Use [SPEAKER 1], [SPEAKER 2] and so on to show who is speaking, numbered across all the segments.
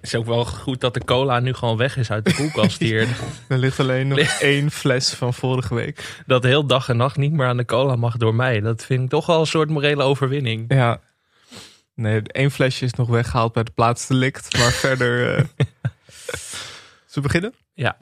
[SPEAKER 1] is ook wel goed dat de cola nu gewoon weg is uit de koelkast hier.
[SPEAKER 2] Er ligt alleen nog één fles van vorige week.
[SPEAKER 1] Dat heel dag en nacht niet meer aan de cola mag door mij. Dat vind ik toch wel een soort morele overwinning.
[SPEAKER 2] Ja. Nee, één flesje is nog weggehaald bij de plaats delict. Maar verder... eh, Zullen we beginnen?
[SPEAKER 1] Ja.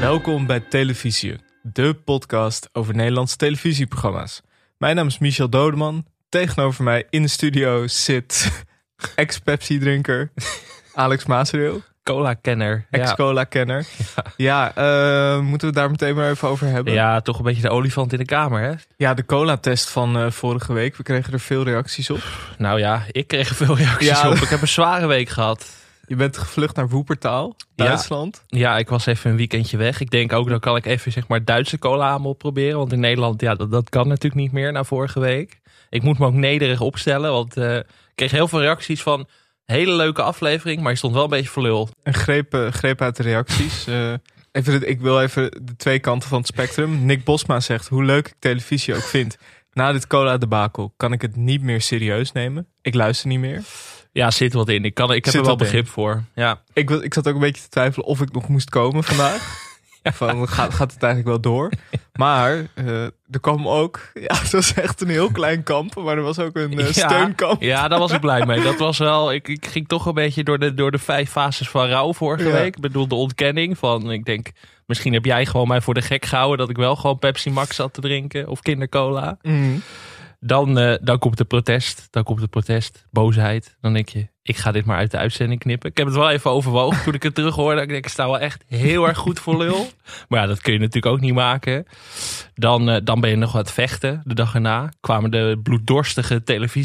[SPEAKER 2] Welkom bij Televisie, de podcast over Nederlandse televisieprogramma's. Mijn naam is Michel Dodeman. Tegenover mij in de studio zit ex-Pepsi-drinker Alex Maasreel,
[SPEAKER 1] Cola-kenner. Ja.
[SPEAKER 2] ex-cola-kenner. Ja, eh, moeten we het daar meteen maar even over hebben?
[SPEAKER 1] ja, toch een beetje de olifant in de kamer, hè?
[SPEAKER 2] Ja, de cola-test van eh, vorige week. We kregen er veel reacties op.
[SPEAKER 1] Nou ja, ik kreeg er veel reacties
[SPEAKER 2] Ja.
[SPEAKER 1] op. Ik heb een zware week gehad.
[SPEAKER 2] Je bent gevlucht naar Woepertaal,
[SPEAKER 1] Ja.
[SPEAKER 2] Duitsland.
[SPEAKER 1] Ja, ik was even een weekendje weg. Ik denk ook, dan kan ik even zeg maar Duitse cola aan me opproberen. Want in Nederland, ja, dat, dat kan natuurlijk niet meer na vorige week. Ik moet me ook nederig opstellen, want eh, ik kreeg heel veel reacties van... Hele leuke aflevering, maar je stond wel een beetje voor lul.
[SPEAKER 2] Een greep, eh, greep uit de reacties. Eh, even, de- ik wil even de twee kanten van het spectrum. Nick Bosma zegt, hoe leuk ik televisie ook vind. Na dit cola debakel kan ik het niet meer serieus nemen. Ik luister niet meer.
[SPEAKER 1] Ja, zit wat in. Ik, kan, ik heb
[SPEAKER 2] Zit
[SPEAKER 1] er wel
[SPEAKER 2] wat in.
[SPEAKER 1] begrip voor. Ja.
[SPEAKER 2] Ik, wil- ik zat ook een beetje te twijfelen of ik nog moest komen vandaag. Van, gaat, gaat het eigenlijk wel door? Maar eh, er kwam ook... Ja, het was echt een heel klein kamp. Maar er was ook een eh,
[SPEAKER 1] Ja.
[SPEAKER 2] steunkamp.
[SPEAKER 1] ja, daar was ik blij mee. Dat was wel, ik, ik ging toch een beetje door de, door de vijf fases van rouw vorige
[SPEAKER 2] Ja.
[SPEAKER 1] week. Ik bedoel, de ontkenning van, ik denk, misschien heb jij gewoon mij voor de gek gehouden... dat ik wel gewoon Pepsi Max zat te drinken of kindercola.
[SPEAKER 2] Mm.
[SPEAKER 1] Dan, eh, dan komt de protest. Dan komt de protest. Boosheid. Dan denk je, ik ga dit maar uit de uitzending knippen. Ik heb het wel even overwogen toen ik het terug hoorde. Ik denk, ik sta wel echt heel erg goed voor lul. Maar ja, dat kun je natuurlijk ook niet maken. Dan, eh, dan ben je nog wat vechten. De dag erna kwamen de bloeddorstige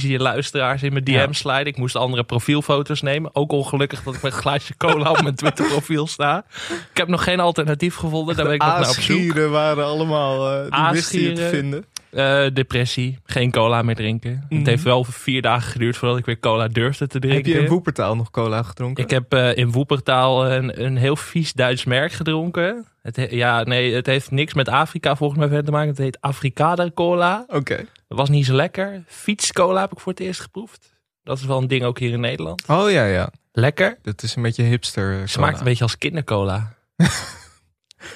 [SPEAKER 1] televisieluisteraars in mijn DM
[SPEAKER 2] Ja.
[SPEAKER 1] slide. Ik moest andere profielfoto's nemen. Ook ongelukkig dat ik met een glaasje cola op mijn Twitter profiel sta. Ik heb nog geen alternatief gevonden. Daar ben ik nog naar op zoek.
[SPEAKER 2] Aasgieren waren allemaal... eh die wisten je te
[SPEAKER 1] Aasgieren.
[SPEAKER 2] vinden.
[SPEAKER 1] Eh, depressie, geen cola meer drinken.
[SPEAKER 2] Mhm.
[SPEAKER 1] Het heeft wel vier dagen geduurd voordat ik weer cola durfde te
[SPEAKER 2] Heb
[SPEAKER 1] drinken.
[SPEAKER 2] je in Woepertaal nog cola gedronken?
[SPEAKER 1] ik heb eh, in Woepertaal een, een heel vies Duits merk gedronken. Het he- ja, nee, het heeft niks met Afrika volgens mij verder te maken. Het heet Afrikader cola.
[SPEAKER 2] Oké.
[SPEAKER 1] Dat was niet zo lekker. Fietscola heb ik voor het eerst geproefd. Dat is wel een ding ook hier in Nederland.
[SPEAKER 2] Oh ja, ja.
[SPEAKER 1] Lekker.
[SPEAKER 2] Dat is een beetje hipster. eh,
[SPEAKER 1] Smaakt
[SPEAKER 2] cola.
[SPEAKER 1] een beetje als kindercola.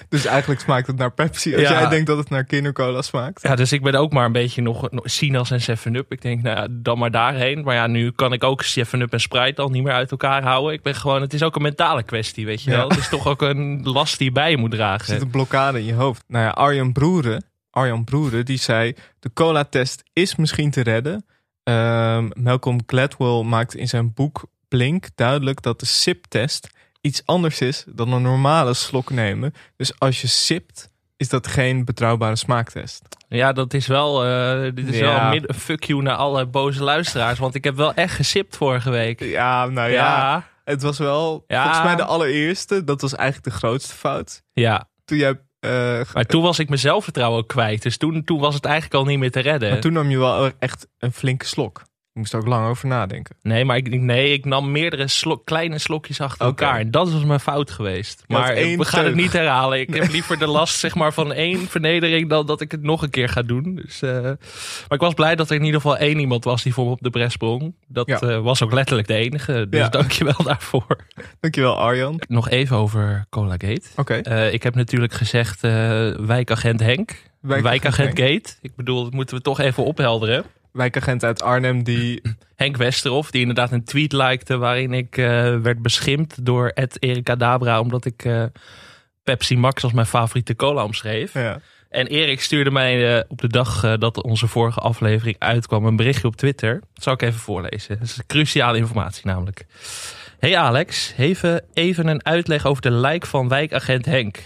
[SPEAKER 2] Dus eigenlijk smaakt het naar Pepsi. Als
[SPEAKER 1] Ja.
[SPEAKER 2] jij denkt dat het naar kindercola smaakt.
[SPEAKER 1] Ja, dus ik ben ook maar een beetje nog, nog Sinas en 7-Up. Ik denk, nou ja, dan maar daarheen. Maar ja, nu kan ik ook 7-Up en Sprite al niet meer uit elkaar houden. Ik ben gewoon, het is ook een mentale kwestie, weet je
[SPEAKER 2] Ja.
[SPEAKER 1] wel. Het is toch ook een last die je bij je moet
[SPEAKER 2] Er zit
[SPEAKER 1] dragen.
[SPEAKER 2] een blokkade in je hoofd. Nou ja, Arjan Broeren, Arjan Broeren die zei... de cola-test is misschien te redden. Ehm, Malcolm Gladwell maakt in zijn boek Blink duidelijk dat de sip-test... iets anders is dan een normale slok nemen. Dus als je sipt, is dat geen betrouwbare smaaktest.
[SPEAKER 1] Ja, dat is wel, eh, dit is
[SPEAKER 2] Ja.
[SPEAKER 1] wel een mid- een fuck you naar alle boze luisteraars. Want ik heb wel echt gesipt vorige week.
[SPEAKER 2] Ja, nou ja.
[SPEAKER 1] ja.
[SPEAKER 2] Het was wel
[SPEAKER 1] Ja.
[SPEAKER 2] volgens mij de allereerste. Dat was eigenlijk de grootste fout.
[SPEAKER 1] ja.
[SPEAKER 2] Toen jij... eh, ge-
[SPEAKER 1] Maar toen was ik mijn zelfvertrouwen ook kwijt. Dus toen, toen was het eigenlijk al niet meer te redden.
[SPEAKER 2] maar toen nam je wel echt een flinke slok. Je moest er ook lang over nadenken.
[SPEAKER 1] Nee, maar ik, ik- nee, ik nam meerdere slok, kleine slokjes achter
[SPEAKER 2] Oké.
[SPEAKER 1] elkaar. En dat was mijn fout geweest.
[SPEAKER 2] Je had
[SPEAKER 1] Maar
[SPEAKER 2] één
[SPEAKER 1] we gaan het
[SPEAKER 2] teug.
[SPEAKER 1] niet herhalen. Ik heb liever de last zeg maar, van één vernedering dan dat ik het nog een keer ga doen. Dus, eh, maar ik was blij dat er in ieder geval één iemand was die voor me op de bres sprong. Dat
[SPEAKER 2] Ja.
[SPEAKER 1] eh, was ook letterlijk de enige. Dus
[SPEAKER 2] Ja.
[SPEAKER 1] dankjewel daarvoor.
[SPEAKER 2] Dankjewel Arjan. Oké.
[SPEAKER 1] Nog even over Cola Gate. Eh, ik heb natuurlijk gezegd eh, wijkagent Henk.
[SPEAKER 2] Wijkagent
[SPEAKER 1] Wijkagent Gate. Ik bedoel, dat moeten we toch even ophelderen.
[SPEAKER 2] Wijkagent uit Arnhem die...
[SPEAKER 1] Henk Westerhof, die inderdaad een tweet likte waarin ik eh, werd beschimpt door Ed Erika Dabra, omdat ik eh, Pepsi Max als mijn favoriete cola omschreef.
[SPEAKER 2] ja.
[SPEAKER 1] En Erik stuurde mij eh, op de dag eh, dat onze vorige aflevering uitkwam een berichtje op Twitter. Dat zal ik even voorlezen. Dat is cruciale informatie namelijk. Hey Alex, even, even een uitleg over de lijk van wijkagent Henk.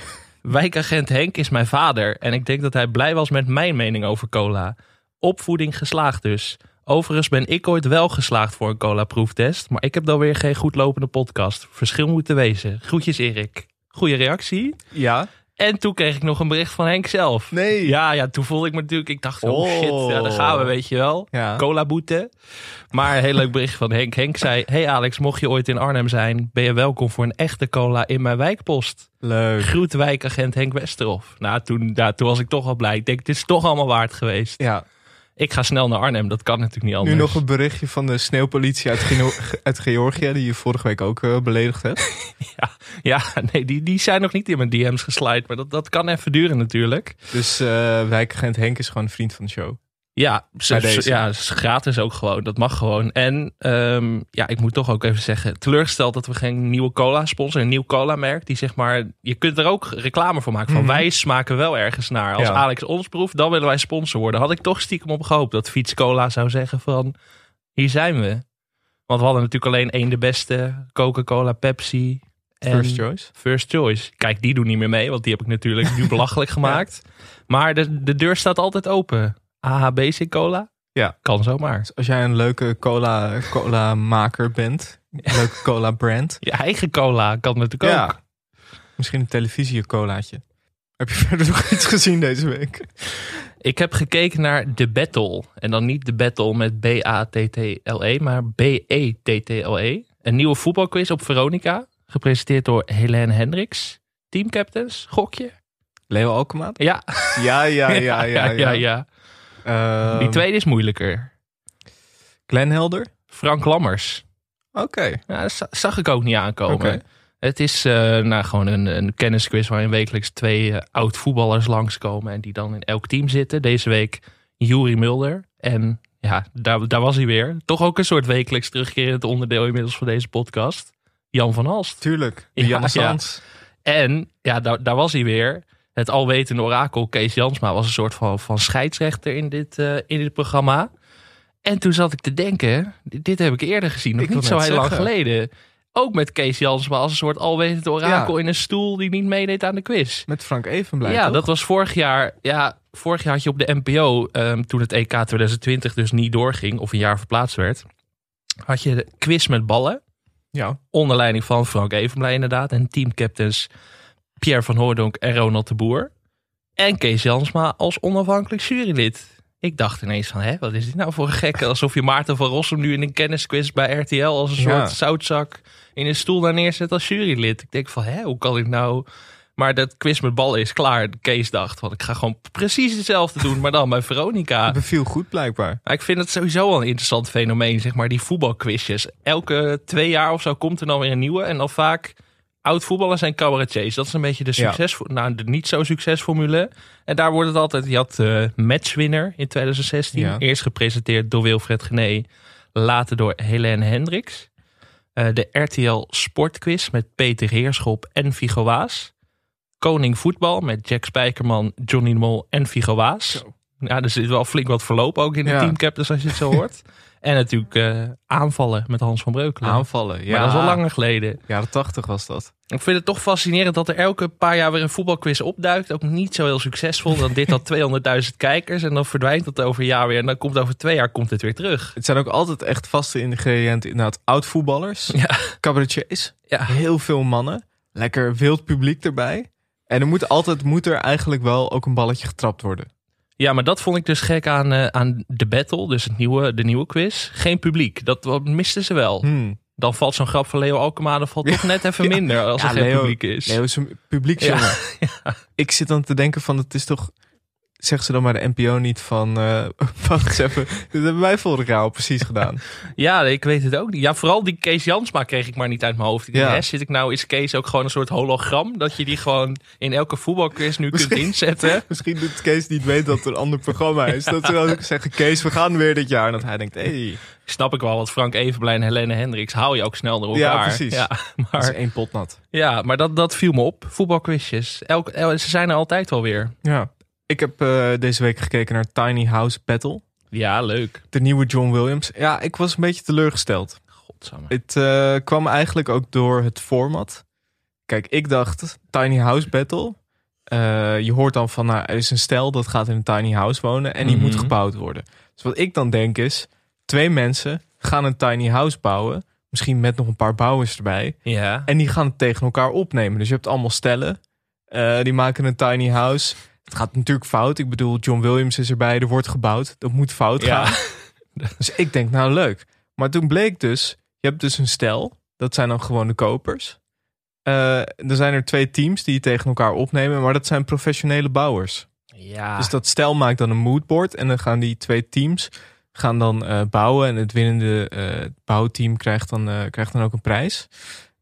[SPEAKER 1] Wijkagent Henk is mijn vader en ik denk dat hij blij was met mijn mening over cola. Opvoeding geslaagd dus. Overigens ben ik ooit wel geslaagd voor een cola-proeftest, maar ik heb dan weer geen goed lopende podcast. Verschil moet te wezen. Groetjes Erik. Goeie reactie.
[SPEAKER 2] ja.
[SPEAKER 1] En toen kreeg ik nog een bericht van Henk zelf.
[SPEAKER 2] Nee.
[SPEAKER 1] Ja, ja, toen voelde ik me natuurlijk. Ik dacht, oh,
[SPEAKER 2] Oh.
[SPEAKER 1] shit, ja, daar gaan we, weet je wel.
[SPEAKER 2] Ja.
[SPEAKER 1] Cola boete. Maar een heel leuk bericht van Henk. Henk zei, hey Alex, mocht je ooit in Arnhem zijn, ben je welkom voor een echte cola in mijn wijkpost.
[SPEAKER 2] Leuk.
[SPEAKER 1] Groet wijkagent Henk Westerhof. Nou, toen, ja, toen was ik toch al blij. Ik denk, dit is toch allemaal waard geweest.
[SPEAKER 2] Ja,
[SPEAKER 1] Ik ga snel naar Arnhem, dat kan natuurlijk niet anders.
[SPEAKER 2] nu nog een berichtje van de sneeuwpolitie uit, Geno- uit Georgië, die je vorige week ook eh, beledigd hebt.
[SPEAKER 1] Ja, nee, die, die zijn nog niet in mijn DM's geslide, maar dat, dat kan even duren natuurlijk.
[SPEAKER 2] Dus eh wijkagent Henk is gewoon een vriend van de show.
[SPEAKER 1] Ja, ze,
[SPEAKER 2] Bij deze.
[SPEAKER 1] ze- ja, is gratis ook gewoon. Dat mag gewoon. En ehm, ja, ik moet toch ook even zeggen, teleurgesteld dat we geen nieuwe cola sponsoren, een nieuw cola merk. Die zeg maar, je kunt er ook reclame voor maken. Van
[SPEAKER 2] Mhm.
[SPEAKER 1] wij smaken wel ergens naar. Als
[SPEAKER 2] Ja.
[SPEAKER 1] Alex ons proeft, dan willen wij sponsor worden. Had ik toch stiekem op gehoopt dat Fiets Cola zou zeggen van, hier zijn we. Want we hadden natuurlijk alleen één de beste, Coca-Cola, Pepsi. en-
[SPEAKER 2] First choice.
[SPEAKER 1] First Choice. Kijk, die doen niet meer mee, want die heb ik natuurlijk nu belachelijk gemaakt. Maar de, de deur staat altijd open. AH Basic Cola?
[SPEAKER 2] Ja.
[SPEAKER 1] Kan zomaar.
[SPEAKER 2] Dus als jij een leuke cola, cola maker bent, een leuke cola brand,
[SPEAKER 1] Je eigen cola kan natuurlijk
[SPEAKER 2] Ja.
[SPEAKER 1] ook.
[SPEAKER 2] misschien een televisie colaatje. Heb je verder nog iets gezien deze week?
[SPEAKER 1] Ik heb gekeken naar The Battle. En dan niet The Battle met B-A-T-T-L-E, E, maar B-E-T-T-L-E. E. Een nieuwe voetbalquiz op Veronica. Gepresenteerd door Helene Hendricks. Teamcaptains, gokje.
[SPEAKER 2] Leo Alkemaat?
[SPEAKER 1] Ja,
[SPEAKER 2] Ja, ja, ja, ja.
[SPEAKER 1] ja,
[SPEAKER 2] ja,
[SPEAKER 1] ja.
[SPEAKER 2] Ehm,
[SPEAKER 1] Die tweede is moeilijker.
[SPEAKER 2] Glenn Helder?
[SPEAKER 1] Frank Lammers.
[SPEAKER 2] Oké.
[SPEAKER 1] Ja, dat za- zag ik ook niet aankomen.
[SPEAKER 2] Oké.
[SPEAKER 1] Het is eh, nou, gewoon een, een kennisquiz waarin wekelijks twee eh, oud-voetballers langskomen. En die dan in elk team zitten. Deze week Juri Mulder. En ja, daar, daar was hij weer. Toch ook een soort wekelijks terugkerend onderdeel inmiddels van deze podcast. Jan van Halst.
[SPEAKER 2] Tuurlijk.
[SPEAKER 1] Ja,
[SPEAKER 2] De Janne
[SPEAKER 1] ja.
[SPEAKER 2] Sans.
[SPEAKER 1] En ja, daar, daar was hij weer. Het alwetende orakel Kees Jansma was een soort van, van scheidsrechter in dit, eh, in dit programma. En toen zat ik te denken, dit dit heb ik eerder gezien, nog
[SPEAKER 2] Ik wil
[SPEAKER 1] niet zo heel
[SPEAKER 2] net
[SPEAKER 1] lang
[SPEAKER 2] zeggen.
[SPEAKER 1] geleden. Ook met Kees Jansma als een soort alwetend orakel in een stoel die niet meedeed aan de quiz.
[SPEAKER 2] Met Frank Evenblij,
[SPEAKER 1] Ja,
[SPEAKER 2] toch?
[SPEAKER 1] dat was vorig jaar. Ja, vorig jaar had je op de NPO, ehm, toen het EK 2020 dus niet doorging of een jaar verplaatst werd, had je de quiz met ballen
[SPEAKER 2] Ja.
[SPEAKER 1] onder leiding van Frank Evenblij inderdaad. En teamcaptains Pierre van Hoordonk en Ronald de Boer. En Kees Jansma als onafhankelijk jurylid. Ik dacht ineens van, hè, wat is dit nou voor een gek? Alsof je Maarten van Rossum nu in een kennisquiz bij RTL... als een
[SPEAKER 2] Ja.
[SPEAKER 1] soort zoutzak in een stoel daar neerzet als jurylid. Ik denk van, hè, hoe kan ik nou... Maar dat quiz met ballen is klaar. Kees dacht, want ik ga gewoon precies hetzelfde doen... maar dan bij Veronica.
[SPEAKER 2] Beviel goed, blijkbaar.
[SPEAKER 1] Maar ik vind het sowieso al een interessant fenomeen, zeg maar, die voetbalquizjes. Elke twee jaar of zo komt er dan weer een nieuwe. En dan vaak oud-voetballers en cabaretiers. Dat is een beetje de
[SPEAKER 2] Ja.
[SPEAKER 1] succes, nou, de niet zo succesformule. En daar wordt het altijd, je had eh, Matchwinner in 2016.
[SPEAKER 2] Ja.
[SPEAKER 1] Eerst gepresenteerd door Wilfred Gené, later door Helene Hendricks. Eh, de RTL Sportquiz met Peter Heerschop en Vigo Waas. Koning Voetbal met Jack Spijkerman, Johnny de Mol en Vigo Waas.
[SPEAKER 2] Zo.
[SPEAKER 1] Ja, er zit wel flink wat verloop ook in de
[SPEAKER 2] Ja.
[SPEAKER 1] teamcaptains als je het zo hoort. en natuurlijk eh, aanvallen met Hans van Breukelen.
[SPEAKER 2] Aanvallen, ja.
[SPEAKER 1] Maar dat is al langer geleden.
[SPEAKER 2] Jaren tachtig was dat.
[SPEAKER 1] Ik vind het toch fascinerend dat er elke paar jaar weer een voetbalquiz opduikt. Ook niet zo heel succesvol. Dan dit had 200.000 kijkers en dan verdwijnt dat over een jaar weer. En dan komt over twee jaar komt het weer terug.
[SPEAKER 2] Het zijn ook altijd echt vaste ingrediënten. Inderdaad, oud-voetballers,
[SPEAKER 1] Ja.
[SPEAKER 2] cabaretiers,
[SPEAKER 1] Ja.
[SPEAKER 2] heel veel mannen. Lekker wild publiek erbij. En er moet altijd moet er eigenlijk wel ook een balletje getrapt worden.
[SPEAKER 1] Ja, maar dat vond ik dus gek aan, eh, aan de battle, dus het nieuwe, de nieuwe quiz. Geen publiek, dat wat misten ze wel.
[SPEAKER 2] Hmm.
[SPEAKER 1] Dan valt zo'n grap van Leo Alkema, dan valt toch net even minder als
[SPEAKER 2] Ja,
[SPEAKER 1] er geen
[SPEAKER 2] Leo-
[SPEAKER 1] publiek is.
[SPEAKER 2] Nee, dat is een publieksjongen. Ik zit dan te denken van, het is toch... Zeg ze dan maar de NPO niet van... eh wacht eens even, dit hebben wij vorig jaar al precies gedaan.
[SPEAKER 1] Ja, nee, ik weet het ook niet. Ja, vooral die Kees Jansma kreeg ik maar niet uit mijn hoofd. Ik dacht,
[SPEAKER 2] Ja.
[SPEAKER 1] hè, zit ik nou, is Kees ook gewoon een soort hologram? Dat je die gewoon in elke voetbalquiz nu kunt
[SPEAKER 2] Misschien-
[SPEAKER 1] inzetten.
[SPEAKER 2] Misschien doet Kees niet weet dat er een ander programma is. Dat ze dan ook zeggen, Kees, we gaan weer dit jaar. En dat hij denkt, hé, hey,
[SPEAKER 1] Snap ik wel, want Frank Evenblij en Helene Hendricks haal je ook snel door
[SPEAKER 2] Ja,
[SPEAKER 1] elkaar.
[SPEAKER 2] precies.
[SPEAKER 1] Ja,
[SPEAKER 2] dat is
[SPEAKER 1] maar,
[SPEAKER 2] één pot nat.
[SPEAKER 1] ja, maar dat, dat viel me op. Voetbalquizjes. Elk, el- ze zijn er altijd wel weer.
[SPEAKER 2] Ja. Ik heb eh, deze week gekeken naar Tiny House Battle.
[SPEAKER 1] Ja, leuk.
[SPEAKER 2] De nieuwe John Williams. Ja, ik was een beetje teleurgesteld.
[SPEAKER 1] Godsamme.
[SPEAKER 2] Het eh, kwam eigenlijk ook door het format. Kijk, ik dacht Tiny House Battle. eh, je hoort dan van, nou, er is een stel dat gaat in een tiny house wonen en die moet
[SPEAKER 1] Mhm.
[SPEAKER 2] gebouwd worden. Dus wat ik dan denk is, twee mensen gaan een tiny house bouwen. Misschien met nog een paar bouwers erbij.
[SPEAKER 1] Ja.
[SPEAKER 2] En die gaan het tegen elkaar opnemen. Dus je hebt allemaal stellen. Eh, die maken een tiny house. Het gaat natuurlijk fout. Ik bedoel, John Williams is erbij. Er wordt gebouwd. Dat moet fout
[SPEAKER 1] Ja.
[SPEAKER 2] gaan. Dus ik denk, nou leuk. Maar toen bleek dus, je hebt dus een stel. Dat zijn dan gewoon de kopers. Eh, er zijn er twee teams die je tegen elkaar opnemen. Maar dat zijn professionele bouwers.
[SPEAKER 1] Ja.
[SPEAKER 2] Dus dat stel maakt dan een moodboard. En dan gaan die twee teams gaan dan eh, bouwen. En het winnende eh, bouwteam krijgt dan, eh, krijgt dan ook een prijs.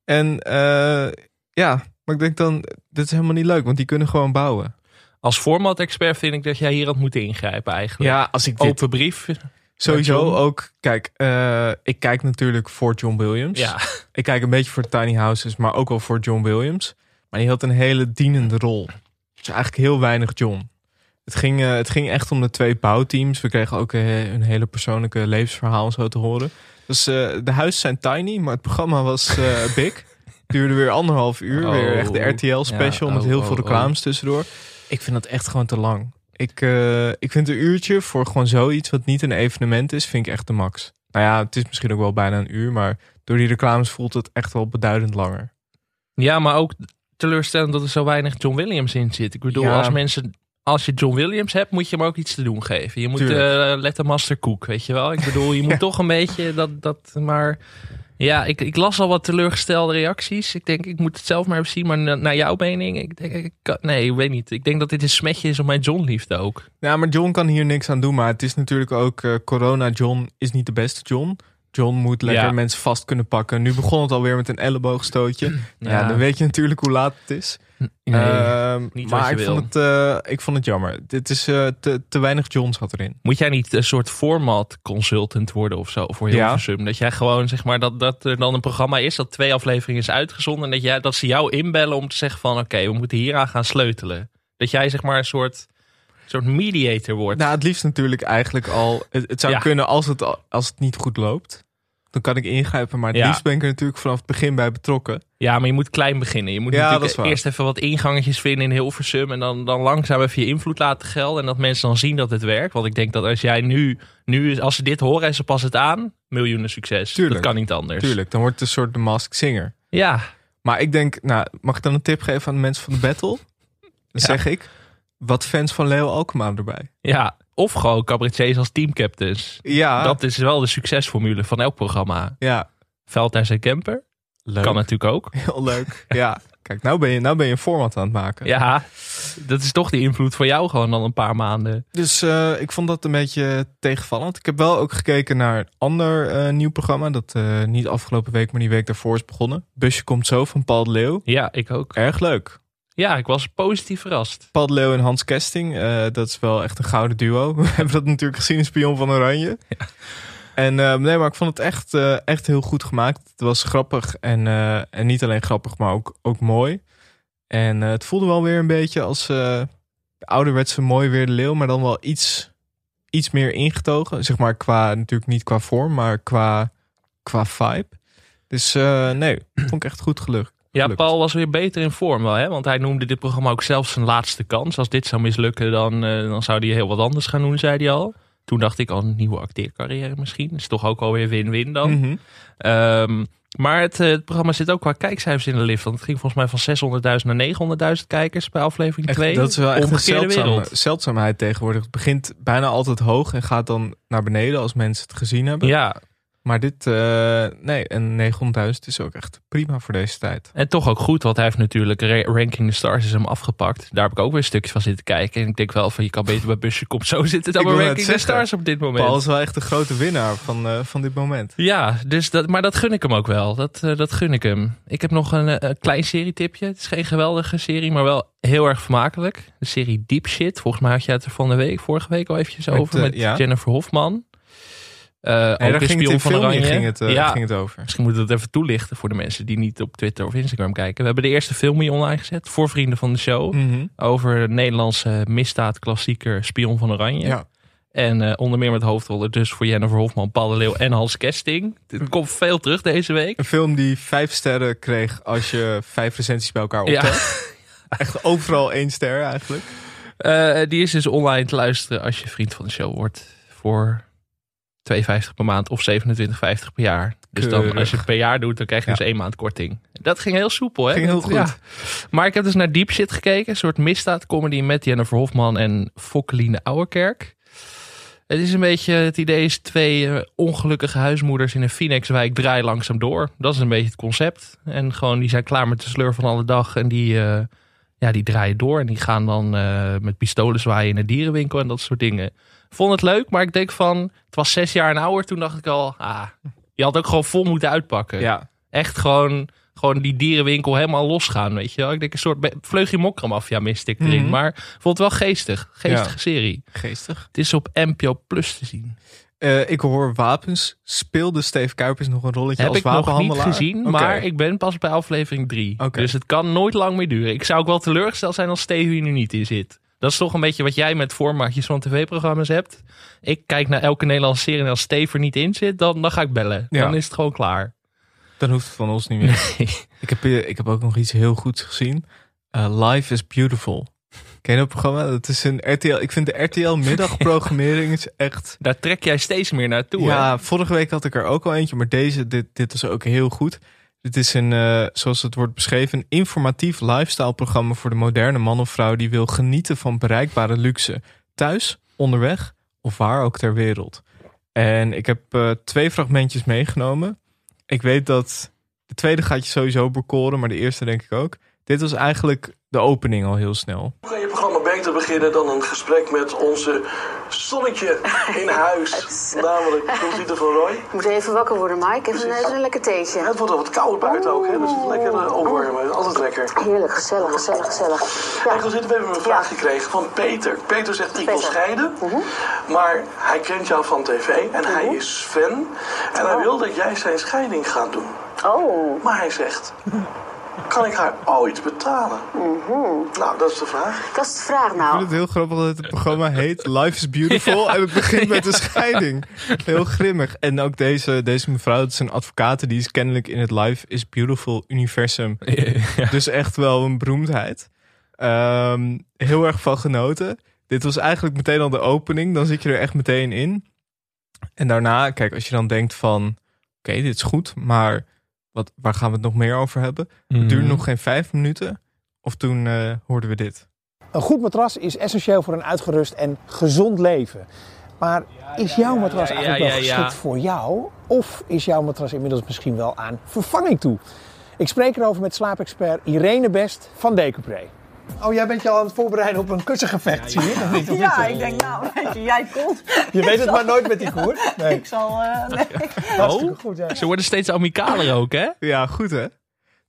[SPEAKER 2] En eh, ja, maar ik denk dan, dit is helemaal niet leuk. Want die kunnen gewoon bouwen.
[SPEAKER 1] Als format-expert vind ik dat jij hier had moeten ingrijpen eigenlijk.
[SPEAKER 2] Ja, als ik
[SPEAKER 1] Open brief.
[SPEAKER 2] Sowieso
[SPEAKER 1] Ja, John.
[SPEAKER 2] ook, kijk, eh, ik kijk natuurlijk voor John Williams.
[SPEAKER 1] Ja.
[SPEAKER 2] Ik kijk een beetje voor Tiny Houses, maar ook wel voor John Williams. Maar die had een hele dienende rol. Dus eigenlijk heel weinig John. Het ging, eh, het ging echt om de twee bouwteams. We kregen ook eh, een hele persoonlijke levensverhaal en zo te horen. Dus eh, de huizen zijn tiny, maar het programma was eh, big. Duurde weer anderhalf uur. weer
[SPEAKER 1] Oh.
[SPEAKER 2] echt de RTL special
[SPEAKER 1] Ja,
[SPEAKER 2] met
[SPEAKER 1] oh,
[SPEAKER 2] heel
[SPEAKER 1] oh,
[SPEAKER 2] veel
[SPEAKER 1] oh.
[SPEAKER 2] reclames tussendoor. Ik vind dat echt gewoon te lang. Ik, eh, ik vind een uurtje voor gewoon zoiets wat niet een evenement is, vind ik echt de max. Nou ja, het is misschien ook wel bijna een uur, maar door die reclames voelt het echt wel beduidend langer.
[SPEAKER 1] Ja, maar ook teleurstellend dat er zo weinig John Williams in zit. Ik bedoel,
[SPEAKER 2] Ja.
[SPEAKER 1] als mensen. Als je John Williams hebt, moet je hem ook iets te doen geven. Je moet
[SPEAKER 2] Tuurlijk.
[SPEAKER 1] eh let the master cook, weet je wel. Ik bedoel, je moet toch een beetje dat, dat maar... Ja, ik, ik las al wat teleurgestelde reacties. Ik denk, ik moet het zelf maar even zien. Maar na- naar jouw mening, ik denk, ik kan- nee, ik weet niet. Ik denk dat dit een smetje is op mijn John-liefde ook.
[SPEAKER 2] Ja, maar John kan hier niks aan doen. Maar het is natuurlijk ook, eh, corona John is niet de beste John. John moet lekker
[SPEAKER 1] Ja.
[SPEAKER 2] mensen vast kunnen pakken. Nu begon het alweer met een elleboogstootje. Ja, dan weet je natuurlijk hoe laat het is.
[SPEAKER 1] Nee.
[SPEAKER 2] Ehm,
[SPEAKER 1] niet wat
[SPEAKER 2] maar
[SPEAKER 1] je
[SPEAKER 2] ik,
[SPEAKER 1] wil.
[SPEAKER 2] Vond het, eh, ik vond het jammer. Dit is eh, te, te weinig John zat erin.
[SPEAKER 1] Moet jij niet een soort format consultant worden of zo voor Hilversum? Dat jij gewoon zeg maar dat, dat er dan een programma is dat twee afleveringen is uitgezonden. En dat, jij, dat ze jou inbellen om te zeggen van oké, we moeten hieraan gaan sleutelen. Dat jij zeg maar een soort, soort mediator wordt.
[SPEAKER 2] Nou, het liefst natuurlijk eigenlijk al. Het, het zou
[SPEAKER 1] Ja.
[SPEAKER 2] kunnen als het, al- als het niet goed loopt. Dan kan ik ingrijpen. Maar het
[SPEAKER 1] Ja.
[SPEAKER 2] liefst ben ik er natuurlijk vanaf het begin bij betrokken.
[SPEAKER 1] ja, maar je moet klein beginnen. Je moet
[SPEAKER 2] Ja, dat is
[SPEAKER 1] natuurlijk
[SPEAKER 2] waar.
[SPEAKER 1] eerst even wat ingangetjes vinden in Hilversum. En dan, dan langzaam even je invloed laten gelden. En dat mensen dan zien dat het werkt. Want ik denk dat als jij nu, nu als ze dit horen en ze passen het aan, miljoenen succes.
[SPEAKER 2] Tuurlijk.
[SPEAKER 1] Dat kan niet anders.
[SPEAKER 2] Tuurlijk, dan wordt het een soort de mask singer.
[SPEAKER 1] Ja,
[SPEAKER 2] Maar ik denk, nou, mag ik dan een tip geven aan de mensen van de battle? Dan
[SPEAKER 1] Ja.
[SPEAKER 2] zeg ik, wat fans van Leo Alkmaar erbij.
[SPEAKER 1] ja. Of gewoon cabaretiers als teamcaptains.
[SPEAKER 2] Ja,
[SPEAKER 1] Dat is wel de succesformule van elk programma.
[SPEAKER 2] ja.
[SPEAKER 1] Veldhuis en Kemper
[SPEAKER 2] Leuk.
[SPEAKER 1] kan natuurlijk ook.
[SPEAKER 2] Heel leuk. Ja. Kijk, nou ben, je, nou ben je een format aan het maken.
[SPEAKER 1] Ja, dat is toch die invloed van jou gewoon al een paar maanden.
[SPEAKER 2] Dus eh, ik vond dat een beetje tegenvallend. Ik heb wel ook gekeken naar een ander eh, nieuw programma. Dat eh, niet afgelopen week, maar die week daarvoor is begonnen. Busje komt zo van Paul de Leeuw.
[SPEAKER 1] Ja, ik ook.
[SPEAKER 2] Erg leuk.
[SPEAKER 1] Ja, ik was positief verrast.
[SPEAKER 2] Paul de Leeuw en Hans Kesting. eh, dat is wel echt een gouden duo. We hebben dat natuurlijk gezien in Spion van Oranje. En eh, nee, maar ik vond het echt, eh, echt heel goed gemaakt. Het was grappig en, eh, en niet alleen grappig, maar ook, ook mooi. En eh, het voelde wel weer een beetje als eh de ouderwetse mooi weer de leeuw, maar dan wel iets, iets meer ingetogen. Zeg maar qua, natuurlijk niet qua vorm, maar qua, qua vibe. Dus eh, nee, vond ik echt goed gelukt.
[SPEAKER 1] Ja,
[SPEAKER 2] Gelukt.
[SPEAKER 1] Paul was weer beter in vorm wel, hè? Want hij noemde dit programma ook zelfs zijn laatste kans. Als dit zou mislukken, dan, eh, dan zou hij heel wat anders gaan doen, zei hij al. Toen dacht ik al, een nieuwe acteercarrière misschien. Is toch ook alweer win-win dan.
[SPEAKER 2] Mhm.
[SPEAKER 1] Ehm, maar het, eh, het programma zit ook qua kijkcijfers in de lift. Want het ging volgens mij van 600.000 naar 900.000 kijkers bij aflevering
[SPEAKER 2] Echt,
[SPEAKER 1] 2.
[SPEAKER 2] dat is wel echt een
[SPEAKER 1] Omgekeerde
[SPEAKER 2] zeldzame,
[SPEAKER 1] wereld.
[SPEAKER 2] zeldzaamheid tegenwoordig. Het begint bijna altijd hoog en gaat dan naar beneden als mensen het gezien hebben.
[SPEAKER 1] Ja,
[SPEAKER 2] Maar dit, eh, nee, en 900.000 is ook echt prima voor deze tijd.
[SPEAKER 1] en toch ook goed, want hij heeft natuurlijk Ra- Ranking the Stars is hem afgepakt. Daar heb ik ook weer een stukje van zitten kijken. En ik denk wel van, je kan beter bij Busje Komt Zo zitten dan
[SPEAKER 2] Ik
[SPEAKER 1] bij
[SPEAKER 2] wil net
[SPEAKER 1] Ranking the
[SPEAKER 2] zeggen,
[SPEAKER 1] Stars op dit moment.
[SPEAKER 2] Paul is wel echt de grote winnaar van, eh, van dit moment.
[SPEAKER 1] Ja, dus dat, maar dat gun ik hem ook wel. Dat, eh, dat gun ik hem. Ik heb nog een, eh, een klein serietipje. Het is geen geweldige serie, maar wel heel erg vermakelijk. De serie Deep Shit. Volgens mij had je het er van de week, vorige week al eventjes
[SPEAKER 2] Met,
[SPEAKER 1] over.
[SPEAKER 2] eh,
[SPEAKER 1] Met
[SPEAKER 2] ja.
[SPEAKER 1] Jennifer Hofman. Eh
[SPEAKER 2] En
[SPEAKER 1] ook
[SPEAKER 2] daar
[SPEAKER 1] in
[SPEAKER 2] ging het
[SPEAKER 1] Spion
[SPEAKER 2] in
[SPEAKER 1] van
[SPEAKER 2] filmpje
[SPEAKER 1] Oranje.
[SPEAKER 2] ging het, eh,
[SPEAKER 1] ja,
[SPEAKER 2] ging het over.
[SPEAKER 1] Misschien moeten we dat even toelichten voor de mensen die niet op Twitter of Instagram kijken. We hebben de eerste filmpje online gezet voor vrienden van de show.
[SPEAKER 2] Mhm.
[SPEAKER 1] Over de Nederlandse misdaadklassieker Spion van Oranje.
[SPEAKER 2] Ja.
[SPEAKER 1] En eh, onder meer met hoofdrollen dus voor Jennifer Hofman, Paul de Leeuw en Hans Kesting. Het komt veel terug deze week.
[SPEAKER 2] Een film die vijf sterren kreeg als je vijf recensies bij elkaar optelt.
[SPEAKER 1] Ja,
[SPEAKER 2] Echt overal één ster eigenlijk.
[SPEAKER 1] Eh, die is dus online te luisteren als je vriend van de show wordt. Voor 2,50 per maand of 27,50 per jaar. Dus dan,
[SPEAKER 2] Keurig.
[SPEAKER 1] als je het per jaar doet, dan krijg je
[SPEAKER 2] Ja.
[SPEAKER 1] dus één maand korting. Dat ging heel soepel, hè?
[SPEAKER 2] Ging heel
[SPEAKER 1] Dat-
[SPEAKER 2] goed.
[SPEAKER 1] ja. Maar ik heb dus naar Deep Shit gekeken. Een soort misdaadcomedy met Jennifer Hofman en Fokkeline Ouwerkerk. Het is een beetje, het idee is twee eh, ongelukkige huismoeders in een Phoenixwijk draaien langzaam door. Dat is een beetje het concept. En gewoon, die zijn klaar met de sleur van alle dag en die... eh, ja, die draaien door en die gaan dan eh, met pistolen zwaaien in een dierenwinkel en dat soort dingen. Vond het leuk, maar ik denk van, het was zes jaar en ouder. Toen dacht ik al, ah, je had ook gewoon vol moeten uitpakken.
[SPEAKER 2] Ja,
[SPEAKER 1] Echt gewoon, gewoon die dierenwinkel helemaal losgaan, weet je wel. Ik denk een soort be- vleugje mokramafia miste ik erin.
[SPEAKER 2] Mhm.
[SPEAKER 1] Maar ik vond het wel geestig, geestige
[SPEAKER 2] Ja.
[SPEAKER 1] serie.
[SPEAKER 2] geestig.
[SPEAKER 1] Het is op NPO Plus te zien.
[SPEAKER 2] Eh, ik hoor wapens. Speelde Steve Kuipers nog een rolletje
[SPEAKER 1] Heb
[SPEAKER 2] als
[SPEAKER 1] ik nog niet
[SPEAKER 2] wapenhandelaar?
[SPEAKER 1] gezien,
[SPEAKER 2] Oké.
[SPEAKER 1] maar ik ben pas bij aflevering 3.
[SPEAKER 2] Oké.
[SPEAKER 1] Dus het kan nooit lang meer duren. Ik zou ook wel teleurgesteld zijn als Stevie nu niet in zit. Dat is toch een beetje wat jij met formatjes van tv-programma's hebt. Ik kijk naar elke Nederlandse serie en als Steve er niet in zit, dan, dan ga ik bellen.
[SPEAKER 2] Ja.
[SPEAKER 1] Dan is het gewoon klaar.
[SPEAKER 2] Dan hoeft het van ons niet meer. Ik heb, eh, ik heb ook nog iets heel goeds gezien. Eh, Life is Beautiful. Ken je dat programma? Dat is een RTL. Ik vind de RTL middagprogrammering is echt...
[SPEAKER 1] Daar trek jij steeds meer naartoe. hè?
[SPEAKER 2] ja, vorige week had ik er ook al eentje, maar deze, dit, dit is ook heel goed. Dit is een, eh, zoals het wordt beschreven, een informatief lifestyle programma voor de moderne man of vrouw die wil genieten van bereikbare luxe. Thuis, onderweg of waar ook ter wereld. En ik heb eh, twee fragmentjes meegenomen. Ik weet dat de tweede gaat je sowieso bekoren, maar de eerste denk ik ook. Dit was eigenlijk de opening al heel snel.
[SPEAKER 3] Hoe kan je programma beter beginnen dan een gesprek met onze zonnetje in huis? Namelijk Conchita van Roy.
[SPEAKER 4] Ik moet even wakker worden, Mike. Even een, even een lekker theetje.
[SPEAKER 3] Het wordt al wat koud buiten ook, hè? dus het is lekker eh, opwarmen. Het is Altijd lekker.
[SPEAKER 4] Heerlijk, gezellig, gezellig, gezellig.
[SPEAKER 3] En
[SPEAKER 4] Ja,
[SPEAKER 3] Conchita, we hebben een vraag gekregen van Peter. Peter zegt, ik wil
[SPEAKER 4] Peter. Mhm.
[SPEAKER 3] scheiden, maar hij kent jou van tv en hij is fan. En hij wil dat jij zijn scheiding gaat doen.
[SPEAKER 4] oh,
[SPEAKER 3] Maar hij zegt, kan ik haar ooit betalen?
[SPEAKER 4] Mhm.
[SPEAKER 3] Nou, dat is de vraag.
[SPEAKER 4] dat is de vraag
[SPEAKER 2] Ik
[SPEAKER 4] nou.
[SPEAKER 2] vind het heel grappig dat het programma heet Life is Beautiful en het begint met een scheiding. Heel grimmig. En ook deze, deze mevrouw, dat is een advocaat, die is kennelijk in het Life is Beautiful universum. Dus echt wel een beroemdheid. Ehm, heel erg van genoten. Dit was eigenlijk meteen al de opening, dan zit je er echt meteen in. En daarna, kijk, als je dan denkt van, oké, dit is goed, maar wat, waar gaan we het nog meer over hebben? Het duurde nog geen vijf minuten, of toen eh, hoorden we dit.
[SPEAKER 5] Een goed matras is essentieel voor een uitgerust en gezond leven. Maar is jouw matras
[SPEAKER 1] ja,
[SPEAKER 5] eigenlijk
[SPEAKER 1] ja,
[SPEAKER 5] wel
[SPEAKER 1] ja.
[SPEAKER 5] geschikt voor jou? Of is jouw matras inmiddels misschien wel aan vervanging toe? Ik spreek erover met slaapexpert Irene Best van Decoupé. Oh, jij bent je al aan het voorbereiden op een kussengevecht, zie je? Of niet? Of
[SPEAKER 6] Ja,
[SPEAKER 5] niet?
[SPEAKER 6] ik denk, nou, weet je, jij komt.
[SPEAKER 5] Je weet het maar nooit met die koer. Nee,
[SPEAKER 6] Ik zal, eh, nee.
[SPEAKER 5] hartstikke goed. hè.
[SPEAKER 1] Ze worden steeds amicaler ook, hè?
[SPEAKER 2] Ja, goed hè?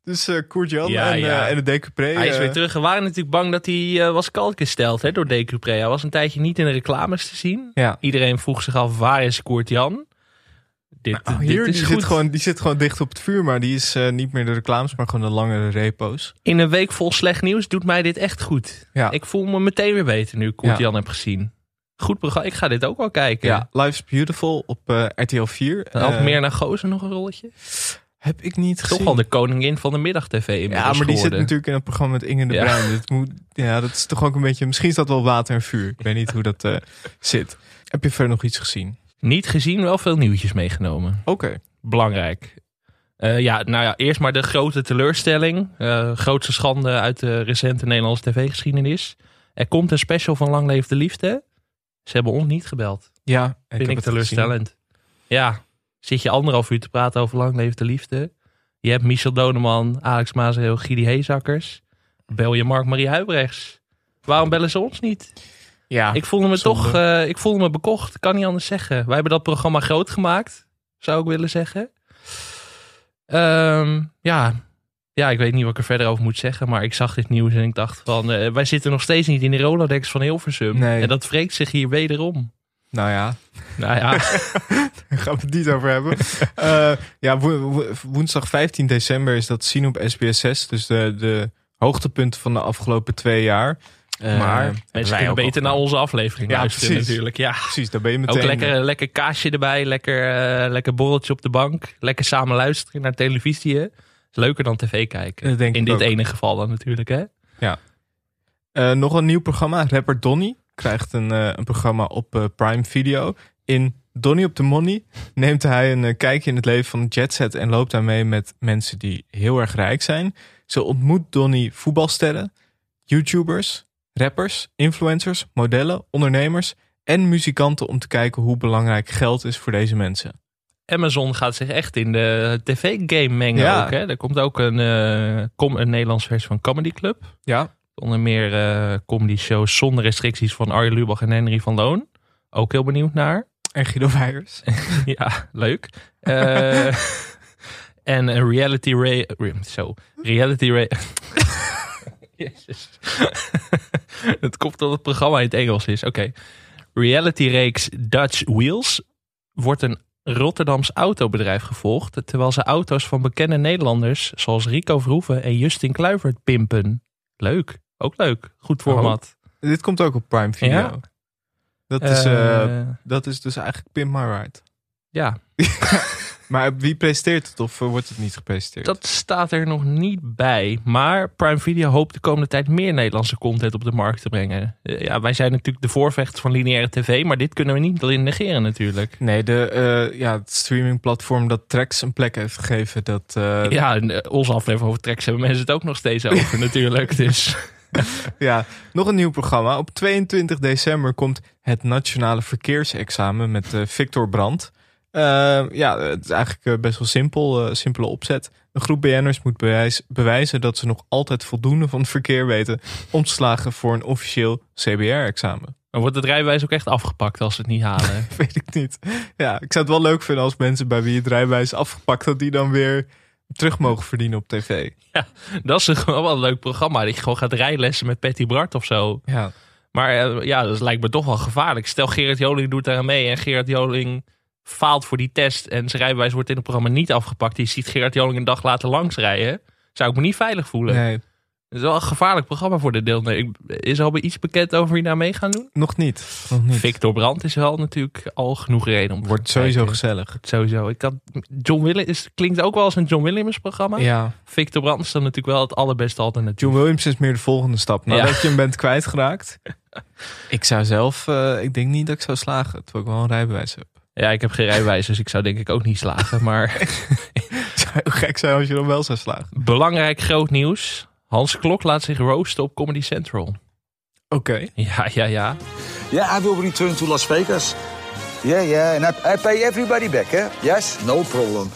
[SPEAKER 2] Dus eh Koert Jan
[SPEAKER 1] Ja,
[SPEAKER 2] en, eh
[SPEAKER 1] ja.
[SPEAKER 2] en de Decupré.
[SPEAKER 1] Hij is
[SPEAKER 2] eh,
[SPEAKER 1] weer terug. We waren natuurlijk bang dat hij eh, was kaltgesteld hè, door Decupré. Hij was een tijdje niet in de reclames te zien.
[SPEAKER 2] Ja.
[SPEAKER 1] Iedereen vroeg zich af, waar is Koert Jan? Dit,
[SPEAKER 2] Oh,
[SPEAKER 1] dit
[SPEAKER 2] hier,
[SPEAKER 1] is
[SPEAKER 2] die,
[SPEAKER 1] goed.
[SPEAKER 2] zit gewoon, die zit gewoon dicht op het vuur, maar die is eh, niet meer de reclames, maar gewoon de langere repo's.
[SPEAKER 1] In een week vol slecht nieuws doet mij dit echt goed.
[SPEAKER 2] Ja.
[SPEAKER 1] Ik voel me meteen weer beter nu ik Koert
[SPEAKER 2] Ja.
[SPEAKER 1] Jan heb gezien. Goed programma. Ik ga dit ook wel kijken.
[SPEAKER 2] Ja, Life's Beautiful op eh, RTL 4.
[SPEAKER 1] En Had
[SPEAKER 2] Eh,
[SPEAKER 1] meer naar Gozer nog een rolletje?
[SPEAKER 2] heb ik niet gezien.
[SPEAKER 1] Toch al de koningin van de middag tv
[SPEAKER 2] ja, maar die zit natuurlijk in het programma met Inge de
[SPEAKER 1] Ja.
[SPEAKER 2] Bruin. Dit moet, ja, dat is toch ook een beetje... Misschien is dat wel water en vuur. Ik weet niet hoe dat eh, zit. Heb je verder nog iets gezien?
[SPEAKER 1] Niet gezien, wel veel nieuwtjes meegenomen.
[SPEAKER 2] Oké.
[SPEAKER 1] belangrijk. Eh, ja, nou ja, eerst maar de grote teleurstelling. Eh, grootste schande uit de recente Nederlandse tv-geschiedenis. Er komt een special van Lang Leef de Liefde. Ze hebben ons niet gebeld.
[SPEAKER 2] Ja, ik heb
[SPEAKER 1] Vind ik,
[SPEAKER 2] het
[SPEAKER 1] teleurstellend. Ja, zit je anderhalf uur te praten over Lang Leef de Liefde. Je hebt Michel Doneman, Alex Mazeel, Gidi Heezakkers. Bel je Mark-Marie Huibrechts. Waarom bellen ze ons niet?
[SPEAKER 2] gezien. Ja,
[SPEAKER 1] Ik voelde me
[SPEAKER 2] Ah, zonde.
[SPEAKER 1] toch, eh, ik voelde me bekocht. Kan niet anders zeggen. Wij hebben dat programma groot gemaakt, zou ik willen zeggen. Ehm, ja. ja, ik weet niet wat ik er verder over moet zeggen. Maar ik zag dit nieuws en ik dacht van, eh, wij zitten nog steeds niet in de Rolodex van Hilversum.
[SPEAKER 2] Nee.
[SPEAKER 1] En dat wreekt zich hier wederom.
[SPEAKER 2] nou ja,
[SPEAKER 1] Nou ja,
[SPEAKER 2] Daar gaan we het niet over hebben. Eh, ja, wo- wo- woensdag 15 december is dat zien op SBS 6. Dus de, de hoogtepunten van de afgelopen twee jaar. Eh, hebben
[SPEAKER 1] maar
[SPEAKER 2] wij
[SPEAKER 1] mensen kunnen
[SPEAKER 2] ook
[SPEAKER 1] beter
[SPEAKER 2] al-
[SPEAKER 1] naar onze aflevering
[SPEAKER 2] Ja,
[SPEAKER 1] luisteren
[SPEAKER 2] precies.
[SPEAKER 1] natuurlijk. Ja.
[SPEAKER 2] Precies, daar ben je meteen.
[SPEAKER 1] Ook lekker, eh, lekker kaasje erbij, lekker, eh, lekker borreltje op de bank. Lekker samen luisteren naar televisie. hè. Is leuker dan tv kijken.
[SPEAKER 2] Dat denk
[SPEAKER 1] in
[SPEAKER 2] ik
[SPEAKER 1] dit
[SPEAKER 2] ook.
[SPEAKER 1] ene geval dan natuurlijk, hè?
[SPEAKER 2] Eh, nog een nieuw programma. Rapper Donny krijgt een, eh, een programma op eh, Prime Video in Donnie op de Money neemt hij een eh, kijkje in het leven van een jetset en loopt daarmee met mensen die heel erg rijk zijn. Zo ontmoet Donnie voetbalsterren, YouTubers, rappers, influencers, modellen, ondernemers en muzikanten om te kijken hoe belangrijk geld is voor deze mensen.
[SPEAKER 1] Amazon gaat zich echt in de tv-game mengen
[SPEAKER 2] Ja.
[SPEAKER 1] ook. Hè? Er komt ook een, eh, kom, een Nederlands versie van Comedy Club.
[SPEAKER 2] Ja,
[SPEAKER 1] Onder meer eh, comedy shows zonder restricties van Arjen Lubach en Henry van Loon. Ook heel benieuwd naar.
[SPEAKER 2] en Guido Weijers.
[SPEAKER 1] ja, leuk. Eh, en een reality ray... re- Zo, reality ray... Jezus. het komt omdat het programma in het Engels is. Oké. Reality reeks Dutch Wheels wordt een Rotterdams autobedrijf gevolgd... terwijl ze auto's van bekende Nederlanders... zoals Rico Verhoeven en Justin Kluivert pimpen. Leuk. Ook leuk. Goed format.
[SPEAKER 2] Dit komt ook op Prime Video.
[SPEAKER 1] Ja.
[SPEAKER 2] Dat, is, eh,
[SPEAKER 1] Eh,
[SPEAKER 2] dat is dus eigenlijk Pimp My Ride.
[SPEAKER 1] ja,
[SPEAKER 2] Maar wie presenteert het of eh, wordt het niet gepresenteerd?
[SPEAKER 1] Dat staat er nog niet bij. Maar Prime Video hoopt de komende tijd meer Nederlandse content op de markt te brengen. Eh, Ja, wij zijn natuurlijk de voorvechters van lineaire tv, maar dit kunnen we niet alleen negeren natuurlijk.
[SPEAKER 2] Nee, de, eh, ja, het streamingplatform dat Trax een plek heeft gegeven. Dat, eh, ja.
[SPEAKER 1] Ja, en eh, onze aflevering over tracks hebben mensen het ook nog steeds over natuurlijk. Dus
[SPEAKER 2] nog een nieuw programma. Op 22 december komt het Nationale Verkeersexamen met eh, Victor Brandt. Eh, ja, het is eigenlijk eh, best wel simpel, eh, simpele opzet. Een groep BN'ers moet bewijs- bewijzen dat ze nog altijd voldoende van het verkeer weten... om te slagen voor een officieel CBR-examen.
[SPEAKER 1] dan wordt het rijbewijs ook echt afgepakt als ze het niet halen.
[SPEAKER 2] Weet ik niet. Ja, ik zou het wel leuk vinden als mensen bij wie het rijbewijs is afgepakt... dat die dan weer terug mogen verdienen op tv.
[SPEAKER 1] Dat is gewoon wel een leuk programma, dat je gewoon gaat rijlessen met Patty Bart of zo.
[SPEAKER 2] Ja,
[SPEAKER 1] Maar eh, ja, dat lijkt me toch wel gevaarlijk. Stel, Gerard Joling doet daar aan mee en Gerard Joling faalt voor die test en zijn rijbewijs wordt in het programma niet afgepakt. Je ziet Gerard Joling een dag later langsrijden. Zou ik me niet veilig voelen.
[SPEAKER 2] nee,
[SPEAKER 1] Het is wel een gevaarlijk programma voor de deelnemer. Ik- Is er al bij iets bekend over wie daar mee gaan doen?
[SPEAKER 2] Nog niet. Nog niet.
[SPEAKER 1] Victor Brandt is wel natuurlijk al genoeg reden om te
[SPEAKER 2] Wordt
[SPEAKER 1] gaan
[SPEAKER 2] sowieso
[SPEAKER 1] kijken.
[SPEAKER 2] gezellig.
[SPEAKER 1] Sowieso. Ik had, John Williams is- klinkt ook wel als een John Williams programma.
[SPEAKER 2] Ja.
[SPEAKER 1] Victor Brandt is dan natuurlijk wel het allerbeste alternatief.
[SPEAKER 2] John Williams is meer de volgende stap. Nadat
[SPEAKER 1] Ja.
[SPEAKER 2] je hem bent kwijtgeraakt. ik zou zelf, eh, ik denk niet dat ik zou slagen. Terwijl ik wel een rijbewijs heb.
[SPEAKER 1] Ja, ik heb geen rijbewijs, dus ik zou denk ik ook niet slagen. Maar
[SPEAKER 2] Het zou heel gek zijn als je dan wel zou slagen.
[SPEAKER 1] Belangrijk groot nieuws. Hans Klok laat zich roosten op Comedy Central.
[SPEAKER 2] Oké.
[SPEAKER 1] Ja, ja, ja.
[SPEAKER 7] Yeah, I will return to Las Vegas. Yeah, yeah, and I, I pay everybody back, eh? Yes, no problem.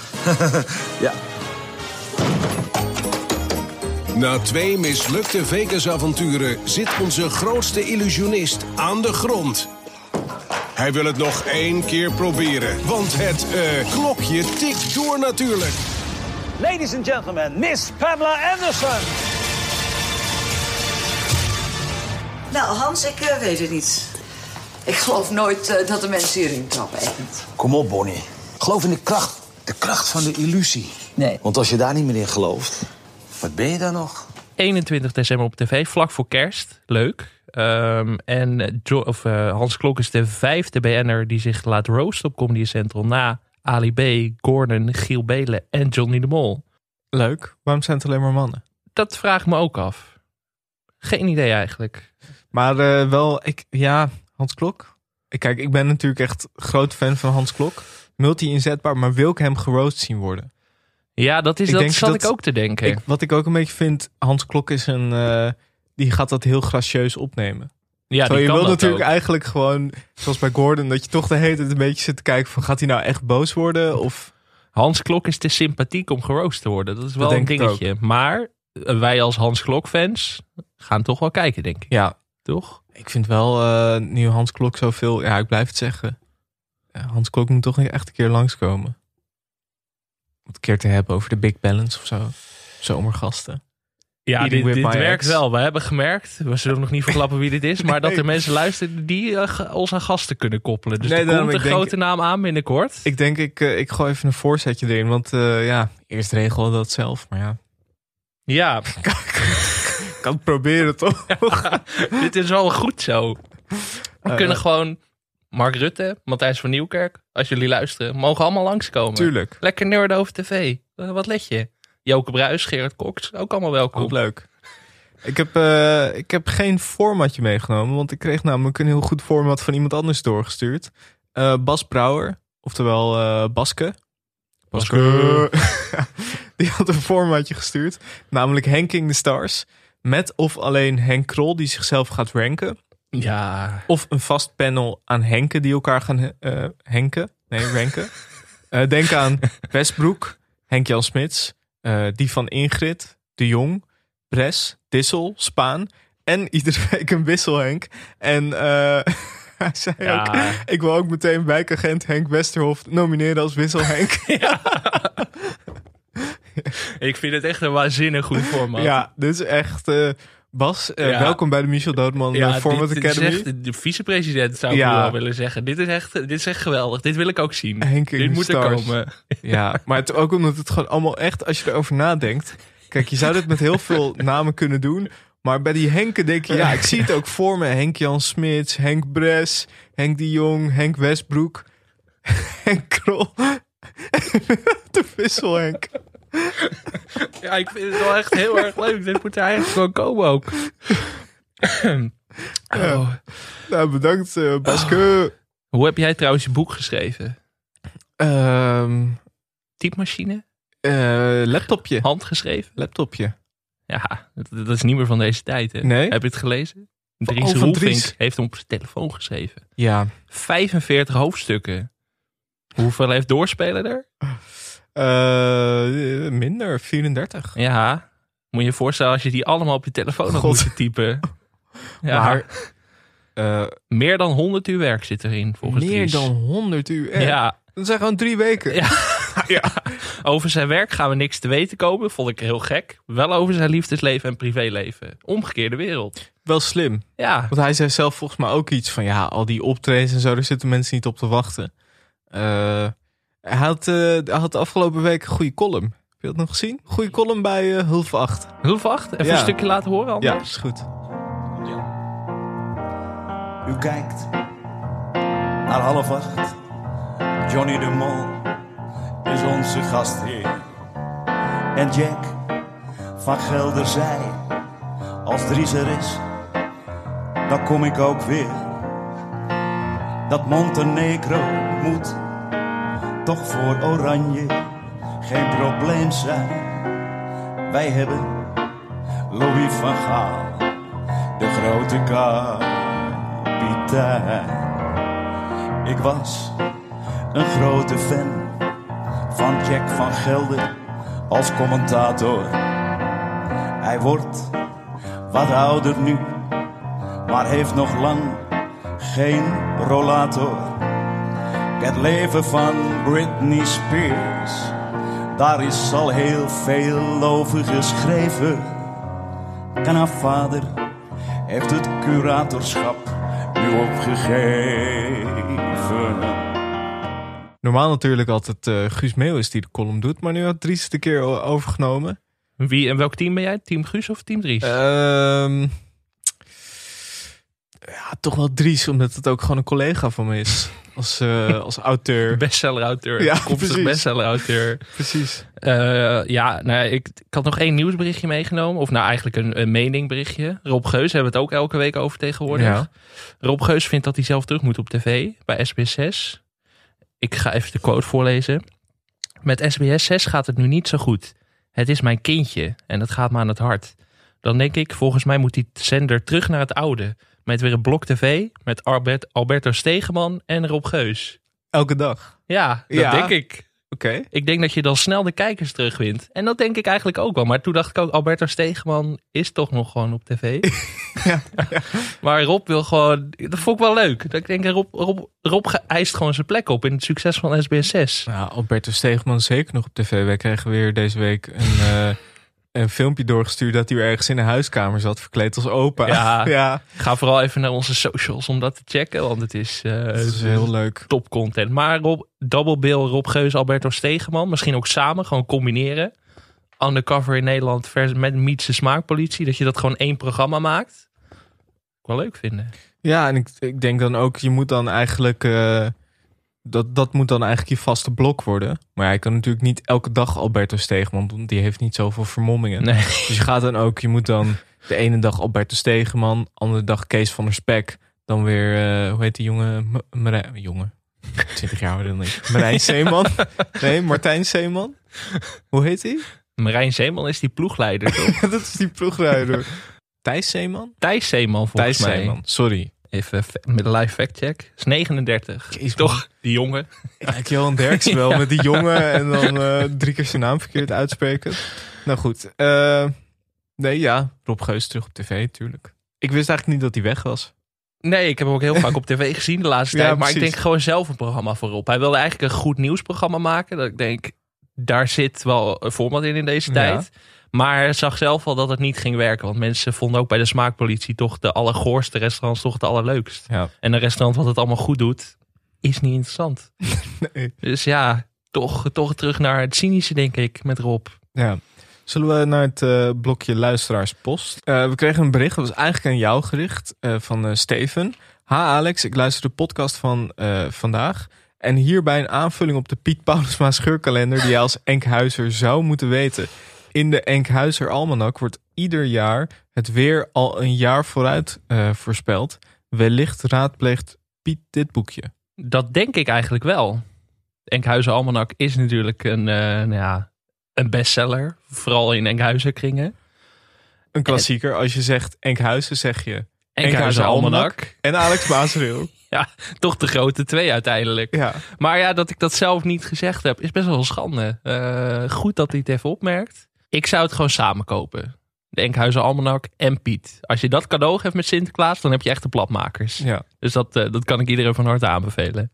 [SPEAKER 7] yeah.
[SPEAKER 8] Na twee mislukte Vegas-avonturen zit onze grootste illusionist aan de grond. Hij wil het nog één keer proberen, want het eh, klokje tikt door natuurlijk.
[SPEAKER 9] Ladies and gentlemen, Miss Pamela Anderson.
[SPEAKER 10] Nou, Hans, ik eh, weet het niet. Ik geloof nooit eh, dat de mensen hierin trappen, echt niet.
[SPEAKER 7] Kom op, Bonnie. Geloof in de kracht. De kracht van de illusie.
[SPEAKER 10] Nee.
[SPEAKER 7] Want als je daar niet meer in gelooft, wat ben je dan nog?
[SPEAKER 1] 21 december op tv, vlak voor kerst. Leuk. Ehm, en eh, Jo- of, eh, Hans Klok is de vijfde BN'er die zich laat roosten op Comedy Central. Na Ali B, Gordon, Giel Belen en Johnny de Mol.
[SPEAKER 2] Leuk. Waarom zijn het alleen maar mannen?
[SPEAKER 1] Dat vraag ik me ook af. Geen idee eigenlijk.
[SPEAKER 2] Maar eh, wel, ik, ja, Hans Klok. Ik- Kijk, ik ben natuurlijk echt groot fan van Hans Klok. Multi-inzetbaar, maar wil ik hem geroost zien worden?
[SPEAKER 1] Ja, dat, is,
[SPEAKER 2] Ik
[SPEAKER 1] dat
[SPEAKER 2] denk
[SPEAKER 1] zat
[SPEAKER 2] dat-
[SPEAKER 1] ik ook te denken.
[SPEAKER 2] Ik, wat ik ook een beetje vind, Hans Klok is een, eh, die gaat dat heel gracieus opnemen.
[SPEAKER 1] ja,
[SPEAKER 2] Terwijl
[SPEAKER 1] die
[SPEAKER 2] Oh, je
[SPEAKER 1] kan
[SPEAKER 2] wil
[SPEAKER 1] dat
[SPEAKER 2] natuurlijk
[SPEAKER 1] ook.
[SPEAKER 2] eigenlijk gewoon, zoals bij Gordon, dat je toch de hele tijd een beetje zit te kijken van gaat hij nou echt boos worden? Of
[SPEAKER 1] Hans Klok is te sympathiek om geroost te worden. Dat is wel een
[SPEAKER 2] denk ik
[SPEAKER 1] dingetje. Maar eh, wij als Hans Klok fans gaan toch wel kijken, denk ik.
[SPEAKER 2] ja,
[SPEAKER 1] Toch?
[SPEAKER 2] ik vind wel eh, nu Hans Klok zoveel, ja ik blijf het zeggen. Ja, Hans Klok moet toch echt een keer langskomen. Om het een keer te hebben over de Big Balance of zo. Zomergasten.
[SPEAKER 1] Ja,
[SPEAKER 2] Eating
[SPEAKER 1] dit,
[SPEAKER 2] with
[SPEAKER 1] dit
[SPEAKER 2] my
[SPEAKER 1] werkt
[SPEAKER 2] ex.
[SPEAKER 1] wel. We hebben gemerkt, we zullen nog niet verklappen wie dit is, maar dat er mensen luisteren die eh, ge- ons aan gasten kunnen koppelen. Dus
[SPEAKER 2] Nee,
[SPEAKER 1] er
[SPEAKER 2] daarom,
[SPEAKER 1] komt een
[SPEAKER 2] ik denk-
[SPEAKER 1] grote naam aan binnenkort.
[SPEAKER 2] Ik denk ik, eh, ik gooi even een voorzetje erin, want eh, ja, eerst regelen we dat zelf. Maar ja,
[SPEAKER 1] Ja,
[SPEAKER 2] ik kan het proberen toch?
[SPEAKER 1] dit is wel goed zo. We
[SPEAKER 2] Eh,
[SPEAKER 1] kunnen gewoon Mark Rutte, Matthijs van Nieuwkerk, als jullie luisteren, mogen allemaal langskomen.
[SPEAKER 2] Tuurlijk.
[SPEAKER 1] Lekker nerden over tv. Eh, Wat let je? Joke Bruis, Gerard Koks, ook allemaal welkom.
[SPEAKER 2] Ook leuk. Ik heb, eh, ik heb geen formatje meegenomen, want ik kreeg namelijk een heel goed format van iemand anders doorgestuurd. Eh, Eh, Bas Brouwer, oftewel eh, Baske.
[SPEAKER 1] Baske.
[SPEAKER 2] die had een formatje gestuurd. Namelijk Henking the Stars. Met of alleen Henk Krol die zichzelf gaat ranken.
[SPEAKER 1] Ja.
[SPEAKER 2] Of een vast panel aan Henken die elkaar gaan eh, henken. Nee, ranken. Eh, denk aan Westbroek, Henk-Jan Smits, eh, die van Ingrid, De Jong, Bres, Dissel, Spaan. En iedere week een wissel Henk. En eh, hij zei
[SPEAKER 1] Ja.
[SPEAKER 2] ook, ik wil ook meteen wijkagent Henk Westerhof nomineren als wissel Henk.
[SPEAKER 1] Ik vind het echt een waanzinnig goed format.
[SPEAKER 2] ja, dit is echt... eh, Bas, eh,
[SPEAKER 1] Ja.
[SPEAKER 2] welkom bij de Michel Doodman eh,
[SPEAKER 1] dit,
[SPEAKER 2] Format
[SPEAKER 1] dit is
[SPEAKER 2] Academy.
[SPEAKER 1] echt de vicepresident zou ik
[SPEAKER 2] Ja.
[SPEAKER 1] wel willen zeggen. Dit is, echt, dit is echt geweldig. Dit wil ik ook zien.
[SPEAKER 2] Henk in
[SPEAKER 1] dit
[SPEAKER 2] de
[SPEAKER 1] moet er
[SPEAKER 2] stars.
[SPEAKER 1] komen.
[SPEAKER 2] Ja, maar het, ook omdat het gewoon allemaal echt, als je erover nadenkt. Kijk, je zou dit met heel veel namen kunnen doen. Maar bij die Henken denk je, ja, ik zie het ook voor me. Henk-Jan Smits, Henk Bres, Henk de Jong, Henk Westbroek, Henk Krol. De Vissel Henk.
[SPEAKER 1] Ja, ik vind het wel echt heel erg leuk. Dit moet er eigenlijk gewoon komen ook. Oh.
[SPEAKER 2] Nou, bedankt eh Baske.
[SPEAKER 1] Hoe heb jij trouwens je boek geschreven?
[SPEAKER 2] Ehm,
[SPEAKER 1] Typemachine?
[SPEAKER 2] eh, laptopje.
[SPEAKER 1] Handgeschreven?
[SPEAKER 2] Laptopje.
[SPEAKER 1] Ja, dat, dat is niet meer van deze tijd. Hè?
[SPEAKER 2] Nee.
[SPEAKER 1] Heb je het gelezen? Dries
[SPEAKER 2] van
[SPEAKER 1] Roelvink
[SPEAKER 2] Dries.
[SPEAKER 1] heeft hem op zijn telefoon geschreven.
[SPEAKER 2] Ja.
[SPEAKER 1] 45 hoofdstukken. Hoeveel heeft doorspelen er?
[SPEAKER 2] Eh, eh, minder, 34.
[SPEAKER 1] Ja, moet je je voorstellen als je die allemaal op je telefoon had
[SPEAKER 2] God.
[SPEAKER 1] moeten typen. Ja,
[SPEAKER 2] Maar eh,
[SPEAKER 1] meer dan 100 uur werk zit erin, volgens
[SPEAKER 2] meer
[SPEAKER 1] Dries.
[SPEAKER 2] dan 100 uur. echt.
[SPEAKER 1] Ja,
[SPEAKER 2] Dat zijn gewoon drie weken.
[SPEAKER 1] Ja. over zijn werk gaan we niks te weten komen. Vond ik heel gek. Wel over zijn liefdesleven en privéleven. Omgekeerde wereld.
[SPEAKER 2] Wel slim.
[SPEAKER 1] Ja,
[SPEAKER 2] Want hij zei zelf volgens mij ook iets van... ja, al die optredens en zo, daar zitten mensen niet op te wachten. Eh, hij, had, eh, hij had de afgelopen week een goede column. Heb je dat nog gezien? Goede column bij eh Hulf 8.
[SPEAKER 1] heel vacht. Even
[SPEAKER 2] Ja.
[SPEAKER 1] een stukje laten horen
[SPEAKER 2] Ja,
[SPEAKER 1] anders.
[SPEAKER 2] is goed.
[SPEAKER 11] U kijkt naar half acht. Johnny de Mol is onze gastheer. En Jack van Gelder zei: Als Dries er is, dan kom ik ook weer. Dat Montenegro moet toch voor Oranje geen probleem zijn. Wij hebben Louis van Gaal, de grote kapitein. Ik was een grote fan van Jack van Gelder als commentator. Hij wordt wat ouder nu, maar heeft nog lang geen rollator. Het leven van Britney Spears, daar is al heel veel over geschreven. En haar vader heeft het curatorschap nu opgegeven.
[SPEAKER 2] Normaal natuurlijk altijd eh Guus Meeuwis die de column doet... maar nu had Dries de keer o- overgenomen.
[SPEAKER 1] Wie en welk team ben jij? Team Guus of team Dries?
[SPEAKER 2] Ehm, ja, toch wel Dries, omdat het ook gewoon een collega van me is. Als, eh, als auteur.
[SPEAKER 1] bestseller-auteur.
[SPEAKER 2] Ja,
[SPEAKER 1] Toekomstig
[SPEAKER 2] precies.
[SPEAKER 1] bestseller-auteur.
[SPEAKER 2] Precies.
[SPEAKER 1] Eh, ja, nou, ja, ik, ik had nog één nieuwsberichtje meegenomen. Of nou, eigenlijk een, een meningberichtje. Rob Geus hebben we het ook elke week over tegenwoordig.
[SPEAKER 2] Ja.
[SPEAKER 1] Rob Geus vindt dat hij zelf terug moet op tv bij SBS6. Ik ga even de quote voorlezen. Met SBS6 gaat het nu niet zo goed. Het is mijn kindje en dat gaat me aan het hart. Dan denk ik, volgens mij moet die zender terug naar het oude. Met weer een blok tv met Albert, Alberto Stegeman en Rob Geus.
[SPEAKER 2] Elke dag.
[SPEAKER 1] Ja, dat
[SPEAKER 2] Ja.
[SPEAKER 1] denk ik.
[SPEAKER 2] Oké.
[SPEAKER 1] Ik denk dat je dan snel de kijkers terugwint. En dat denk ik eigenlijk ook wel. Maar toen dacht ik ook, Alberto Stegeman is toch nog gewoon op tv. Maar Rob wil gewoon... Dat vond ik wel leuk. Dat ik denk, Rob, Rob, Rob ge- eist gewoon zijn plek op in het succes van SBS6.
[SPEAKER 2] Nou, Alberto Steegman zeker nog op tv. Wij kregen weer deze week een, eh, een filmpje doorgestuurd dat hij weer ergens in een huiskamer zat, verkleed als opa.
[SPEAKER 1] Ja.
[SPEAKER 2] ja.
[SPEAKER 1] Ga vooral even naar onze socials om dat te checken. Want het is, eh,
[SPEAKER 2] Dat is heel leuk.
[SPEAKER 1] top content. Maar Rob, Double Bill, Rob Geus, Alberto Stegeman. Misschien ook samen, gewoon combineren. Undercover in Nederland vers, met Meets de Smaakpolitie. Dat je dat gewoon één programma maakt. Wel leuk vinden.
[SPEAKER 2] Ja, en ik, ik denk dan ook, je moet dan eigenlijk, eh, dat, dat moet dan eigenlijk je vaste blok worden. Maar hij kan natuurlijk niet elke dag Alberto Steegman doen, die heeft niet zoveel vermommingen.
[SPEAKER 1] Nee.
[SPEAKER 2] Dus je gaat dan ook, je moet dan de ene dag Alberto Stegeman, andere dag Kees van der Spek. Dan weer, eh, hoe heet die jongen? M- Marij- jongen. 20 jaar ouder dan ik. Marijn Zeeman. Nee, Martijn Zeeman. Hoe heet hij?
[SPEAKER 1] Marijn Zeeman is die ploegleider, toch?
[SPEAKER 2] dat is die ploegleider. Thijs Zeeman?
[SPEAKER 1] Thijs Zeeman, volgens
[SPEAKER 2] Thijs
[SPEAKER 1] mij.
[SPEAKER 2] Zeeman, sorry.
[SPEAKER 1] Even fa- met een live fact check. Is 39.
[SPEAKER 2] Jezus,
[SPEAKER 1] toch, die jongen.
[SPEAKER 2] Kijk, Johan Derks wel met die jongen en dan eh, drie keer zijn naam verkeerd uitspreken. Nou goed. eh, nee, ja. Rob Geus terug op tv, natuurlijk. Ik wist eigenlijk niet dat hij weg was.
[SPEAKER 1] Nee, ik heb hem ook heel vaak op tv gezien de laatste
[SPEAKER 2] Ja,
[SPEAKER 1] tijd. Maar ik
[SPEAKER 2] precies.
[SPEAKER 1] denk gewoon zelf een programma voor Rob. Hij wilde eigenlijk een goed nieuwsprogramma maken. Dat ik denk, daar zit wel een format in in deze
[SPEAKER 2] Ja.
[SPEAKER 1] tijd. Maar hij zag zelf al dat het niet ging werken. Want mensen vonden ook bij de smaakpolitie toch de allergoorste restaurants toch de allerleukst.
[SPEAKER 2] Ja.
[SPEAKER 1] En een restaurant wat het allemaal goed doet, is niet interessant.
[SPEAKER 2] Nee.
[SPEAKER 1] Dus ja, toch, toch terug naar het cynische denk ik met Rob.
[SPEAKER 2] Ja. Zullen we naar het eh, blokje luisteraarspost? Eh we kregen een bericht, dat was eigenlijk aan jou gericht, eh, van eh, Steven. Ha Alex, ik luister de podcast van eh, vandaag. En hierbij een aanvulling op de Piet Paulusma scheurkalender... die jij als Enkhuizer zou moeten weten. In de Enkhuizer Almanak wordt ieder jaar het weer al een jaar vooruit eh, voorspeld. Wellicht raadpleegt Piet dit boekje.
[SPEAKER 1] Dat denk ik eigenlijk wel. Enkhuizen Almanak is natuurlijk een, eh, nou ja, een bestseller. Vooral in Enkhuizenkringen.
[SPEAKER 2] Een klassieker, als je zegt Enkhuizen zeg je...
[SPEAKER 1] Enkhuizen Almanak.
[SPEAKER 2] En Alex Baasreel.
[SPEAKER 1] Ja, toch de grote twee uiteindelijk.
[SPEAKER 2] Ja.
[SPEAKER 1] Maar ja, dat ik dat zelf niet gezegd heb, is best wel een schande. Eh, goed dat hij het even opmerkt. Ik zou het gewoon samen kopen. De Enkhuizen Almanak en Piet. Als je dat cadeau geeft met Sinterklaas, dan heb je echt de platmakers.
[SPEAKER 2] Ja.
[SPEAKER 1] Dus dat, eh, dat kan ik iedereen van harte aanbevelen.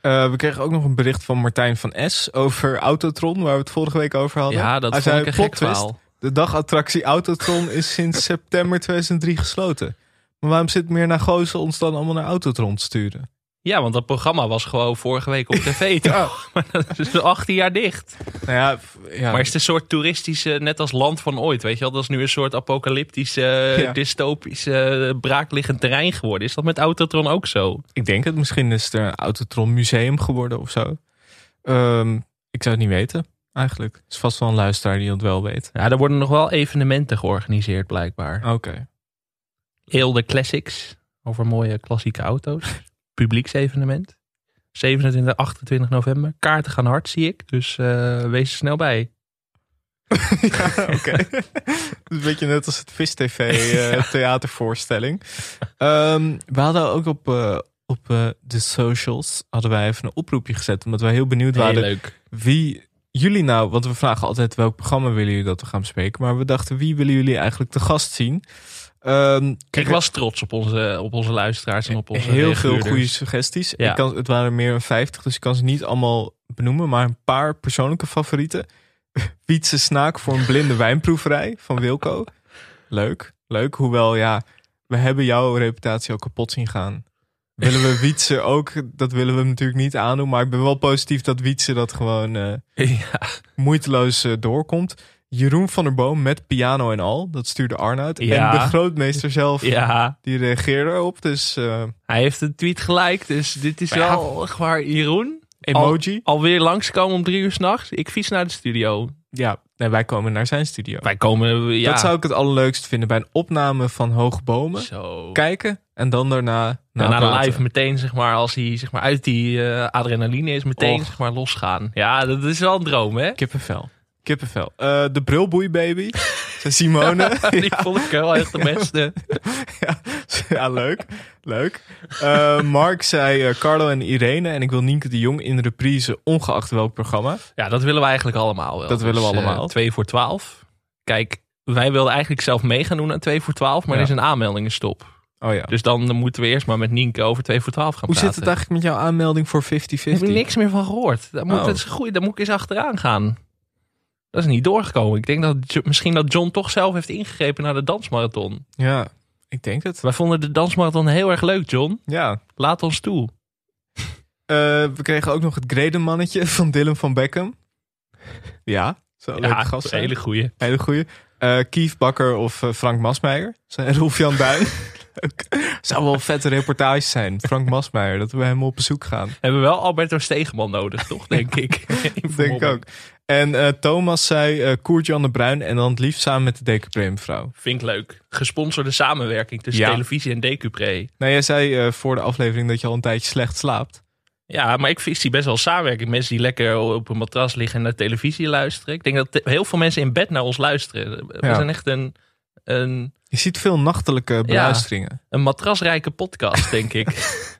[SPEAKER 2] Eh, we kregen ook nog een bericht van Martijn van S. over Autotron, waar we het vorige week over hadden.
[SPEAKER 1] Ja, dat vond ik een
[SPEAKER 2] "Plot
[SPEAKER 1] gek
[SPEAKER 2] twist,
[SPEAKER 1] verhaal."
[SPEAKER 2] De dagattractie Autotron is sinds september 2003 gesloten. Maar waarom zit meer naar Gozen ons dan allemaal naar Autotron te sturen?
[SPEAKER 1] Ja, want dat programma was gewoon vorige week op tv. toch? Maar dat is al 18 jaar dicht.
[SPEAKER 2] Nou ja, f- ja.
[SPEAKER 1] Maar is het een soort toeristische, net als Land van Ooit, weet je wel? Dat is nu een soort apocalyptische, eh,
[SPEAKER 2] Ja.
[SPEAKER 1] dystopische, eh, braakliggend terrein geworden. Is dat met Autotron ook zo?
[SPEAKER 2] ik denk het. Misschien is het een Autotron museum geworden of zo. Ehm, ik zou het niet weten, eigenlijk. Het is vast wel een luisteraar die dat wel weet.
[SPEAKER 1] Ja, er worden nog wel evenementen georganiseerd blijkbaar.
[SPEAKER 2] Oké.
[SPEAKER 1] Eelde Classics, over mooie klassieke auto's. Publieksevenement. 27, 28 november. Kaarten gaan hard, zie ik. Dus eh, wees er snel bij.
[SPEAKER 2] Ja, oké. Dat is een beetje net als het Vis TV eh, theatervoorstelling. Ehm, we hadden ook op, eh, op eh, de socials hadden wij even een oproepje gezet. Omdat wij heel benieuwd
[SPEAKER 1] Heel
[SPEAKER 2] waren
[SPEAKER 1] leuk.
[SPEAKER 2] wie jullie nou... Want we vragen altijd welk programma willen jullie dat we gaan bespreken. Maar we dachten wie willen jullie eigenlijk te gast zien. Ehm,
[SPEAKER 1] Ik was trots op onze, op onze luisteraars en op onze
[SPEAKER 2] heel veel
[SPEAKER 1] reageerders.
[SPEAKER 2] goede suggesties.
[SPEAKER 1] Ja.
[SPEAKER 2] Ik kan, het waren er meer dan 50, dus ik kan ze niet allemaal benoemen. Maar een paar persoonlijke favorieten. Pietse Snaak voor een blinde wijnproeverij van Wilco. Leuk, leuk. Hoewel, ja, we hebben jouw reputatie al kapot zien gaan. Willen we Wietse ook? Dat willen we hem natuurlijk niet aandoen. Maar ik ben wel positief dat Wietse dat gewoon eh,
[SPEAKER 1] Ja,
[SPEAKER 2] moeiteloos eh, doorkomt. Jeroen van der Boom met piano en al. Dat stuurde Arnoud.
[SPEAKER 1] Ja.
[SPEAKER 2] En de grootmeester zelf,
[SPEAKER 1] ja,
[SPEAKER 2] die reageerde erop. Dus eh,
[SPEAKER 1] hij heeft een tweet gelijk. Dus dit is
[SPEAKER 2] Maar ja.
[SPEAKER 1] wel echt waar Jeroen.
[SPEAKER 2] emoji.
[SPEAKER 1] Al, alweer langskomen om drie uur s'nachts. Ik fiets naar de studio.
[SPEAKER 2] Ja, nee, wij komen naar zijn studio.
[SPEAKER 1] Wij komen... Ja,
[SPEAKER 2] Dat zou ik het allerleukst vinden bij een opname van Hoogbomen.
[SPEAKER 1] Zo.
[SPEAKER 2] Kijken en dan daarna
[SPEAKER 1] Ja,
[SPEAKER 2] naar
[SPEAKER 1] na de live meteen, zeg maar, als hij zeg maar, uit die eh, adrenaline is, meteen
[SPEAKER 2] Och.
[SPEAKER 1] zeg maar, losgaan. Ja, dat is wel een droom, hè?
[SPEAKER 2] Kippenvel. Kippenvel. Eh, de brilboeibaby. Zijn Simone.
[SPEAKER 1] Die vond ik wel echt de beste.
[SPEAKER 2] ja, ja, leuk. Leuk. Eh, Mark zei eh, Carlo en Irene. En ik wil Nienke de Jong in reprise, ongeacht welk programma.
[SPEAKER 1] Ja, dat willen we eigenlijk allemaal wel.
[SPEAKER 2] Dat willen we
[SPEAKER 1] Dus, eh,
[SPEAKER 2] allemaal.
[SPEAKER 1] Twee voor twaalf. Kijk, wij wilden eigenlijk zelf mee gaan doen aan twee voor twaalf, maar
[SPEAKER 2] Ja.
[SPEAKER 1] er is een aanmeldingenstop.
[SPEAKER 2] Oh ja.
[SPEAKER 1] Dus dan moeten we eerst maar met Nienke over twee voor twaalf gaan
[SPEAKER 2] Hoe zit
[SPEAKER 1] praten.
[SPEAKER 2] het eigenlijk met jouw aanmelding voor 50-50?
[SPEAKER 1] Daar heb ik niks meer van gehoord. Daar moet,
[SPEAKER 2] Oh.
[SPEAKER 1] dat is goed, daar moet ik eens achteraan gaan. Dat is niet doorgekomen. Ik denk dat Jo- misschien dat John toch zelf heeft ingegrepen naar de dansmarathon.
[SPEAKER 2] Ja, ik denk het.
[SPEAKER 1] Wij vonden de dansmarathon heel erg leuk, John.
[SPEAKER 2] Ja,
[SPEAKER 1] Laat ons toe.
[SPEAKER 2] Eh, we kregen ook nog het Gredenmannetje van Dylan van Beckham. Ja, zo
[SPEAKER 1] Ja,
[SPEAKER 2] leuke Oh, gast.
[SPEAKER 1] een hele goeie.
[SPEAKER 2] hele goeie. Eh Kief Bakker of eh, Frank Masmeijer. Zijn Rolf-Jan Duin. Leuk. Zou wel een vette reportage zijn. Frank Masmeijer, dat we bij hem op bezoek gaan.
[SPEAKER 1] Hebben we wel Alberto Stegeman nodig, toch? Denk ik. In
[SPEAKER 2] Denk ik
[SPEAKER 1] Vermomming.
[SPEAKER 2] ook. En eh, Thomas zei eh Koert-Jan de Bruin en dan het liefst samen met de Decupré-mevrouw.
[SPEAKER 1] Vind ik leuk. Gesponsorde samenwerking tussen
[SPEAKER 2] Ja.
[SPEAKER 1] televisie en Decupré.
[SPEAKER 2] Nou, jij zei eh, voor de aflevering dat je al een tijdje slecht slaapt.
[SPEAKER 1] Ja, maar ik ik zie best wel samenwerking. Mensen die lekker op een matras liggen en naar televisie luisteren. Ik denk dat te- heel veel mensen in bed naar ons luisteren. We
[SPEAKER 2] Ja.
[SPEAKER 1] zijn echt een, een,
[SPEAKER 2] Je ziet veel nachtelijke beluisteringen.
[SPEAKER 1] een matrasrijke podcast, denk ik.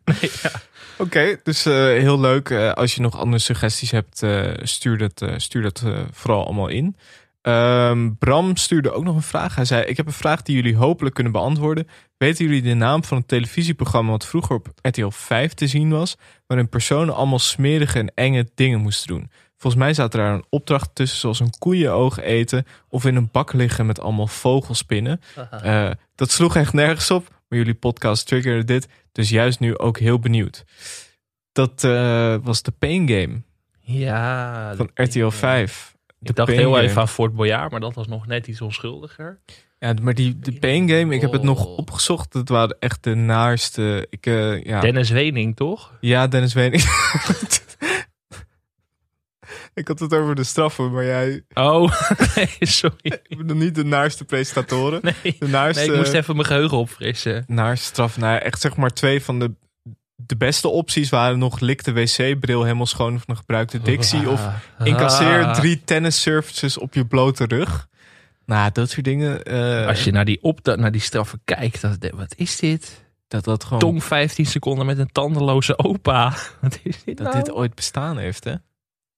[SPEAKER 1] Nee, ja.
[SPEAKER 2] Oké, dus eh, heel leuk. Eh, als je nog andere suggesties hebt, eh, stuur dat, eh, stuur dat eh, vooral allemaal in. Ehm, Bram stuurde ook nog een vraag. Hij zei: Ik heb een vraag die jullie hopelijk kunnen beantwoorden. Weten jullie de naam van het televisieprogramma wat vroeger op RTL 5 te zien was, waarin personen allemaal smerige en enge dingen moesten doen? Volgens mij zaten daar een opdracht tussen, zoals een koeienoog eten of in een bak liggen met allemaal vogelspinnen. Eh, dat sloeg echt nergens op, maar jullie podcast triggerde dit, dus juist nu ook heel benieuwd. Dat eh, was de Pain Game
[SPEAKER 1] Ja,
[SPEAKER 2] van RTL 5. De
[SPEAKER 1] ik dacht
[SPEAKER 2] Pain
[SPEAKER 1] heel
[SPEAKER 2] Game.
[SPEAKER 1] even aan Fort Boyard, maar dat was nog net iets onschuldiger.
[SPEAKER 2] Ja, maar die de Pain Game, ik heb het
[SPEAKER 1] Oh.
[SPEAKER 2] nog opgezocht. Dat waren echt de naarste. Ik, eh, ja.
[SPEAKER 1] Dennis Wening, toch?
[SPEAKER 2] Ja, Dennis Wening. ik had het over de straffen, maar jij...
[SPEAKER 1] Oh, nee, sorry.
[SPEAKER 2] Ik bedoel niet de naarste presentatoren.
[SPEAKER 1] Nee,
[SPEAKER 2] de naarste,
[SPEAKER 1] nee, ik moest even mijn geheugen opfrissen.
[SPEAKER 2] naarste straf. Nou, ja, echt zeg maar twee van de, de beste opties waren nog... lik de wc-bril helemaal schoon van een gebruikte dictie... of
[SPEAKER 1] Ah.
[SPEAKER 2] incasseer
[SPEAKER 1] Ah.
[SPEAKER 2] drie tennis surfaces op je blote rug. Nou, dat soort dingen. eh,
[SPEAKER 1] Als je naar die, opta- naar die straffen kijkt, dan denk ik, wat is dit?
[SPEAKER 2] dat dat gewoon...
[SPEAKER 1] Tong 15 seconden met een tandenloze opa. Wat is dit
[SPEAKER 2] dat
[SPEAKER 1] nou?
[SPEAKER 2] dit ooit bestaan heeft, hè?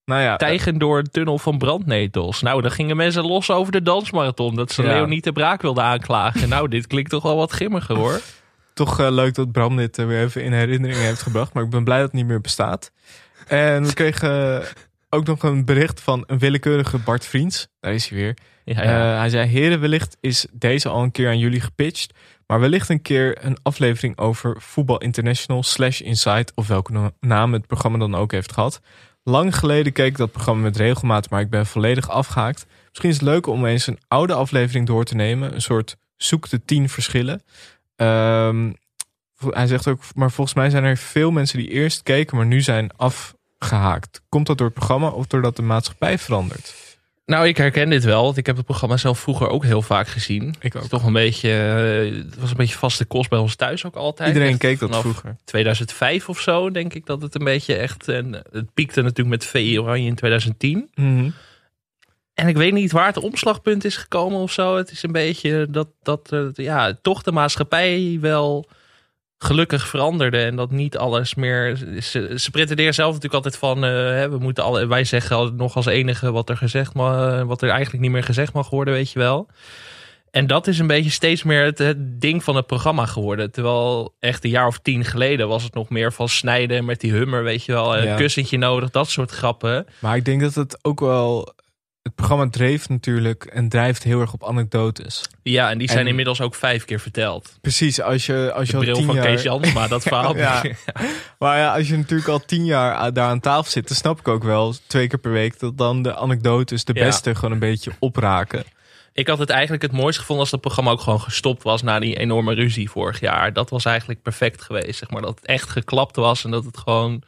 [SPEAKER 2] Nou ja,
[SPEAKER 1] Tijgen door een tunnel van brandnetels. Nou, dan gingen mensen los over de dansmarathon. Dat ze
[SPEAKER 2] Ja.
[SPEAKER 1] Leonie de Braak wilden aanklagen. Nou, dit klinkt toch wel wat grimmiger hoor.
[SPEAKER 2] toch eh, leuk dat Bram dit eh, weer even in herinnering heeft gebracht. Maar ik ben blij dat het niet meer bestaat. En we kregen eh, ook nog een bericht van een willekeurige Bart Vriends. Daar is hij weer.
[SPEAKER 1] Ja, ja.
[SPEAKER 2] Eh, hij zei, heren, wellicht is deze al een keer aan jullie gepitcht. Maar wellicht een keer een aflevering over Voetbal International slash Insight. Of welke no- naam het programma dan ook heeft gehad. Lang geleden keek ik dat programma met regelmaat, maar ik ben volledig afgehaakt. Misschien is het leuk om eens een oude aflevering door te nemen. Een soort zoek de tien verschillen. Ehm, vo- hij zegt ook, maar volgens mij zijn er veel mensen die eerst keken, maar nu zijn afgehaakt. Komt dat door het programma of doordat de maatschappij verandert?
[SPEAKER 1] Nou, ik herken dit wel, want ik heb het programma zelf vroeger ook heel vaak gezien.
[SPEAKER 2] Ik ook.
[SPEAKER 1] Het, is toch een beetje, eh, het was een beetje vaste kost bij ons thuis ook altijd.
[SPEAKER 2] Iedereen
[SPEAKER 1] Echt
[SPEAKER 2] keek dat
[SPEAKER 1] vanaf
[SPEAKER 2] vroeger.
[SPEAKER 1] 2005 of zo, denk ik dat het een beetje echt... En het piekte natuurlijk met VI Oranje in 2010.
[SPEAKER 2] Mhm.
[SPEAKER 1] En ik weet niet waar het omslagpunt is gekomen of zo. Het is een beetje dat, dat eh, ja, toch de maatschappij wel gelukkig veranderde. En dat niet alles meer... Ze, ze pretenderen zelf natuurlijk altijd van... eh, hè, we moeten alle, wij zeggen al- nog als enige wat er, gezegd mag, wat er eigenlijk niet meer gezegd mag worden, weet je wel. En dat is een beetje steeds meer het, het ding van het programma geworden. Terwijl echt een jaar of tien geleden was het nog meer van snijden met die hummer, weet je wel. Een
[SPEAKER 2] Ja.
[SPEAKER 1] kussentje nodig, dat soort grappen.
[SPEAKER 2] Maar ik denk dat het ook wel. Het programma dreef natuurlijk en drijft heel erg op anekdotes.
[SPEAKER 1] Ja, en die zijn
[SPEAKER 2] En-
[SPEAKER 1] inmiddels ook vijf keer verteld.
[SPEAKER 2] Precies, als je, als je
[SPEAKER 1] De
[SPEAKER 2] al
[SPEAKER 1] bril
[SPEAKER 2] tien
[SPEAKER 1] van
[SPEAKER 2] jaar...
[SPEAKER 1] Kees Jansma, dat verhaal.
[SPEAKER 2] Ja. Maar ja, als je natuurlijk al tien jaar aan- daar aan tafel zit, dan snap ik ook wel twee keer per week dat dan de anekdotes de
[SPEAKER 1] Ja.
[SPEAKER 2] beste gewoon een beetje opraken.
[SPEAKER 1] Ik had het eigenlijk het mooist gevonden als dat programma ook gewoon gestopt was na die enorme ruzie vorig jaar. Dat was eigenlijk perfect geweest, zeg maar. Dat het echt geklapt was en dat het gewoon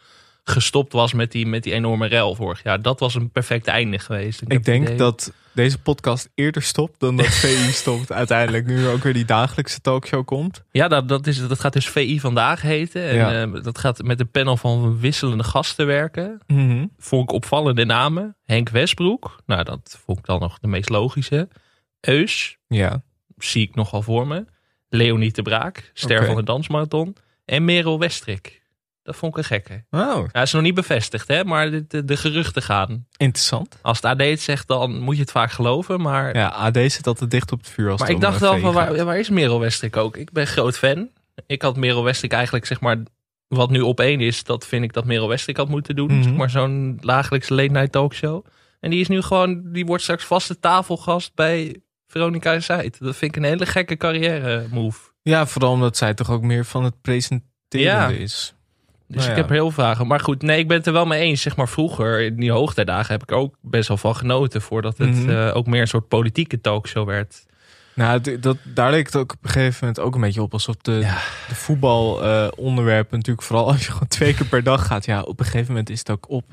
[SPEAKER 1] gestopt was met die, met die enorme rel vorig jaar. Dat was een perfect einde geweest. heb
[SPEAKER 2] Ik
[SPEAKER 1] het idee-
[SPEAKER 2] denk dat deze podcast eerder stopt dan dat VI stopt uiteindelijk. Nu er ook weer die dagelijkse talkshow komt.
[SPEAKER 1] Ja, dat, dat, is, dat gaat dus VI vandaag heten. En
[SPEAKER 2] Ja.
[SPEAKER 1] eh, dat gaat met een panel van wisselende gasten werken.
[SPEAKER 2] Mhm.
[SPEAKER 1] Vond ik opvallende namen. Henk Westbroek, nou dat vond ik dan nog de meest logische. Eus,
[SPEAKER 2] Ja,
[SPEAKER 1] zie ik nogal voor me. Leonie de Braak, ster
[SPEAKER 2] Oké.
[SPEAKER 1] van de dansmarathon. En Merel Westrik. Dat vond ik een gekke.
[SPEAKER 2] oh,
[SPEAKER 1] Hij is nog niet bevestigd, hè? maar de, de, de geruchten gaan.
[SPEAKER 2] interessant.
[SPEAKER 1] Als het AD het zegt, dan moet je het vaak geloven. Maar,
[SPEAKER 2] Ja, AD zit altijd dicht op het vuur als
[SPEAKER 1] maar
[SPEAKER 2] het
[SPEAKER 1] ik
[SPEAKER 2] om,
[SPEAKER 1] dacht
[SPEAKER 2] eh,
[SPEAKER 1] wel,
[SPEAKER 2] VI
[SPEAKER 1] van,
[SPEAKER 2] gaat.
[SPEAKER 1] waar, waar is Merel Westrik ook? Ik ben groot fan. Ik had Merel Westrik eigenlijk, zeg maar, wat nu op één is. Dat vind ik dat Merel Westrik had moeten doen.
[SPEAKER 2] Mhm.
[SPEAKER 1] Zeg maar zo'n dagelijkse late night talkshow. En die is nu gewoon, die wordt straks vaste tafelgast bij Veronica Zuid. Dat vind ik een hele gekke carrière move.
[SPEAKER 2] Ja, vooral omdat zij toch ook meer van het presenteren
[SPEAKER 1] Ja.
[SPEAKER 2] is.
[SPEAKER 1] Dus
[SPEAKER 2] Nou
[SPEAKER 1] ik
[SPEAKER 2] ja.
[SPEAKER 1] heb er heel veel vragen. Maar goed, nee, ik ben het er wel mee eens. Zeg maar vroeger, in die hoogtijdagen, heb ik er ook best wel van genoten. Voordat het
[SPEAKER 2] Mhm.
[SPEAKER 1] eh, ook meer een soort politieke talkshow werd.
[SPEAKER 2] Nou, d- dat, daar leek het ook op een gegeven moment ook een beetje op. Alsof de, de voetbalonderwerpen natuurlijk vooral als je gewoon twee keer per dag gaat. Ja, op een gegeven moment is het ook op.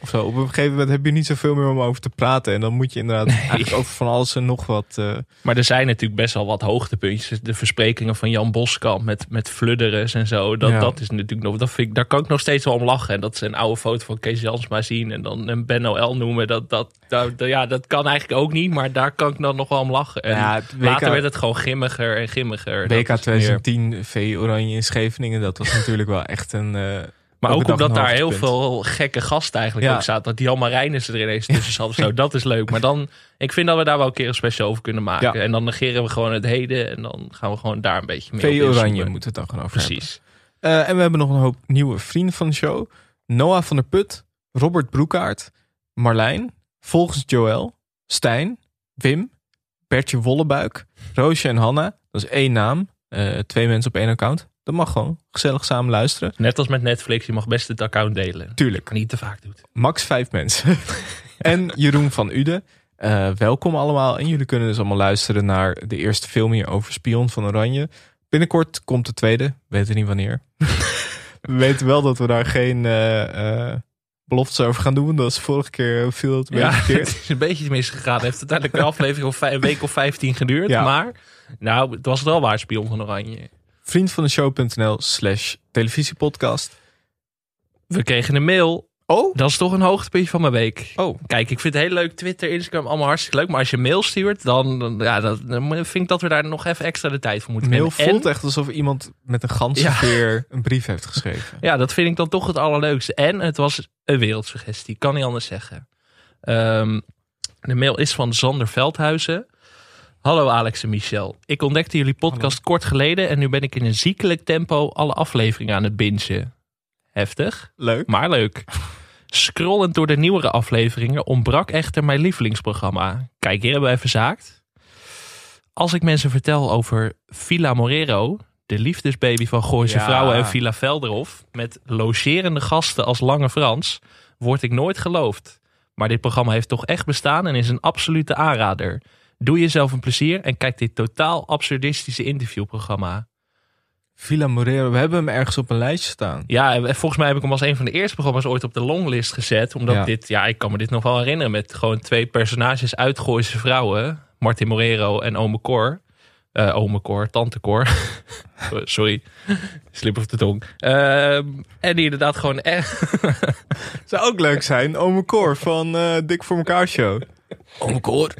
[SPEAKER 2] Of zo. Op een gegeven moment heb je niet zoveel meer om over te praten. En dan moet je inderdaad eigenlijk over van alles en nog wat. eh,
[SPEAKER 1] Maar er zijn natuurlijk best wel wat hoogtepuntjes. De versprekingen van Jan Boskamp met, met fludderes en zo. Dat,
[SPEAKER 2] Ja.
[SPEAKER 1] dat is natuurlijk nog, dat vind ik, daar kan ik nog steeds wel om lachen. En dat ze een oude foto van Kees Jansma zien en dan een Ben Noël noemen. Dat, dat, dat- dat- ja, dat kan eigenlijk ook niet, maar daar kan ik dan nog wel om lachen. En
[SPEAKER 2] Ja, het WK
[SPEAKER 1] later werd het gewoon grimmiger en grimmiger. Dat
[SPEAKER 2] WK
[SPEAKER 1] is meer-
[SPEAKER 2] 2010, V Oranje in Scheveningen. Dat was natuurlijk wel echt een. eh,
[SPEAKER 1] Maar
[SPEAKER 2] elke
[SPEAKER 1] ook
[SPEAKER 2] dag
[SPEAKER 1] omdat
[SPEAKER 2] een
[SPEAKER 1] daar heel
[SPEAKER 2] hoogtepunt.
[SPEAKER 1] veel gekke gasten eigenlijk
[SPEAKER 2] Ja.
[SPEAKER 1] ook zaten. Dat die Jan Marijnis er ineens tussen zat of zo. Dat is leuk. Maar dan, ik vind dat we daar wel een keer een special over kunnen maken.
[SPEAKER 2] Ja.
[SPEAKER 1] En dan negeren we gewoon het heden. En dan gaan we gewoon daar een beetje mee
[SPEAKER 2] V Oranje moet het dan gaan over hebben.
[SPEAKER 1] Precies.
[SPEAKER 2] Eh, en we hebben nog een hoop nieuwe vrienden van de show. Noah van der Put, Robert Broekaert, Marlijn, volgens Joël, Stijn, Wim, Bertje Wollebuik, Roosje en Hanna. Dat is één naam. Eh, twee mensen op één account. Dat mag gewoon. Gezellig samen luisteren.
[SPEAKER 1] Net als met Netflix, je mag best het account delen.
[SPEAKER 2] Tuurlijk.
[SPEAKER 1] Niet te vaak doet.
[SPEAKER 2] Max vijf mensen. en Jeroen van Uden. Eh, welkom allemaal. En jullie kunnen dus allemaal luisteren naar de eerste film hier over Spion van Oranje. Binnenkort komt de tweede. Weten niet wanneer. we weten wel dat we daar geen eh, eh, beloftes over gaan doen. Dat is vorige keer viel het een
[SPEAKER 1] Ja,
[SPEAKER 2] beetje
[SPEAKER 1] het
[SPEAKER 2] verkeerd.
[SPEAKER 1] is een beetje misgegaan. Het heeft uiteindelijk een aflevering of vij- een week of 15 geduurd.
[SPEAKER 2] Ja.
[SPEAKER 1] Maar nou, het was het wel waar, Spion van Oranje.
[SPEAKER 2] Vriend van de show.nl slash televisiepodcast.
[SPEAKER 1] We kregen een mail.
[SPEAKER 2] Oh?
[SPEAKER 1] Dat is toch een hoogtepuntje van mijn week.
[SPEAKER 2] Oh.
[SPEAKER 1] Kijk, ik vind het heel leuk. Twitter, Instagram, allemaal hartstikke leuk. Maar als je mail stuurt, dan, dan- ja, dat, dan vind ik dat we daar nog even extra de tijd voor moeten
[SPEAKER 2] Mail
[SPEAKER 1] nemen. En-
[SPEAKER 2] voelt echt alsof iemand met een ganse
[SPEAKER 1] Ja.
[SPEAKER 2] veer een brief heeft geschreven.
[SPEAKER 1] Ja, dat vind ik dan toch het allerleukste. En het was een wereldsuggestie, kan niet anders zeggen. Ehm, de mail is van Zander Veldhuizen. Hallo Alex en Michel. Ik ontdekte jullie podcast kort geleden en nu ben ik in een ziekelijk tempo alle afleveringen aan het bingen. Heftig,
[SPEAKER 2] Leuk.
[SPEAKER 1] maar leuk. Scrollend door de nieuwere afleveringen ontbrak echter mijn lievelingsprogramma. Kijk, hier hebben we even zaakt. Als ik mensen vertel over Villa Morero, de liefdesbaby van Gooise
[SPEAKER 2] Ja.
[SPEAKER 1] Vrouwen en Villa Velderhof, met logerende gasten als Lange Frans, word ik nooit geloofd. Maar dit programma heeft toch echt bestaan en is een absolute aanrader. Doe jezelf een plezier en kijk dit totaal absurdistische interviewprogramma.
[SPEAKER 2] Villa Morero. We hebben hem ergens op een lijstje staan.
[SPEAKER 1] Ja, en volgens mij heb ik hem als een van de eerste programma's ooit op de longlist gezet. Omdat
[SPEAKER 2] Ja.
[SPEAKER 1] dit, ja, ik kan me dit nog wel herinneren. Met gewoon twee personages uit Gooise Vrouwen. Martin Morero en Ome Cor. Eh ome Cor, Tante Cor. Oh, Sorry, slip of de tong. Ehm, en die inderdaad gewoon echt...
[SPEAKER 2] Zou ook leuk zijn. Ome Cor van eh, Dik voor elkaar show. Ome Cor.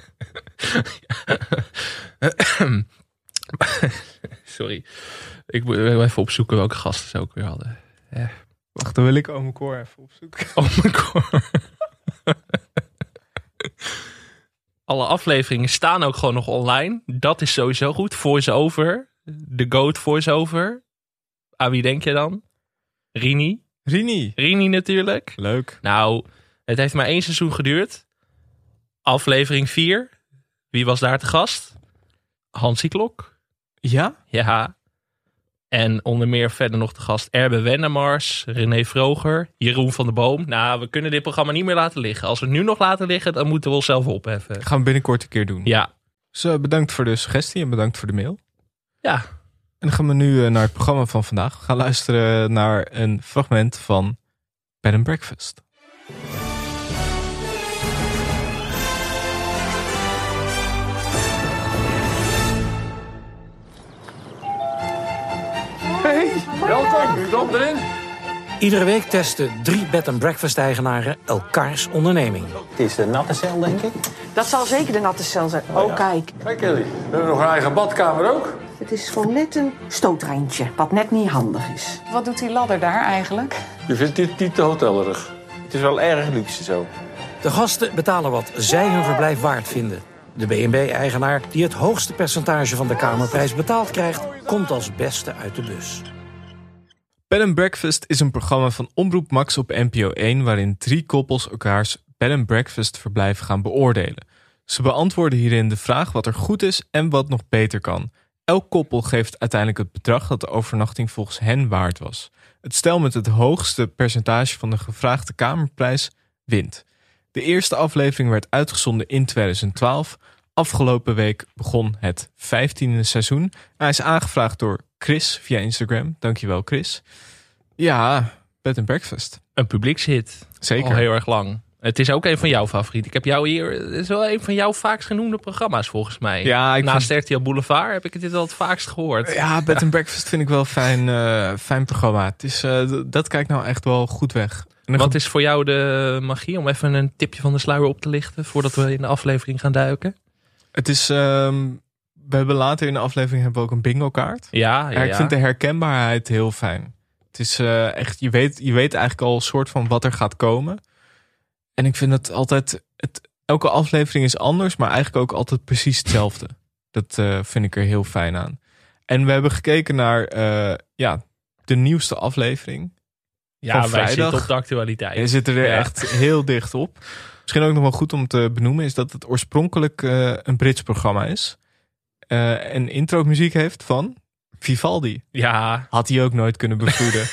[SPEAKER 1] Sorry, ik moet even opzoeken welke gasten ze ook weer hadden.
[SPEAKER 2] Wacht, dan wil ik Ome Cor even opzoeken.
[SPEAKER 1] Ome Cor. Alle afleveringen staan ook gewoon nog online. Dat is sowieso goed. Voice-over. De Goat voice-over. Aan wie denk je dan? Rini.
[SPEAKER 2] Rini.
[SPEAKER 1] Rini natuurlijk.
[SPEAKER 2] Leuk.
[SPEAKER 1] Nou, het heeft maar één seizoen geduurd. Aflevering 4. Wie was daar te gast? Hansie Klok.
[SPEAKER 2] Ja?
[SPEAKER 1] Ja. En onder meer verder nog te gast Erbe Wennemars, René Vroger, Jeroen van der Boom. Nou, we kunnen dit programma niet meer laten liggen. Als we het nu nog laten liggen, dan moeten we onszelf opheffen.
[SPEAKER 2] Gaan we binnenkort een keer doen.
[SPEAKER 1] Ja.
[SPEAKER 2] Dus eh, bedankt voor de suggestie en bedankt voor de mail.
[SPEAKER 1] Ja.
[SPEAKER 2] En dan gaan we nu eh, naar het programma van vandaag. We gaan luisteren naar een fragment van Bed and Breakfast.
[SPEAKER 12] Welkom, kom erin. Iedere week testen drie bed and breakfast eigenaren elkaars onderneming. Het is de natte cel, denk ik.
[SPEAKER 6] Dat zal zeker de natte cel zijn. Oh, kijk.
[SPEAKER 12] Kijk jullie, we hebben nog een eigen badkamer ook.
[SPEAKER 6] Het is voor net een stootreintje, wat net niet handig is. Wat doet die ladder daar eigenlijk?
[SPEAKER 12] Je vindt dit niet te hotelerig. Het is wel erg luxe zo.
[SPEAKER 13] De gasten betalen wat zij hun verblijf waard vinden.
[SPEAKER 12] De BNB-eigenaar
[SPEAKER 13] Die het hoogste percentage van de kamerprijs betaald krijgt, komt als beste uit de bus.
[SPEAKER 2] Bed and Breakfast is een programma van Omroep Max op NPO 1 waarin drie koppels elkaars bed and breakfast verblijf gaan beoordelen. Ze beantwoorden hierin de vraag wat er goed is en wat nog beter kan. Elk koppel geeft uiteindelijk het bedrag dat de overnachting volgens hen waard was. Het stel met het hoogste percentage van de gevraagde kamerprijs wint. De eerste aflevering werd uitgezonden in 2012. Afgelopen week begon het 15e seizoen. Hij is aangevraagd door Chris via Instagram. Dankjewel, Chris. Ja, Bed and Breakfast.
[SPEAKER 1] Een publiekshit.
[SPEAKER 2] Zeker.
[SPEAKER 1] Al heel erg lang. Het is ook een van jouw favorieten. Ik heb jou hier. Het is wel een van jouw vaakst genoemde programma's volgens mij.
[SPEAKER 2] Ja, ik
[SPEAKER 1] Naast RTL Boulevard heb ik dit al het vaakst gehoord.
[SPEAKER 2] Ja, Bed and Breakfast vind ik wel een fijn, eh, fijn programma. Het is, eh, d- dat kijkt nou echt wel goed weg.
[SPEAKER 1] Wat is voor jou de magie? Om even een tipje van de sluier op te lichten voordat we in de aflevering gaan duiken.
[SPEAKER 2] Het is, ehm, we hebben later in de aflevering hebben we ook een bingo kaart.
[SPEAKER 1] Ja, ja,
[SPEAKER 2] ik
[SPEAKER 1] ja.
[SPEAKER 2] vind de herkenbaarheid heel fijn. Het is eh, echt, je weet, je weet eigenlijk al een soort van wat er gaat komen. En ik vind het altijd, het, elke aflevering is anders, maar eigenlijk ook altijd precies hetzelfde. Dat eh, vind ik er heel fijn aan. En we hebben gekeken naar eh, ja, de nieuwste aflevering.
[SPEAKER 1] Ja, wij
[SPEAKER 2] van vrijdag.
[SPEAKER 1] zitten op de actualiteit.
[SPEAKER 2] Je zit er
[SPEAKER 1] Ja.
[SPEAKER 2] echt heel dicht op. Misschien ook nog wel goed om te benoemen is dat het oorspronkelijk eh, een Brits programma is. Eh, en intro-muziek heeft van Vivaldi.
[SPEAKER 1] Ja.
[SPEAKER 2] Had hij ook nooit kunnen bevoeden.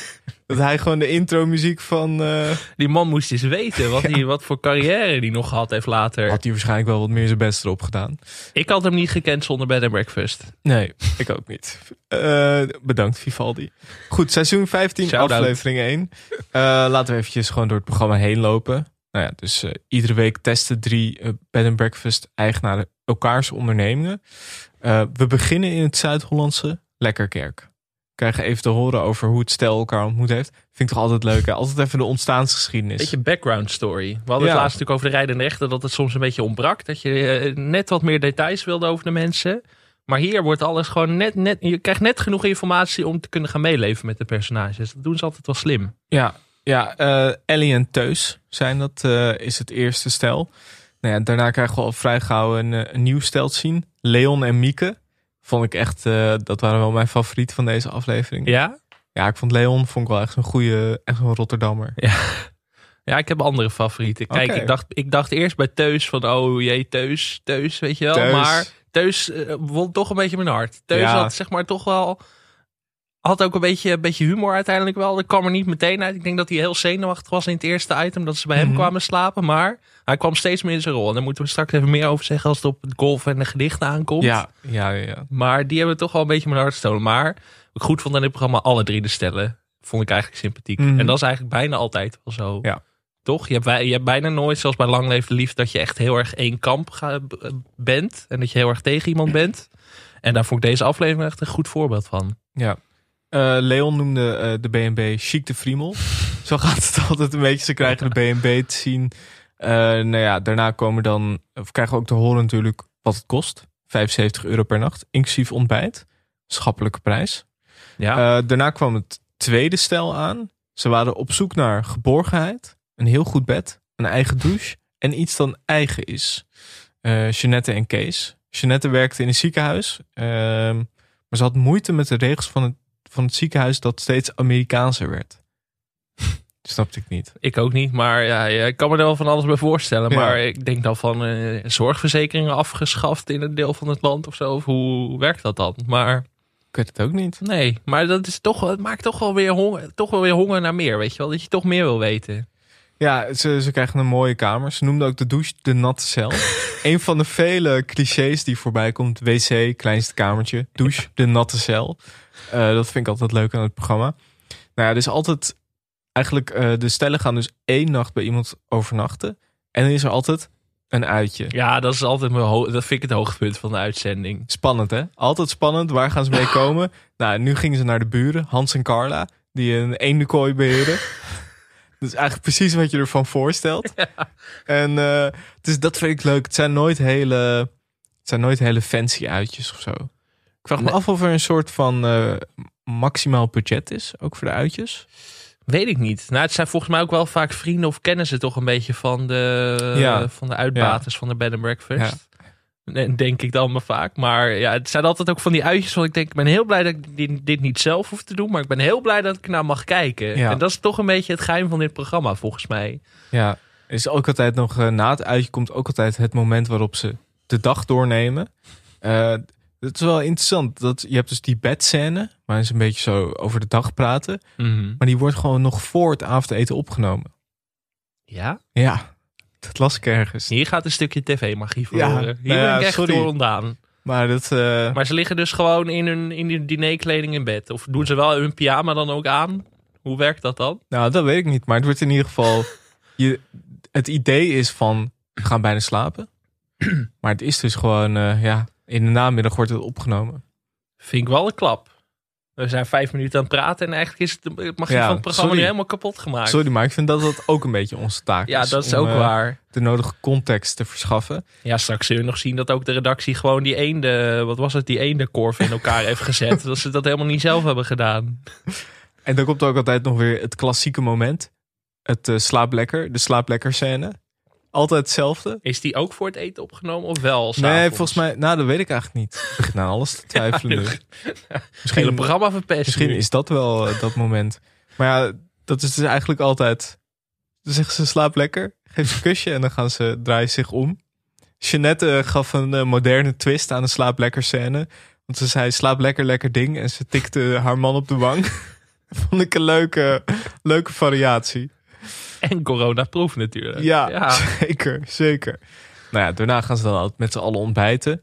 [SPEAKER 2] dat hij gewoon de intro-muziek van. eh,
[SPEAKER 1] Die man moest eens weten wat, hij, wat voor carrière die nog gehad heeft later.
[SPEAKER 2] had hij waarschijnlijk wel wat meer zijn best erop gedaan.
[SPEAKER 1] Ik had hem niet gekend zonder Bed and Breakfast.
[SPEAKER 2] Nee, ik ook niet. Eh, bedankt Vivaldi. Goed, seizoen 15,
[SPEAKER 1] Shout-out.
[SPEAKER 2] aflevering 1. Eh, laten we eventjes gewoon door het programma heen lopen. Nou ja, dus eh, iedere week testen drie eh, bed and breakfast eigenaren elkaars ondernemingen. Eh, we beginnen in het Zuid-Hollandse Lekkerkerk. We krijgen even te horen over hoe het stel elkaar ontmoet heeft. Vind ik toch altijd leuk, hè? Altijd even de ontstaansgeschiedenis.
[SPEAKER 1] Beetje background story. We hadden
[SPEAKER 2] Ja.
[SPEAKER 1] het laatst natuurlijk over de rijdende rechten dat het soms een beetje ontbrak. Dat je eh, net wat meer details wilde over de mensen. Maar hier wordt alles gewoon net, net... Je krijgt net genoeg informatie om te kunnen gaan meeleven met de personages. Dat doen ze altijd wel slim.
[SPEAKER 2] Ja, ja eh, Ellie en Teus zijn dat, eh, is het eerste stel. Nou ja, daarna krijgen we al vrij gauw een, eh, een nieuw stel te zien. Leon en Mieke. Vond ik echt, eh, dat waren wel mijn favoriet van deze aflevering.
[SPEAKER 1] Ja?
[SPEAKER 2] Ja, ik vond Leon vond ik wel echt een goede, echt een Rotterdammer.
[SPEAKER 1] Ja. Ja, ik heb andere favorieten. Kijk,
[SPEAKER 2] Oké.
[SPEAKER 1] ik, dacht, ik dacht eerst bij Teus van, oh jee, Teus, Teus, weet je wel.
[SPEAKER 2] Teus.
[SPEAKER 1] Maar Teus eh, won toch een beetje mijn hart. Teus
[SPEAKER 2] Ja.
[SPEAKER 1] had zeg maar toch wel... Had ook een beetje, een beetje humor uiteindelijk wel. Dat kwam er niet meteen uit. Ik denk dat hij heel zenuwachtig was in het eerste item. Dat ze bij hem
[SPEAKER 2] Mhm.
[SPEAKER 1] kwamen slapen. Maar hij kwam steeds meer in zijn rol. En daar moeten we straks even meer over zeggen. Als het op het golf en de gedichten aankomt.
[SPEAKER 2] Ja, ja, ja, ja.
[SPEAKER 1] Maar die hebben toch wel een beetje mijn hart gestolen. Maar wat ik goed vond aan dit programma, alle drie de stellen, vond ik eigenlijk sympathiek.
[SPEAKER 2] Mhm.
[SPEAKER 1] En dat is eigenlijk bijna altijd wel zo.
[SPEAKER 2] Ja.
[SPEAKER 1] Toch? Je hebt, wij- je hebt bijna nooit, zoals bij Lang Leef de Liefde, dat je echt heel erg één kamp ga- b- bent. En dat je heel erg tegen iemand bent. En daar vond ik deze aflevering echt een goed voorbeeld van.
[SPEAKER 2] Ja. Eh, Leon noemde eh, de BNB Chic de Friemel. Zo gaat het altijd een beetje. Ze krijgen de BNB te zien. Eh, nou ja, daarna komen dan, of krijgen we ook te horen natuurlijk wat het kost. 75 euro per nacht, inclusief ontbijt. Schappelijke prijs.
[SPEAKER 1] Ja.
[SPEAKER 2] Eh, daarna kwam het tweede stel aan. Ze waren op zoek naar geborgenheid, een heel goed bed, een eigen douche en iets dan eigen is. Eh Jeannette en Kees. Jeannette werkte in een ziekenhuis, ehm, maar ze had moeite met de regels van het, van het ziekenhuis dat steeds Amerikaanser werd. Snapte ik niet.
[SPEAKER 1] Ik ook niet, maar ja, ja, ik kan me er wel van alles bij voorstellen.
[SPEAKER 2] Ja.
[SPEAKER 1] Maar ik denk dan van eh, zorgverzekeringen afgeschaft in een deel van het land of zo. Of hoe werkt dat dan? Maar
[SPEAKER 2] Ik weet het ook niet.
[SPEAKER 1] Nee, maar dat is toch, het maakt toch wel, weer honger, toch wel weer honger naar meer, weet je wel? Dat je toch meer wil weten.
[SPEAKER 2] Ja, ze, ze krijgen een mooie kamer. Ze noemden ook de douche de natte cel. een van de vele clichés die voorbij komt. Wc, kleinste kamertje. Douche, de natte cel. Eh, dat vind ik altijd leuk aan het programma. Nou ja, dus altijd... Eigenlijk, eh, de stellen gaan dus één nacht bij iemand overnachten. En dan is er altijd een uitje.
[SPEAKER 1] Ja, dat is altijd mijn ho- dat vind ik het hoogtepunt van de uitzending.
[SPEAKER 2] Spannend, hè? Altijd spannend. Waar gaan ze mee komen? nou, nu gingen ze naar de buren. Hans en Carla, die een eendenkooi beheren. dat is eigenlijk precies wat je ervan voorstelt. En eh, dus dat vind ik leuk. Het zijn nooit hele, het zijn nooit hele fancy uitjes of zo. Ik vraag me af of er een soort van eh, maximaal budget is, ook voor de uitjes.
[SPEAKER 1] Weet ik niet. Nou, het zijn volgens mij ook wel vaak vrienden of kennissen toch een beetje van de,
[SPEAKER 2] Ja.
[SPEAKER 1] van de uitbaters van de bed and breakfast. Nee, Denk ik dan maar vaak. Maar ja, het zijn altijd ook van die uitjes. Want ik denk, ik ben heel blij dat ik dit, dit niet zelf hoef te doen. Maar ik ben heel blij dat ik naar mag kijken.
[SPEAKER 2] Ja.
[SPEAKER 1] En dat is toch een beetje het geheim van dit programma, volgens mij.
[SPEAKER 2] Ja, er is ook altijd nog eh, na het uitje komt ook altijd het moment waarop ze de dag doornemen. Eh het is wel interessant. Dat, je hebt dus die bedscène, waarin ze een beetje zo over de dag praten.
[SPEAKER 1] Mhm.
[SPEAKER 2] Maar die wordt gewoon nog voor het avondeten opgenomen.
[SPEAKER 1] Ja?
[SPEAKER 2] Ja, dat las ik ergens.
[SPEAKER 1] Hier gaat een stukje tv-magie voor.
[SPEAKER 2] Ja,
[SPEAKER 1] horen. Hier
[SPEAKER 2] nou ja,
[SPEAKER 1] ben ik echt
[SPEAKER 2] sorry.
[SPEAKER 1] door ontdaan.
[SPEAKER 2] Maar dat... eh,
[SPEAKER 1] Maar ze liggen dus gewoon in hun, in hun dinerkleding in bed. Of doen ze wel hun pyjama dan ook aan? Hoe werkt dat dan?
[SPEAKER 2] Nou, dat weet ik niet. Maar het wordt in ieder geval. Je, het idee is van. We gaan bijna slapen. Maar het is dus gewoon. eh, ja, in de namiddag wordt het opgenomen.
[SPEAKER 1] Vind ik wel een klap. We zijn vijf minuten aan het praten en eigenlijk is het, mag je
[SPEAKER 2] Ja,
[SPEAKER 1] van het programma
[SPEAKER 2] sorry.
[SPEAKER 1] nu helemaal kapot gemaakt.
[SPEAKER 2] Sorry, maar ik vind dat dat ook een beetje onze taak
[SPEAKER 1] Ja,
[SPEAKER 2] is.
[SPEAKER 1] dat is
[SPEAKER 2] om,
[SPEAKER 1] ook
[SPEAKER 2] eh,
[SPEAKER 1] waar.
[SPEAKER 2] De nodige context te verschaffen.
[SPEAKER 1] Ja, straks zul je nog zien dat ook de redactie gewoon die eende, wat was het, die eendenkorf in elkaar heeft gezet. Dat ze dat helemaal niet zelf hebben gedaan.
[SPEAKER 2] En dan komt ook altijd nog weer het klassieke moment. Het eh, slaap lekker. De slaap lekker scène. Altijd hetzelfde.
[SPEAKER 1] Is die ook voor het eten opgenomen of wel?
[SPEAKER 2] Nee, volgens mij, nou, dat weet ik eigenlijk niet. Ik begin aan alles te twijfelen nu.
[SPEAKER 1] Misschien een programma verpest.
[SPEAKER 2] Misschien
[SPEAKER 1] nu.
[SPEAKER 2] is dat wel eh, dat moment. Maar ja, dat is dus eigenlijk altijd. Dan zeggen ze slaap lekker, geef ze een kusje en dan gaan ze draaien zich om. Jeannette eh, gaf een eh, moderne twist aan de slaap lekker scène. Want ze zei slaap lekker, lekker ding. En ze tikte haar man op de wang. Vond ik een leuke, leuke variatie.
[SPEAKER 1] En coronaproof natuurlijk.
[SPEAKER 2] Ja, zeker, zeker. Nou ja, daarna gaan ze dan altijd met z'n allen ontbijten.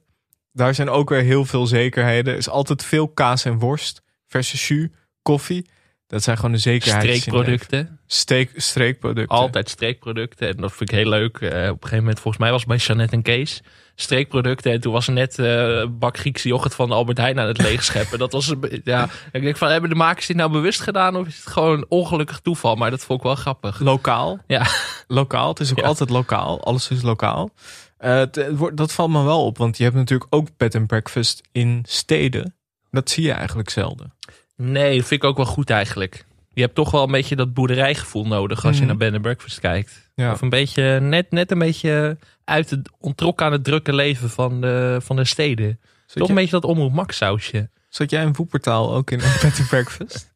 [SPEAKER 2] Daar zijn ook weer heel veel zekerheden. Er is altijd veel kaas en worst, verse jus, koffie. Dat zijn gewoon de zekerheden.
[SPEAKER 1] Streekproducten.
[SPEAKER 2] Steek, streekproducten.
[SPEAKER 1] Altijd streekproducten. En dat vind ik heel leuk. Eh, op een gegeven moment, volgens mij was het bij Jeannette en Kees. Streekproducten. En toen was er net eh, een bak Griekse yoghurt van Albert Heijn aan het leegscheppen. dat was, een be- ja. Ik denk van, hebben de makers dit nou bewust gedaan? Of is het gewoon ongelukkig toeval? Maar dat vond ik wel grappig.
[SPEAKER 2] Lokaal.
[SPEAKER 1] Ja.
[SPEAKER 2] Lokaal. Het is ook altijd lokaal. Alles is lokaal. Eh, het- het wordt- dat valt me wel op, want je hebt natuurlijk ook bed and breakfast in steden. Dat zie je eigenlijk zelden.
[SPEAKER 1] Nee, dat vind ik ook wel goed eigenlijk. Je hebt toch wel een beetje dat boerderijgevoel nodig als je
[SPEAKER 2] Mhm.
[SPEAKER 1] naar Ben Breakfast kijkt.
[SPEAKER 2] Ja.
[SPEAKER 1] Of een beetje, net, net een beetje uit het ontrokken aan het drukke leven van de, van de steden. toch
[SPEAKER 2] je-
[SPEAKER 1] een beetje dat omroep Max sausje.
[SPEAKER 2] Zat jij in Woepertaal ook in een bed and breakfast?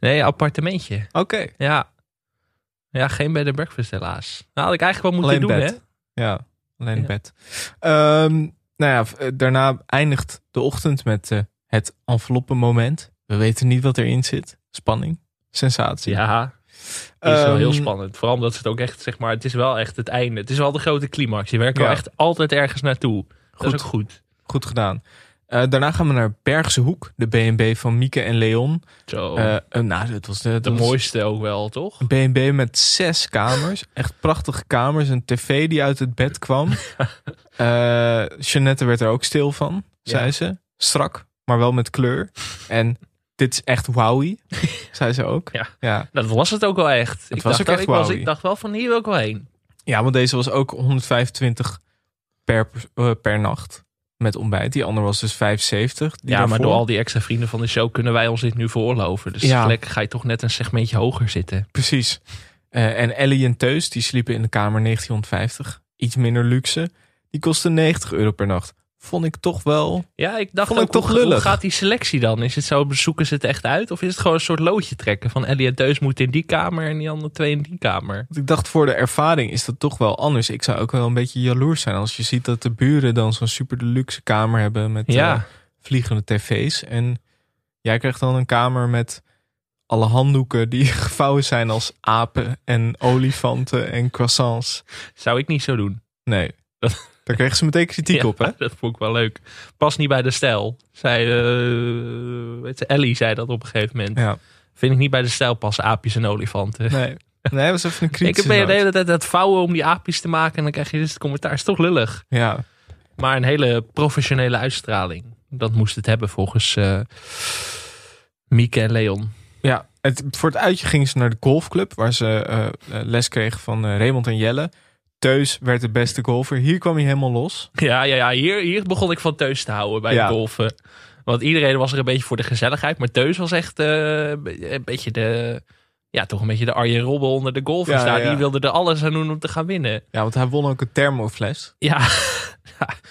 [SPEAKER 1] Nee, appartementje.
[SPEAKER 2] Oké.
[SPEAKER 1] Ja. Ja, geen bed and breakfast helaas. Nou, had ik eigenlijk wel
[SPEAKER 2] alleen
[SPEAKER 1] moeten doen,
[SPEAKER 2] bed. Ja, alleen
[SPEAKER 1] Ja.
[SPEAKER 2] bed. Ehm, nou ja, v- eh, daarna eindigt de ochtend met eh, het enveloppenmoment. We weten niet wat erin zit. Spanning, sensatie.
[SPEAKER 1] hè? Ja. Die is wel heel
[SPEAKER 2] Ehm,
[SPEAKER 1] spannend. Vooral omdat het ook echt, zeg maar, het is wel echt het einde. Het is wel de grote climax. Je werkt wel
[SPEAKER 2] Ja.
[SPEAKER 1] echt altijd ergens naartoe. Dat
[SPEAKER 2] Goed.
[SPEAKER 1] is ook goed.
[SPEAKER 2] Goed gedaan. Eh, daarna gaan we naar Bergse Hoek, de B&B van Mieke en Leon.
[SPEAKER 1] Zo.
[SPEAKER 2] Eh, eh, nou, dat was de,
[SPEAKER 1] Oh. De mooiste ook wel, toch?
[SPEAKER 2] Een B&B met zes kamers. Echt prachtige kamers. Een tv die uit het bed kwam. Eh Jeannette werd er ook stil van, zei
[SPEAKER 1] Ja.
[SPEAKER 2] ze. Strak, maar wel met kleur. En dit is echt wowie, zei ze ook.
[SPEAKER 1] Ja.
[SPEAKER 2] Ja.
[SPEAKER 1] Dat was het ook wel echt. ik,
[SPEAKER 2] was
[SPEAKER 1] dacht,
[SPEAKER 2] ook
[SPEAKER 1] dat-
[SPEAKER 2] echt
[SPEAKER 1] ik, was,
[SPEAKER 2] wowie.
[SPEAKER 1] ik dacht wel van hier wil ik wel heen.
[SPEAKER 2] ja, want deze was ook 125 per, pers- eh, per nacht met ontbijt. Die andere was dus 75. Die
[SPEAKER 1] ja, maar
[SPEAKER 2] daarvoor.
[SPEAKER 1] door al die extra vrienden van de show kunnen wij ons dit nu veroorloven. Dus
[SPEAKER 2] Ja.
[SPEAKER 1] gelijk ga je toch net een segmentje hoger zitten.
[SPEAKER 2] Precies. Eh, en Ellie en Teus, die sliepen in de kamer 1950. Iets minder luxe. Die kostte 90 euro per nacht. Vond ik toch wel...
[SPEAKER 1] Ja, ik dacht
[SPEAKER 2] Vond ik
[SPEAKER 1] ook,
[SPEAKER 2] toch
[SPEAKER 1] hoe, hoe
[SPEAKER 2] lullig.
[SPEAKER 1] gaat die selectie dan? Is het zo, zoeken ze het echt uit? Of is het gewoon een soort loodje trekken? Van Ellie en Deus moeten in die kamer en die andere twee in die kamer.
[SPEAKER 2] Want ik dacht, voor de ervaring is dat toch wel anders. Ik zou ook wel een beetje jaloers zijn als je ziet dat de buren dan zo'n super deluxe kamer hebben met
[SPEAKER 1] Ja.
[SPEAKER 2] eh, vliegende tv's. En jij krijgt dan een kamer met alle handdoeken die gevouwen zijn als apen en olifanten en croissants.
[SPEAKER 1] Zou ik niet zo doen.
[SPEAKER 2] Nee, daar kreeg ze meteen kritiek
[SPEAKER 1] Ja,
[SPEAKER 2] op, hè?
[SPEAKER 1] Dat vond ik wel leuk. Pas niet bij de stijl. Zij, eh, weet ze, Ellie zei dat op een gegeven moment.
[SPEAKER 2] Ja.
[SPEAKER 1] Vind ik niet bij de stijl passen aapjes en olifanten.
[SPEAKER 2] Nee, nee dat was even een
[SPEAKER 1] Ik
[SPEAKER 2] kritische
[SPEAKER 1] ben je de
[SPEAKER 2] noot.
[SPEAKER 1] hele tijd aan het vouwen om die aapjes te maken. En dan krijg je dus het commentaar. Is toch lullig.
[SPEAKER 2] Ja,
[SPEAKER 1] Maar een hele professionele uitstraling. Dat moest het hebben volgens eh, Mieke en Leon.
[SPEAKER 2] Ja, het, voor het uitje gingen ze naar de golfclub, waar ze eh, eh, les kregen van eh, Raymond en Jelle. Teus werd de beste golfer. Hier kwam hij helemaal los.
[SPEAKER 1] Ja, ja, ja hier, hier begon ik van Teus te houden bij
[SPEAKER 2] Ja.
[SPEAKER 1] de golfen. Want iedereen was er een beetje voor de gezelligheid. Maar Teus was echt eh, een beetje de... Ja, toch een beetje de Arjen Robben onder de golfers
[SPEAKER 2] Ja,
[SPEAKER 1] daar.
[SPEAKER 2] ja, ja.
[SPEAKER 1] Die wilde er alles aan doen om te gaan winnen.
[SPEAKER 2] Ja, want hij won ook een thermofles.
[SPEAKER 1] Ja,
[SPEAKER 2] doe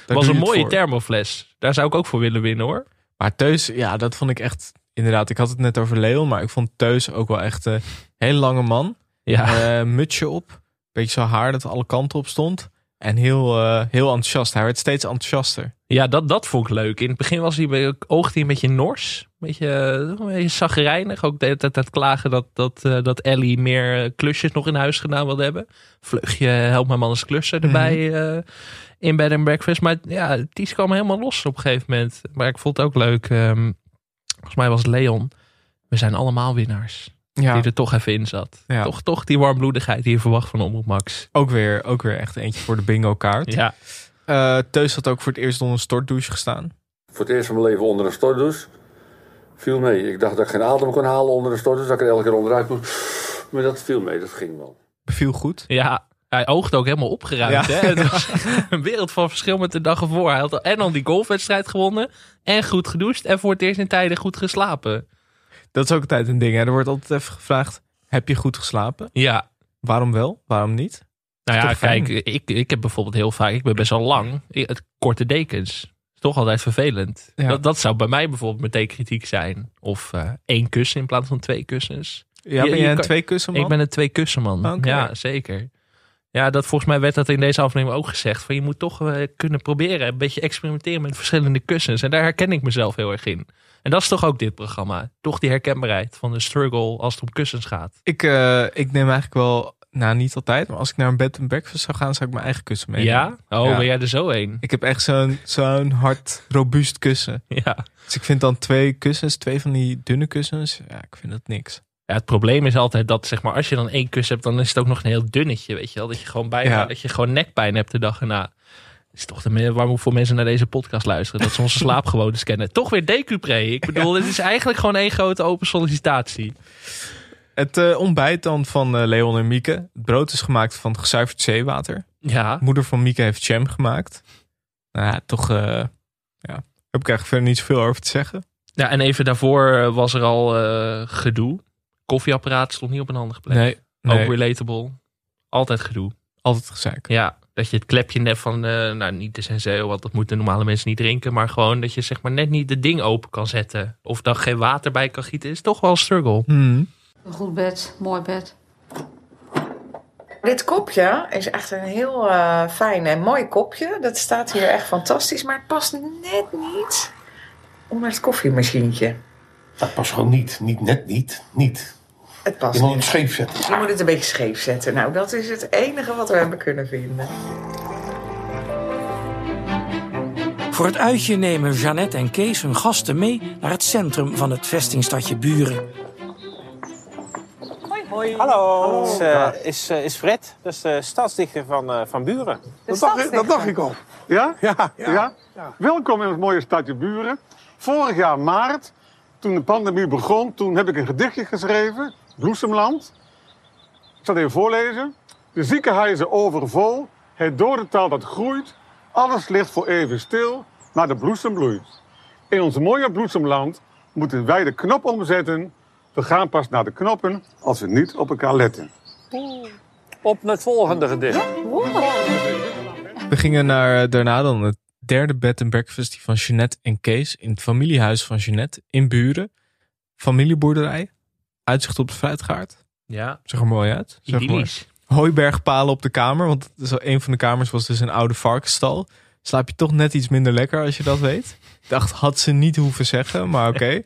[SPEAKER 1] was
[SPEAKER 2] je
[SPEAKER 1] een
[SPEAKER 2] het
[SPEAKER 1] mooie
[SPEAKER 2] voor.
[SPEAKER 1] thermofles. Daar zou ik ook voor willen winnen hoor.
[SPEAKER 2] Maar Teus, ja, dat vond ik echt... Inderdaad, ik had het net over Leon, maar ik vond Teus ook wel echt eh, een heel lange man.
[SPEAKER 1] Ja.
[SPEAKER 2] Eh, mutsje op, beetje zo haar dat alle kanten op stond. En heel, eh, heel enthousiast. Hij werd steeds enthousiaster.
[SPEAKER 1] Ja, dat, dat vond ik leuk. In het begin was hij, be- oogde hij een beetje nors. Een beetje, eh, een beetje zagrijnig. Ook de hele tijd aan het klagen dat, dat, eh, dat Ellie meer eh, klusjes nog in huis gedaan wilde hebben. Vlugje, help mijn man eens klussen erbij
[SPEAKER 2] Mhm.
[SPEAKER 1] eh, in bed and breakfast. Maar ja, Ties kwam helemaal los op een gegeven moment. Maar ik vond het ook leuk. ehm, volgens mij was het Leon. We zijn allemaal winnaars.
[SPEAKER 2] Ja.
[SPEAKER 1] Die er toch even in zat.
[SPEAKER 2] Ja.
[SPEAKER 1] Toch, toch die warmbloedigheid die je verwacht van Omroep Max.
[SPEAKER 2] Ook weer, ook weer echt eentje voor de bingo kaart.
[SPEAKER 1] Ja.
[SPEAKER 2] Eh, Teus had ook voor het eerst onder een stortdouche gestaan.
[SPEAKER 14] Voor het eerst van mijn leven onder een stortdouche. Viel mee. Ik dacht dat ik geen adem kon halen onder een stortdouche. Dat ik er elke keer onderuit moest. Maar dat viel mee. Dat ging wel.
[SPEAKER 2] Beviel goed.
[SPEAKER 1] Ja, hij oogde ook helemaal opgeruimd.
[SPEAKER 2] Ja.
[SPEAKER 1] Hè? Het was een wereld van verschil met de dag ervoor. Hij had al en al die golfwedstrijd gewonnen. En goed gedoucht. En voor het eerst in tijden goed geslapen.
[SPEAKER 2] Dat is ook altijd een ding. Hè? Er wordt altijd even gevraagd, heb je goed geslapen?
[SPEAKER 1] Ja.
[SPEAKER 2] Waarom wel? Waarom niet?
[SPEAKER 1] Nou ja,
[SPEAKER 2] Toch fijn.
[SPEAKER 1] kijk, ik, ik heb bijvoorbeeld heel vaak, ik ben best wel lang, Ik- het korte dekens. is toch altijd vervelend.
[SPEAKER 2] Ja.
[SPEAKER 1] Dat, dat zou bij mij bijvoorbeeld meteen kritiek zijn. Of eh, één kussen in plaats van twee kussens.
[SPEAKER 2] Ja, ben jij een
[SPEAKER 1] kan-
[SPEAKER 2] tweekussenman?
[SPEAKER 1] Ik ben een twee kussenman.
[SPEAKER 2] Oké.
[SPEAKER 1] Ja, zeker. Ja, dat volgens mij werd dat in deze aflevering ook gezegd. Van je moet toch eh, kunnen proberen een beetje experimenteren met verschillende kussens. En daar herken ik mezelf heel erg in. En dat is toch ook dit programma. Toch die herkenbaarheid van de struggle als het om kussens gaat.
[SPEAKER 2] Ik, eh, ik neem eigenlijk wel, nou niet altijd, maar als ik naar een bed and breakfast zou gaan, zou ik mijn eigen kussen meenemen.
[SPEAKER 1] Ja? Oh, ben jij er zo een?
[SPEAKER 2] Ik heb echt zo'n zo'n hard, robuust kussen.
[SPEAKER 1] Ja.
[SPEAKER 2] Dus ik vind dan twee kussens, twee van die dunne kussens, ja, ik vind dat niks.
[SPEAKER 1] Ja, het probleem is altijd dat zeg maar, als je dan één kus hebt, dan is het ook nog een heel dunnetje. Weet je wel? Dat je gewoon bijna,
[SPEAKER 2] Ja.
[SPEAKER 1] dat je gewoon nekpijn hebt de dag erna. Dat is toch de manier waarom voor mensen naar deze podcast luisteren. Dat ze onze slaapgewoontes kennen. Toch weer Decupré. Ik bedoel, dit is eigenlijk gewoon één grote open sollicitatie.
[SPEAKER 2] Het eh, ontbijt dan van eh, Leon en Mieke. Het brood is gemaakt van gezuiverd zeewater.
[SPEAKER 1] Ja.
[SPEAKER 2] Moeder van Mieke heeft jam gemaakt. Nou ja, toch, eh, ja, heb ik eigenlijk verder niet zoveel over te zeggen.
[SPEAKER 1] Ja, en even daarvoor eh, was er al eh, gedoe. Koffieapparaat stond niet op een handige plek.
[SPEAKER 2] Nee, nee.
[SPEAKER 1] Ook relatable. Altijd gedoe.
[SPEAKER 2] Altijd gezeik.
[SPEAKER 1] Ja, dat je het klepje net van, eh, nou niet de senseo, want dat moeten normale mensen niet drinken. Maar gewoon dat je zeg maar net niet de ding open kan zetten. Of daar geen water bij kan gieten, is toch wel een struggle.
[SPEAKER 2] Hm.
[SPEAKER 15] Een goed bed, mooi bed.
[SPEAKER 16] Dit kopje is echt een heel eh, fijn en mooi kopje. Dat staat hier echt fantastisch, maar het past net niet onder het koffiemachientje.
[SPEAKER 17] Dat past gewoon niet. Niet net niet. Niet.
[SPEAKER 16] Het past
[SPEAKER 17] Je moet
[SPEAKER 16] niet.
[SPEAKER 17] het scheef zetten.
[SPEAKER 16] Je moet het een beetje scheef zetten. Nou, dat is het enige wat we hebben kunnen vinden.
[SPEAKER 13] Voor het uitje nemen Jeannette en Kees hun gasten mee naar het centrum van het vestingstadje Buren.
[SPEAKER 18] Hoi. Hallo. Is, eh, is, eh, is Fred, dat is de stadsdichter van, eh, van Buren.
[SPEAKER 19] Dat dacht, ik- dat dacht ik al. Ja? Ja, ja? Welkom in het mooie stadje Buren. Vorig jaar maart, toen de pandemie begon, toen heb ik een gedichtje geschreven, Bloesemland. Ik zal het even voorlezen. De ziekenhuizen overvol, het dodental dat groeit, alles ligt voor even stil, maar de bloesem bloeit. In ons mooie bloesemland moeten wij de knop omzetten. We gaan pas naar de knoppen als we niet op elkaar letten.
[SPEAKER 18] Op naar het volgende gedicht.
[SPEAKER 2] We gingen naar, eh, daarna dan het derde bed and breakfast die van Jeanette en Kees in het familiehuis van Jeanette in Buren. Familieboerderij, uitzicht op de fruitgaard.
[SPEAKER 1] Ja.
[SPEAKER 2] Zag er mooi uit. Zag er mooi.
[SPEAKER 1] Idyllisch.
[SPEAKER 2] Hooibergpalen op de kamer, want dat is wel- een van de kamers was dus een oude varkensstal. Slaap je toch net iets minder lekker als je dat weet. Ik dacht, had ze niet hoeven zeggen, maar oké.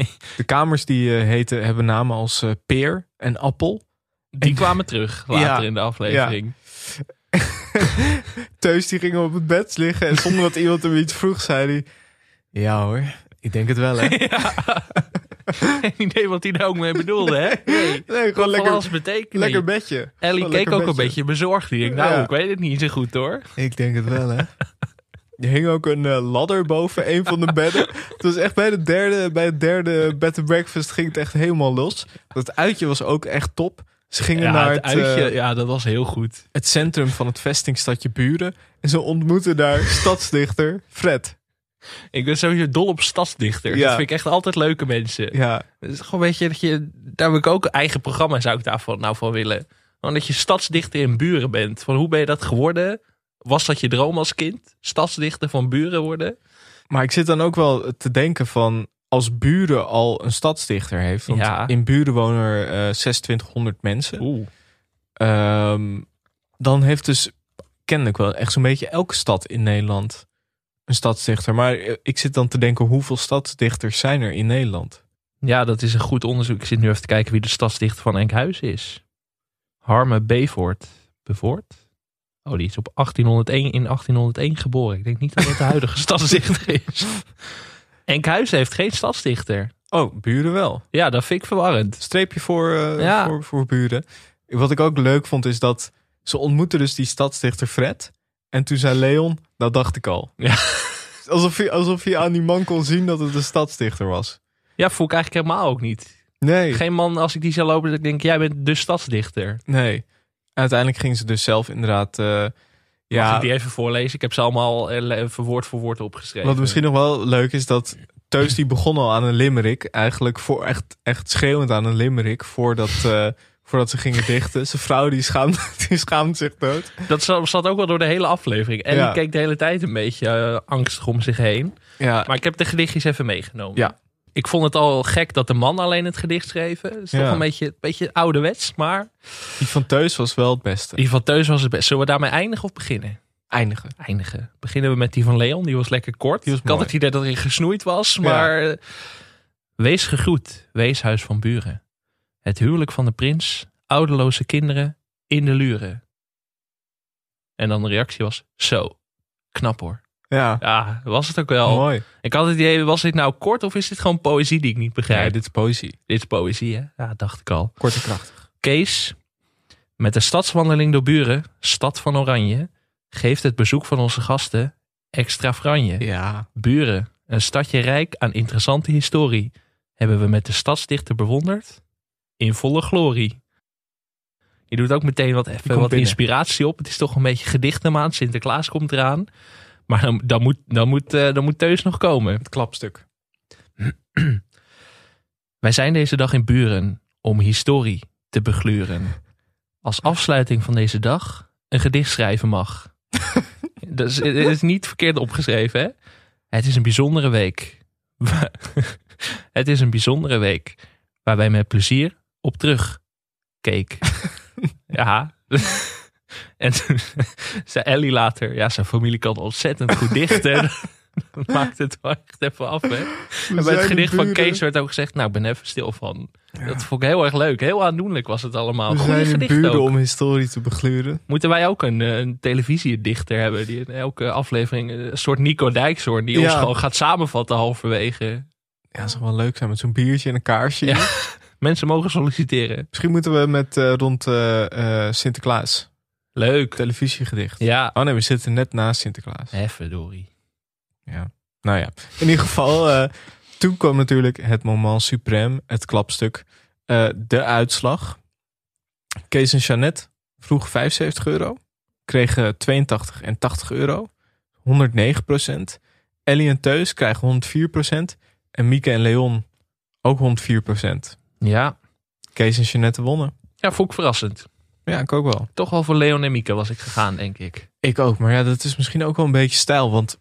[SPEAKER 2] De kamers die eh, heten, hebben namen als eh, peer en appel.
[SPEAKER 1] Die kwamen terug later in de aflevering.
[SPEAKER 2] Teus die ging op het bed liggen en zonder dat iemand hem iets vroeg, zei hij... Ja hoor, ik denk het wel hè.
[SPEAKER 1] Geen idee wat hij daar ook mee bedoelde, hè? Nee,
[SPEAKER 2] gewoon
[SPEAKER 1] Wat
[SPEAKER 2] lekker-
[SPEAKER 1] Van alles betekenen.
[SPEAKER 2] lekker bedje.
[SPEAKER 1] Ellie
[SPEAKER 2] Gewoon
[SPEAKER 1] keek
[SPEAKER 2] lekker
[SPEAKER 1] ook een
[SPEAKER 2] bedje.
[SPEAKER 1] beetje bezorgd. Die denkt, nou,
[SPEAKER 2] Ja.
[SPEAKER 1] ik weet het niet zo goed hoor.
[SPEAKER 2] Ik denk het wel, hè? Er hing ook een eh, ladder boven een van de bedden. Het was echt bij, de derde, bij het derde bed and breakfast ging het echt helemaal los. Dat uitje was ook echt top. Ze gingen
[SPEAKER 1] Ja,
[SPEAKER 2] naar
[SPEAKER 1] het
[SPEAKER 2] het,
[SPEAKER 1] uitje,
[SPEAKER 2] eh,
[SPEAKER 1] ja, dat was heel goed.
[SPEAKER 2] het centrum van het vestingstadje Buren. En ze ontmoetten daar stadsdichter Fred.
[SPEAKER 1] Ik ben sowieso dol op stadsdichters.
[SPEAKER 2] Ja.
[SPEAKER 1] Dat vind ik echt altijd leuke mensen.
[SPEAKER 2] Ja.
[SPEAKER 1] Het is gewoon een beetje dat je... Daar heb ik ook een eigen programma zou ik daarvan nou van willen. Gewoon dat je stadsdichter in Buren bent. Van hoe ben je dat geworden? Was dat je droom als kind? Stadsdichter van Buren worden?
[SPEAKER 2] Maar ik zit dan ook wel te denken van... als Buren al een stadsdichter heeft... want
[SPEAKER 1] Ja.
[SPEAKER 2] in Buren wonen er eh, 2600 mensen... ehm,
[SPEAKER 1] Oeh.
[SPEAKER 2] dan heeft dus kennelijk wel echt zo'n beetje elke stad in Nederland... een stadsdichter. Maar eh, ik zit dan te denken... hoeveel stadsdichters zijn er in Nederland?
[SPEAKER 1] Ja, dat is een goed onderzoek. Ik zit nu even te kijken wie de stadsdichter van Enkhuizen is. Harme Bevoort. Bevoort? Oh, die is op 1801, in 1801 geboren. Ik denk niet dat dat de huidige stadsdichter is. Enkhuizen heeft geen stadsdichter.
[SPEAKER 2] Oh, buren wel.
[SPEAKER 1] Ja, dat vind ik verwarrend.
[SPEAKER 2] Streepje voor, eh,
[SPEAKER 1] Ja.
[SPEAKER 2] voor, voor buren. Wat ik ook leuk vond is dat ze ontmoetten dus die stadsdichter Fred. En toen zei Leon, dat dacht ik al.
[SPEAKER 1] Ja.
[SPEAKER 2] Alsof je, alsof je aan die man kon zien dat het een stadsdichter was.
[SPEAKER 1] Ja, voel ik eigenlijk helemaal ook niet.
[SPEAKER 2] Nee.
[SPEAKER 1] Geen man, als ik die zou lopen, dat ik denk, jij bent de stadsdichter.
[SPEAKER 2] Nee. Uiteindelijk ging ze dus zelf inderdaad... eh,
[SPEAKER 1] Ja. Mag
[SPEAKER 2] ja,
[SPEAKER 1] ik die even voorlezen? Ik heb ze allemaal eh, le- even woord voor woord opgeschreven.
[SPEAKER 2] Wat misschien nog wel leuk is dat Teus die begon al aan een limerick. Eigenlijk voor, echt, echt schreeuwend aan een limerick voordat, eh, voordat ze gingen dichten. Zijn vrouw die schaamt, die schaamt zich dood.
[SPEAKER 1] Dat za- zat ook wel door de hele aflevering. En
[SPEAKER 2] Ja.
[SPEAKER 1] ik keek de hele tijd een beetje eh, angstig om zich heen.
[SPEAKER 2] Ja.
[SPEAKER 1] Maar ik heb de gedichtjes even meegenomen.
[SPEAKER 2] Ja.
[SPEAKER 1] Ik vond het al gek dat de man alleen het gedicht schreef. Het is
[SPEAKER 2] Ja.
[SPEAKER 1] toch een beetje, beetje ouderwets, maar...
[SPEAKER 2] Die van Teus was wel het beste.
[SPEAKER 1] Die van Teus was het best. Zullen we daarmee eindigen of beginnen?
[SPEAKER 2] Eindigen.
[SPEAKER 1] Eindigen. Beginnen we met die van Leon. Die was lekker kort. ik had
[SPEAKER 2] mooi.
[SPEAKER 1] het idee dat hij gesnoeid was, maar... eh, Wees gegroet, weeshuis van buren. Het huwelijk van de prins, ouderloze kinderen, in de luren. En dan de reactie was, zo, knap hoor.
[SPEAKER 2] Ja.
[SPEAKER 1] Ja, was het ook wel.
[SPEAKER 2] Mooi.
[SPEAKER 1] Ik had het idee, was dit nou kort of is dit gewoon poëzie die ik niet begrijp?
[SPEAKER 2] Nee, dit is poëzie.
[SPEAKER 1] Dit is poëzie, hè? Ja, dacht ik al.
[SPEAKER 2] Kort en krachtig.
[SPEAKER 1] Kees, met de stadswandeling door Buren, stad van Oranje, geeft het bezoek van onze gasten extra franje.
[SPEAKER 2] Ja.
[SPEAKER 1] Buren, een stadje rijk aan interessante historie, hebben we met de stadsdichter bewonderd in volle glorie. Je doet ook meteen wat, even wat
[SPEAKER 2] komt binnen.
[SPEAKER 1] inspiratie op. Het is toch een beetje gedichtenmaand. Sinterklaas komt eraan. Maar dan, dan, moet, dan, moet, eh, dan moet Teus nog komen. Het
[SPEAKER 2] klapstuk.
[SPEAKER 1] Wij zijn deze dag in Buren om historie te begluren. Als afsluiting van deze dag een gedicht schrijven mag. dat, is, het is niet verkeerd opgeschreven, hè? Het is een bijzondere week. het is een bijzondere week waar wij met plezier op terugkeken. ja. en toen zei Ellie later, ja, zijn familie kan ontzettend goed dichten. Dat maakt het wel echt even af, hè? En bij het
[SPEAKER 2] zijn de
[SPEAKER 1] gedicht van
[SPEAKER 2] buren.
[SPEAKER 1] Kees werd ook gezegd, nou, ik ben even stil van. Dat vond ik heel erg leuk. Heel aandoenlijk was het allemaal.
[SPEAKER 2] We
[SPEAKER 1] Goeie
[SPEAKER 2] zijn in
[SPEAKER 1] gedicht
[SPEAKER 2] buren
[SPEAKER 1] ook.
[SPEAKER 2] om historie te begluren.
[SPEAKER 1] Moeten wij ook een, eh, een televisiedichter hebben die in elke aflevering eh, een soort Nico Dijkshoorn die ons
[SPEAKER 2] Ja.
[SPEAKER 1] gewoon gaat samenvatten halverwege.
[SPEAKER 2] Ja, dat zou wel leuk zijn met zo'n biertje en een kaarsje.
[SPEAKER 1] Mensen mogen solliciteren.
[SPEAKER 2] Misschien moeten we met eh, rond eh, eh, Sinterklaas.
[SPEAKER 1] Leuk.
[SPEAKER 2] Televisiegedicht.
[SPEAKER 1] Ja.
[SPEAKER 2] Oh nee, we zitten net naast Sinterklaas.
[SPEAKER 1] Even dorie.
[SPEAKER 2] Ja. Nou ja, in ieder geval, eh, toen kwam natuurlijk het moment suprême, het klapstuk, eh, de uitslag. Kees en Jeannette vroeg 75 euro, kregen 82 en 80 euro, 109 procent. Ellie en Teus krijgen 104 procent en Mieke en Leon ook 104 procent.
[SPEAKER 1] Ja.
[SPEAKER 2] Kees en Jeannette wonnen.
[SPEAKER 1] Ja, vond ik verrassend.
[SPEAKER 2] Ja, ik ook wel.
[SPEAKER 1] Toch wel voor Leon en Mieke was ik gegaan, denk ik.
[SPEAKER 2] Ik ook, maar ja, dat is misschien ook wel een beetje stijl. Want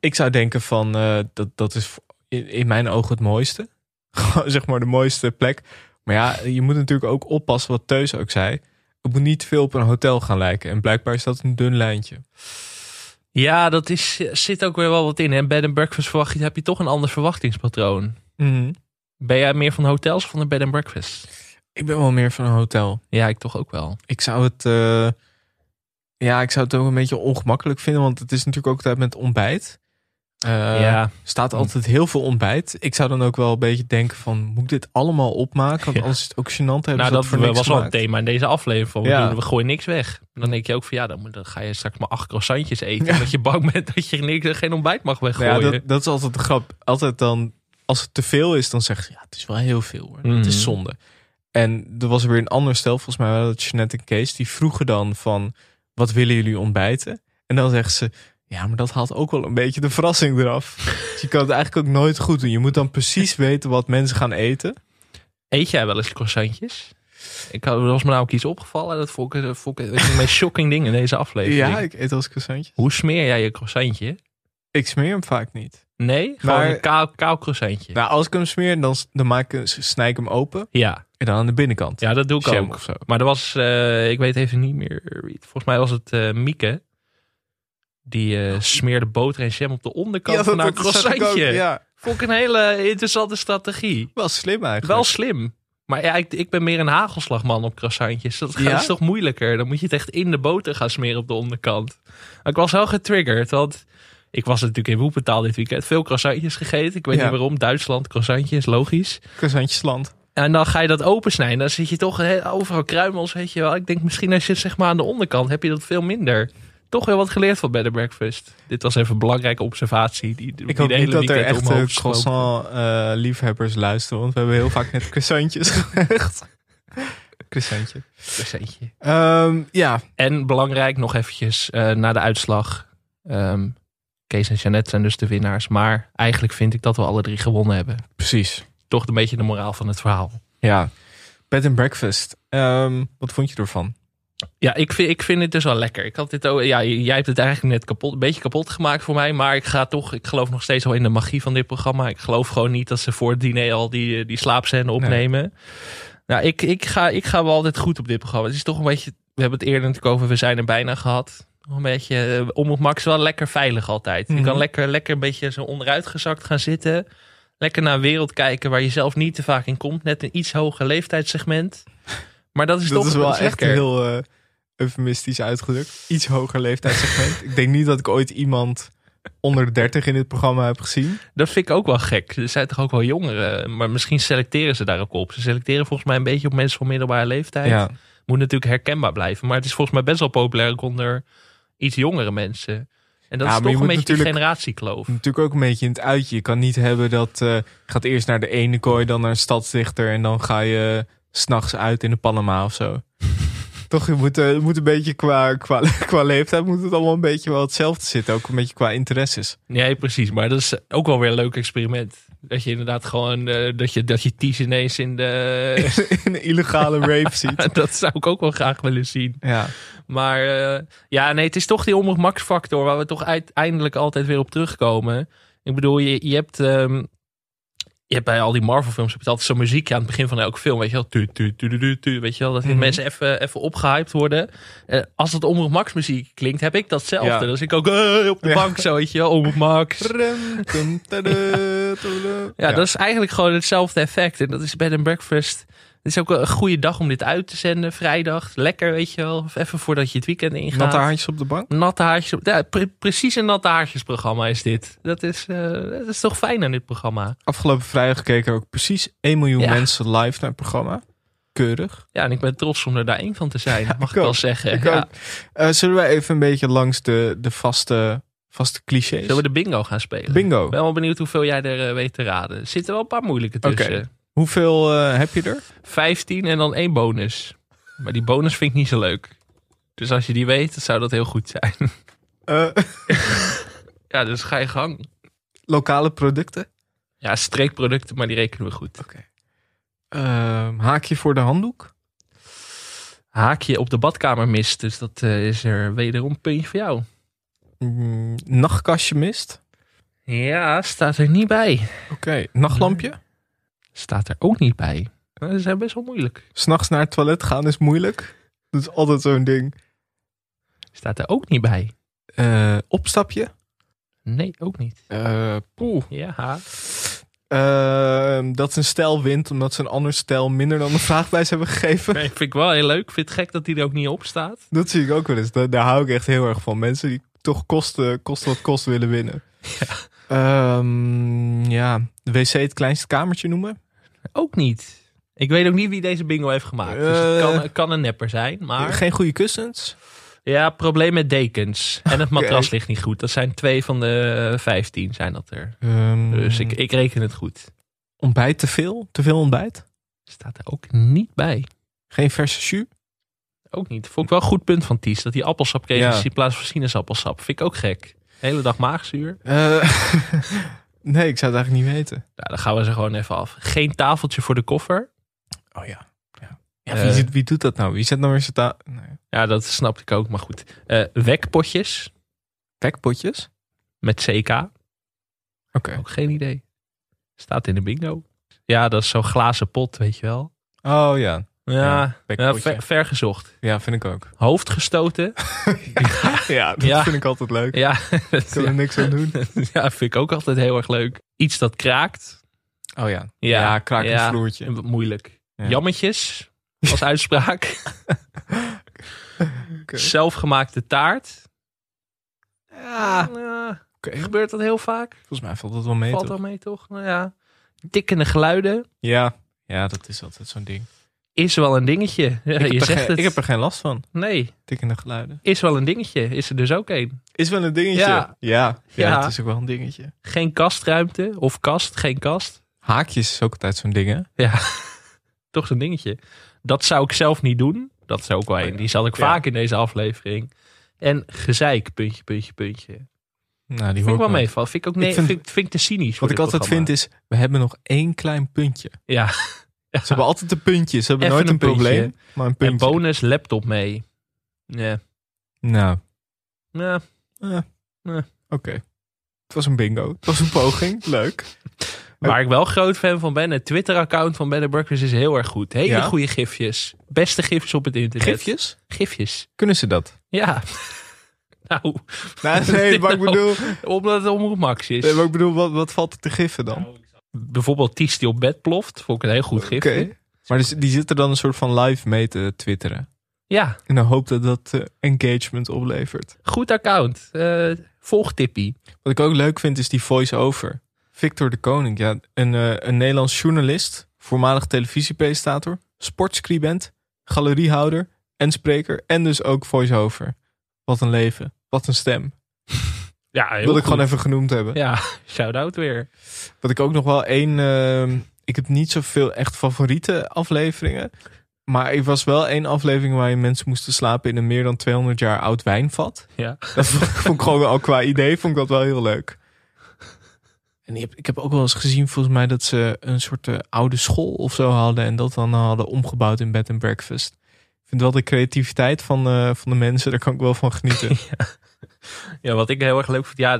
[SPEAKER 2] ik zou denken van, eh, dat, dat is voor- in, in mijn ogen het mooiste. Gewoon, zeg maar de mooiste plek. Maar ja, je moet natuurlijk ook oppassen wat Teus ook zei. Het moet niet te veel op een hotel gaan lijken. En blijkbaar is dat een dun lijntje.
[SPEAKER 1] Ja, dat is, eh, zit ook weer wel wat in. En bed and breakfast verwacht je, heb je toch een ander verwachtingspatroon. Ben jij meer van hotels of van een bed and breakfast?
[SPEAKER 2] Ik ben wel meer van een hotel.
[SPEAKER 1] Ja, ik toch ook wel.
[SPEAKER 2] Ik zou het, eh, ja, ik zou het ook een beetje ongemakkelijk vinden. Want het is natuurlijk ook tijd met ontbijt. Eh,
[SPEAKER 1] Ja.
[SPEAKER 2] staat altijd heel veel ontbijt. Ik zou dan ook wel een beetje denken van... moet ik dit allemaal opmaken? Want anders is het ook gênant. Hebben
[SPEAKER 1] nou,
[SPEAKER 2] ze
[SPEAKER 1] dat
[SPEAKER 2] voor niks
[SPEAKER 1] was wel een
[SPEAKER 2] gemaakt.
[SPEAKER 1] thema in deze aflevering. Van, we
[SPEAKER 2] Ja.
[SPEAKER 1] doen- We gooien niks weg. En dan denk je ook van ja, dan, moet- dan ga je straks maar acht croissantjes eten. Omdat je bang bent dat je niks, geen ontbijt mag
[SPEAKER 2] Nou
[SPEAKER 1] weggooien.
[SPEAKER 2] ja, dat, dat is altijd de grap. Altijd dan, als het te veel is, dan zeggen ze... ja, het is wel heel veel hoor. Het
[SPEAKER 1] Mhm.
[SPEAKER 2] is zonde. En er was weer een ander stel, volgens mij wel dat Jeanette en Kees... die vroegen dan van, wat willen jullie ontbijten? En dan zeggen ze... Ja, maar dat haalt ook wel een beetje de verrassing eraf. Dus je kan het eigenlijk ook nooit goed doen. Je moet dan precies weten wat mensen gaan eten.
[SPEAKER 1] Eet jij wel eens croissantjes? Ik had, er was me namelijk iets opgevallen. en Dat vond ik, dat vond ik het meest shocking ding in deze aflevering.
[SPEAKER 2] Ja, ik eet als croissantje.
[SPEAKER 1] Hoe smeer jij je croissantje?
[SPEAKER 2] Ik smeer hem vaak niet.
[SPEAKER 1] Nee, gewoon
[SPEAKER 2] Maar-
[SPEAKER 1] een kaal, kaal croissantje.
[SPEAKER 2] Nou, als ik hem smeer, dan, s- dan maak ik, snij ik hem open.
[SPEAKER 1] Ja.
[SPEAKER 2] En dan aan de binnenkant.
[SPEAKER 1] Ja, dat doe ik
[SPEAKER 2] Jam
[SPEAKER 1] ook.
[SPEAKER 2] of zo.
[SPEAKER 1] Maar er was, eh, ik weet even niet meer wie het- Volgens mij was het eh, Mieke. Die eh, smeerde boter en jam op de onderkant
[SPEAKER 2] Oh. Ja, dat-
[SPEAKER 1] van haar
[SPEAKER 2] dat zag ik ook,
[SPEAKER 1] croissantje.
[SPEAKER 2] ja.
[SPEAKER 1] Vond ik een hele interessante strategie.
[SPEAKER 2] Wel slim eigenlijk.
[SPEAKER 1] Wel slim. Maar ja, ik, ik ben meer een hagelslagman op croissantjes. Dat
[SPEAKER 2] Ja?
[SPEAKER 1] is toch moeilijker? Dan moet je het echt in de boter gaan smeren op de onderkant. Maar Ik was wel getriggerd, want Ik was natuurlijk in Woepentaal dit weekend. Veel croissantjes gegeten. Ik weet
[SPEAKER 2] Ja.
[SPEAKER 1] niet waarom. Duitsland, croissantjes, logisch.
[SPEAKER 2] Croissantjesland.
[SPEAKER 1] En dan ga je dat opensnijden. Dan zit je toch hè, overal kruimels, weet je wel. Ik denk misschien als je het zeg maar aan de onderkant heb je dat veel minder. Toch heel wat geleerd van Bed and Breakfast. Dit was even een belangrijke observatie. Die, die
[SPEAKER 2] Ik hoop
[SPEAKER 1] de hele
[SPEAKER 2] niet dat er
[SPEAKER 1] weekend
[SPEAKER 2] echt
[SPEAKER 1] omhoog
[SPEAKER 2] eh,
[SPEAKER 1] sloop.
[SPEAKER 2] croissant-liefhebbers luisteren. Want we hebben heel vaak net croissantjes gelegd. Croissantje.
[SPEAKER 1] Croissantje.
[SPEAKER 2] Ehm, ja.
[SPEAKER 1] En belangrijk nog eventjes eh, na de uitslag. Ehm, Kees en Jeannette zijn dus de winnaars. Maar eigenlijk vind ik dat we alle drie gewonnen hebben.
[SPEAKER 2] Precies.
[SPEAKER 1] Toch een beetje de moraal van het verhaal.
[SPEAKER 2] Ja. Bed and breakfast. Ehm, wat vond je ervan?
[SPEAKER 1] Ja, ik vind, ik vind het dus wel lekker. Ik had dit ook, ja, jij hebt het eigenlijk net kapot, een beetje kapot gemaakt voor mij. Maar ik ga toch, ik geloof nog steeds wel in de magie van dit programma. Ik geloof gewoon niet dat ze voor het diner al die, eh, die slaapscène opnemen. Nou, ik, ik, ga, ik ga wel altijd goed op dit programma. Het is toch een beetje, we hebben het eerder natuurlijk over, we zijn er bijna gehad. Nog Een beetje, eh, Omroep Max wel lekker veilig altijd.
[SPEAKER 2] Mhm.
[SPEAKER 1] Je kan lekker, lekker een beetje zo onderuitgezakt gaan zitten. Lekker naar een wereld kijken waar je zelf niet te vaak in komt. Net een iets hoger leeftijdssegment. Maar dat is
[SPEAKER 2] dat
[SPEAKER 1] toch
[SPEAKER 2] is wel echt
[SPEAKER 1] lekker.
[SPEAKER 2] heel eh, eufemistisch uitgedrukt. Iets hoger leeftijdssegment. ik denk niet dat ik ooit iemand onder de 30 in dit programma heb gezien.
[SPEAKER 1] Dat vind ik ook wel gek. Er zijn toch ook wel jongeren. Maar misschien selecteren ze daar ook op. Ze selecteren volgens mij een beetje op mensen van middelbare leeftijd.
[SPEAKER 2] Ja.
[SPEAKER 1] Moet natuurlijk herkenbaar blijven. Maar het is volgens mij best wel populair ook onder iets jongere mensen. En dat
[SPEAKER 2] Ja,
[SPEAKER 1] is
[SPEAKER 2] maar je
[SPEAKER 1] toch een
[SPEAKER 2] moet
[SPEAKER 1] beetje die
[SPEAKER 2] natuurlijk- Hm.
[SPEAKER 1] generatiekloof.
[SPEAKER 2] Natuurlijk ook een beetje in het uitje. Je kan niet hebben dat eh, je gaat eerst naar de ene kooi, dan naar een stadsdichter en dan ga je s'nachts uit in de Panama of zo. Toch, je moet, eh, het moet een beetje qua, qua, qua leeftijd moet het allemaal een beetje wel hetzelfde zitten. Ook een beetje qua interesses.
[SPEAKER 1] Nee, precies. Maar dat is ook wel weer een leuk experiment. Dat je inderdaad gewoon, eh, dat je, dat je Ties ineens in de...
[SPEAKER 2] in de illegale rave ziet.
[SPEAKER 1] dat zou ik ook wel graag willen zien.
[SPEAKER 2] Ja.
[SPEAKER 1] Maar eh, ja, nee, het is toch die omroep max factor waar we toch uiteindelijk altijd weer op terugkomen. Ik bedoel, je, je hebt... ehm, je hebt bij al die Marvel films heb je altijd zo'n muziekje aan het begin van elke film. Weet je wel, tu, tu, tu, tu, tu, tu, weet je wel dat die
[SPEAKER 2] Mhm.
[SPEAKER 1] mensen even, even opgehyped worden. Eh, als het Omroep Max muziek klinkt, heb ik datzelfde.
[SPEAKER 2] Ja.
[SPEAKER 1] Dan zit ik ook eh, op de
[SPEAKER 2] Ja.
[SPEAKER 1] bank zo, weet je wel, Omroep Max.
[SPEAKER 2] Rum, tum, tada, tada.
[SPEAKER 1] Ja, dat is eigenlijk gewoon hetzelfde effect. En dat is bed and breakfast. Het is ook een goede dag om dit uit te zenden. Vrijdag, lekker, weet je wel. Of Even voordat je het weekend ingaat.
[SPEAKER 2] Natte haartjes op de bank.
[SPEAKER 1] Natte haartjes. op- Ja, pre- precies een natte haartjesprogramma is dit. Dat is, eh, dat is toch fijn aan dit programma.
[SPEAKER 2] Afgelopen vrijdag keken er ook precies 1 miljoen
[SPEAKER 1] Ja.
[SPEAKER 2] mensen live naar het programma. Keurig.
[SPEAKER 1] Ja, en ik ben trots om er daar één van te zijn, mag ik wel zeggen.
[SPEAKER 2] Ik
[SPEAKER 1] ja.
[SPEAKER 2] ook. Eh, zullen wij even een beetje langs de, de vaste, vaste clichés?
[SPEAKER 1] Zullen we de bingo gaan spelen?
[SPEAKER 2] Bingo.
[SPEAKER 1] Ik ben wel benieuwd hoeveel jij er eh, weet te raden. Er zitten wel een paar moeilijke
[SPEAKER 2] Oké.
[SPEAKER 1] tussen.
[SPEAKER 2] Hoeveel eh, heb je er?
[SPEAKER 1] 15 en dan één bonus. Maar die bonus vind ik niet zo leuk. Dus als je die weet, dan zou dat heel goed zijn.
[SPEAKER 2] Eh,
[SPEAKER 1] Ja, dus ga je gang.
[SPEAKER 2] lokale producten.
[SPEAKER 1] Ja, streekproducten, maar die rekenen we goed.
[SPEAKER 2] Ehm, haakje voor de handdoek.
[SPEAKER 1] Haakje op de badkamer mist, dus dat eh, is er wederom een puntje voor jou.
[SPEAKER 2] Mm, nachtkastje mist.
[SPEAKER 1] Ja, staat er niet bij.
[SPEAKER 2] Oké. Nachtlampje.
[SPEAKER 1] Staat er ook niet bij. Dat zijn best wel moeilijk.
[SPEAKER 2] S'nachts naar het toilet gaan is moeilijk. Dat is altijd zo'n ding.
[SPEAKER 1] Staat er ook niet bij.
[SPEAKER 2] Eh, opstapje.
[SPEAKER 1] Nee, ook niet.
[SPEAKER 2] Eh, poeh.
[SPEAKER 1] Ja.
[SPEAKER 2] Ehm, dat ze een stijl wint omdat ze een ander stijl minder dan de vraagprijs hebben gegeven.
[SPEAKER 1] Nee, vind ik wel heel leuk. Vind het gek dat die er ook niet op staat.
[SPEAKER 2] Dat zie ik ook wel eens. Daar, daar hou ik echt heel erg van. Mensen die toch kosten, kosten wat kost willen winnen. Ja. ja, de wc het kleinste kamertje noemen.
[SPEAKER 1] Ook niet. Ik weet ook niet wie deze bingo heeft gemaakt. Dus het
[SPEAKER 2] Eh.
[SPEAKER 1] kan, het kan een nepper zijn, maar...
[SPEAKER 2] Geen goede kussens.
[SPEAKER 1] Ja, probleem met dekens. En het
[SPEAKER 2] Oké.
[SPEAKER 1] matras ligt niet goed. Dat zijn twee van de eh, vijftien zijn dat er.
[SPEAKER 2] Ehm,
[SPEAKER 1] Dus ik, ik reken het goed.
[SPEAKER 2] Ontbijt te veel. Te veel ontbijt.
[SPEAKER 1] Staat er ook niet bij.
[SPEAKER 2] Geen verse jus.
[SPEAKER 1] Ook niet. Vond ik wel een goed punt van Ties. Dat hij appelsap kreeg
[SPEAKER 2] Ja.
[SPEAKER 1] in plaats van sinaasappelsap. Vind ik ook gek. De hele dag maagzuur.
[SPEAKER 2] Eh, nee, ik zou het eigenlijk niet weten.
[SPEAKER 1] Nou, dan gaan we ze gewoon even af. Geen tafeltje voor de koffer.
[SPEAKER 2] Oh ja. Ja,
[SPEAKER 1] Eh,
[SPEAKER 2] wie, zit- wie doet dat nou? Wie zet nou weer zijn ta- nee.
[SPEAKER 1] ja, dat snapte ik ook, maar goed. Eh, wekpotjes
[SPEAKER 2] Wekpotjes?
[SPEAKER 1] met CK. Oké. Ook geen idee. Staat in de bingo. Ja, dat is zo'n glazen pot, weet je wel.
[SPEAKER 2] Oh ja.
[SPEAKER 1] Ja, ja,
[SPEAKER 2] wekpotje.
[SPEAKER 1] ver, ver gezocht.
[SPEAKER 2] Ja, vind ik ook.
[SPEAKER 1] Hoofd gestoten.
[SPEAKER 2] Ja, dat
[SPEAKER 1] Ja.
[SPEAKER 2] vind ik altijd leuk.
[SPEAKER 1] ja,
[SPEAKER 2] Ik kan er niks aan doen.
[SPEAKER 1] ja, vind ik ook altijd heel erg leuk. Iets dat kraakt.
[SPEAKER 2] Oh ja. Ja, kraakend vloertje.
[SPEAKER 1] Moeilijk.
[SPEAKER 2] Ja.
[SPEAKER 1] Jammetjes als uitspraak. Zelfgemaakte taart.
[SPEAKER 2] Ja.
[SPEAKER 1] Ja, eh, Gebeurt dat heel vaak?
[SPEAKER 2] Volgens mij valt dat wel mee,
[SPEAKER 1] Valt
[SPEAKER 2] toch?
[SPEAKER 1] wel mee, toch? Nou ja. Dikkende geluiden
[SPEAKER 2] Ja. ja, dat is altijd zo'n ding.
[SPEAKER 1] is wel een dingetje.
[SPEAKER 2] Ik heb,
[SPEAKER 1] je
[SPEAKER 2] er
[SPEAKER 1] zegt
[SPEAKER 2] geen,
[SPEAKER 1] het.
[SPEAKER 2] ik heb er geen last van,
[SPEAKER 1] Nee,
[SPEAKER 2] tikkende geluiden.
[SPEAKER 1] is wel een dingetje. Is er dus ook een.
[SPEAKER 2] Is wel een dingetje.
[SPEAKER 1] Ja.
[SPEAKER 2] Ja, ja,
[SPEAKER 1] Ja.
[SPEAKER 2] het is ook wel een dingetje.
[SPEAKER 1] Geen kastruimte of kast, geen kast.
[SPEAKER 2] Haakjes is ook altijd zo'n ding, hè?
[SPEAKER 1] Ja, toch zo'n dingetje. Dat zou ik zelf niet doen. Dat is
[SPEAKER 2] Oh
[SPEAKER 1] ook wel een. Die zat ik vaak in deze aflevering. En gezeik, puntje, puntje, puntje.
[SPEAKER 2] Nou, die
[SPEAKER 1] vind
[SPEAKER 2] hoor
[SPEAKER 1] ik wel
[SPEAKER 2] nooit.
[SPEAKER 1] meevallen. Vind ik ook nee,
[SPEAKER 2] Ik
[SPEAKER 1] vind,
[SPEAKER 2] vind-
[SPEAKER 1] vind, ik te cynisch. voor
[SPEAKER 2] Wat ik
[SPEAKER 1] dit
[SPEAKER 2] altijd
[SPEAKER 1] programma.
[SPEAKER 2] vind is, we hebben nog één klein puntje.
[SPEAKER 1] Ja.
[SPEAKER 2] Ze hebben altijd een puntje. Ze hebben
[SPEAKER 1] Even
[SPEAKER 2] nooit een,
[SPEAKER 1] puntje.
[SPEAKER 2] probleem, maar een
[SPEAKER 1] En
[SPEAKER 2] puntje.
[SPEAKER 1] bonus laptop mee. Ja.
[SPEAKER 2] nou,
[SPEAKER 1] Ja.
[SPEAKER 2] oké. Het was een bingo. Het was een poging. Leuk.
[SPEAKER 1] Waar ik wel groot fan van ben, het Twitter-account van Ben and Breakfast is heel erg goed. Hele
[SPEAKER 2] Ja?
[SPEAKER 1] goede gifjes. Beste gifjes op het internet.
[SPEAKER 2] Gifjes?
[SPEAKER 1] Gifjes.
[SPEAKER 2] Kunnen ze dat?
[SPEAKER 1] Ja. nou.
[SPEAKER 2] Nou, nee, maar ik
[SPEAKER 1] Nou,
[SPEAKER 2] bedoel-
[SPEAKER 1] Omdat het omroep Max is.
[SPEAKER 2] Nee, maar ik bedoel, wat, wat valt er te giffen
[SPEAKER 1] Nou,
[SPEAKER 2] dan?
[SPEAKER 1] Bijvoorbeeld Ties die op bed ploft. Vond ik een heel goed gifje.
[SPEAKER 2] Oké. Maar dus, die zitten dan een soort van live mee te twitteren.
[SPEAKER 1] Ja,
[SPEAKER 2] En dan hoopt dat dat eh, engagement oplevert.
[SPEAKER 1] goed account. Eh, volg Tippie.
[SPEAKER 2] Wat ik ook leuk vind is die voice-over. Victor de Koning, ja, een, eh, een Nederlands journalist, voormalig televisiepresentator, sportscribent, galeriehouder en spreker. En dus ook voice-over. Wat een leven, wat een stem.
[SPEAKER 1] Ja, heel
[SPEAKER 2] Wil ik
[SPEAKER 1] goed.
[SPEAKER 2] gewoon even genoemd hebben.
[SPEAKER 1] Ja, shout-out weer.
[SPEAKER 2] Wat ik ook nog wel één. ehm, ik heb niet zoveel echt favoriete afleveringen. Maar ik was wel één aflevering waarin mensen moesten slapen in een meer dan 200 jaar oud wijnvat.
[SPEAKER 1] Ja.
[SPEAKER 2] Dat vond ik, vond ik gewoon al qua idee vond ik dat wel heel leuk. En ik heb, ik heb ook wel eens gezien volgens mij dat ze een soort eh, oude school of zo hadden. En dat dan hadden omgebouwd in bed and breakfast. Ik vind wel de creativiteit van, eh, van de mensen, daar kan ik wel van genieten.
[SPEAKER 1] Oh. Ja, wat ik heel erg leuk vind. Ja,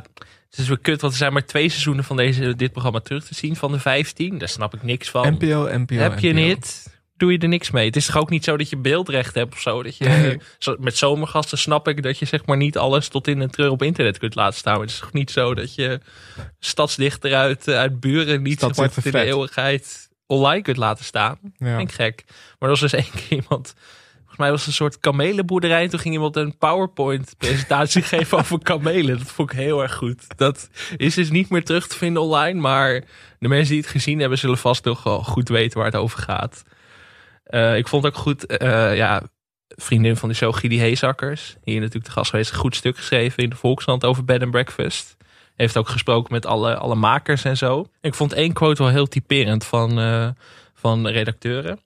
[SPEAKER 1] het is weer kut, want er zijn maar twee seizoenen van deze, dit programma terug te zien van de 15. Daar snap ik niks van.
[SPEAKER 2] NPO, NPO.
[SPEAKER 1] Heb je
[SPEAKER 2] NPO.
[SPEAKER 1] niet? Doe je er niks mee? Het is toch ook niet zo dat je beeldrecht hebt of zo? Dat je, eh, zo- Met zomergasten snap ik dat je zeg maar niet alles tot in en treur op internet kunt laten staan. Maar het is toch niet zo dat je stadsdichter uit, eh, uit buren niet zeg maar,
[SPEAKER 2] Stadsdichter
[SPEAKER 1] tot in de
[SPEAKER 2] Fred.
[SPEAKER 1] eeuwigheid online kunt laten staan?
[SPEAKER 2] Ja.
[SPEAKER 1] Vind ik gek. Maar er was dus één keer iemand... Volgens mij was het een soort kamelenboerderij. Toen ging iemand een PowerPoint-presentatie geven over kamelen. Dat vond ik heel erg goed. Dat is dus niet meer terug te vinden online. Maar de mensen die het gezien hebben, zullen vast nog wel goed weten waar het over gaat. Eh, ik vond ook goed, eh, ja, vriendin van de show, Gidi Heesakkers. Hier natuurlijk de gast geweest. Een goed stuk geschreven in de Volkskrant over bed and breakfast. Heeft ook gesproken met alle, alle makers en zo. Ik vond één quote wel heel typerend van, eh, van redacteuren.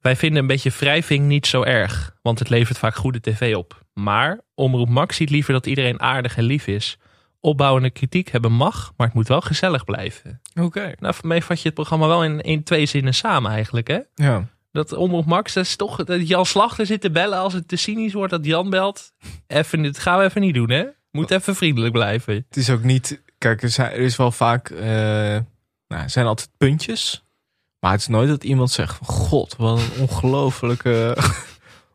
[SPEAKER 1] Wij vinden een beetje wrijving niet zo erg, want het levert vaak goede tv op. Maar Omroep Max ziet liever dat iedereen aardig en lief is. Opbouwende kritiek hebben mag, maar het moet wel gezellig blijven.
[SPEAKER 2] Oké.
[SPEAKER 1] Nou, voor mij vat je het programma wel in, in twee zinnen samen eigenlijk, hè?
[SPEAKER 2] Ja.
[SPEAKER 1] Dat Omroep Max, dat is toch dat Jan Slachter zit te bellen als het te cynisch wordt dat Jan belt. Even, dit gaan we even niet doen, hè? Moet even vriendelijk blijven.
[SPEAKER 2] Het is ook niet. Kijk, er, zijn, er is wel vaak. eh, nou, er zijn altijd puntjes. Maar het is nooit dat iemand zegt: van, God, wat een ongelooflijke.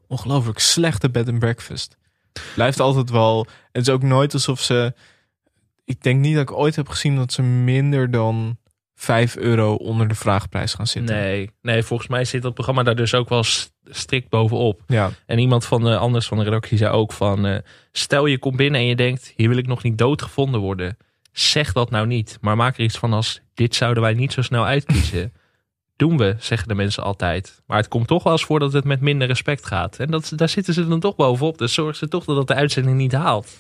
[SPEAKER 2] ongelooflijk slechte bed and breakfast. Blijft altijd wel. Het is ook nooit alsof ze. Ik denk niet dat ik ooit heb gezien dat ze minder dan 5 euro onder de vraagprijs gaan zitten.
[SPEAKER 1] Nee, nee, volgens mij zit dat programma daar dus ook wel s- strikt bovenop.
[SPEAKER 2] Ja.
[SPEAKER 1] En iemand van de, anders van de redactie zei ook van... eh, stel je komt binnen en je denkt, hier wil ik nog niet doodgevonden worden. Zeg dat nou niet, maar maak er iets van als... dit zouden wij niet zo snel uitkiezen. Doen we, zeggen de mensen altijd. Maar het komt toch wel eens voor dat het met minder respect gaat. En dat, daar zitten ze dan toch bovenop. Dus zorgen ze toch dat dat de uitzending niet haalt.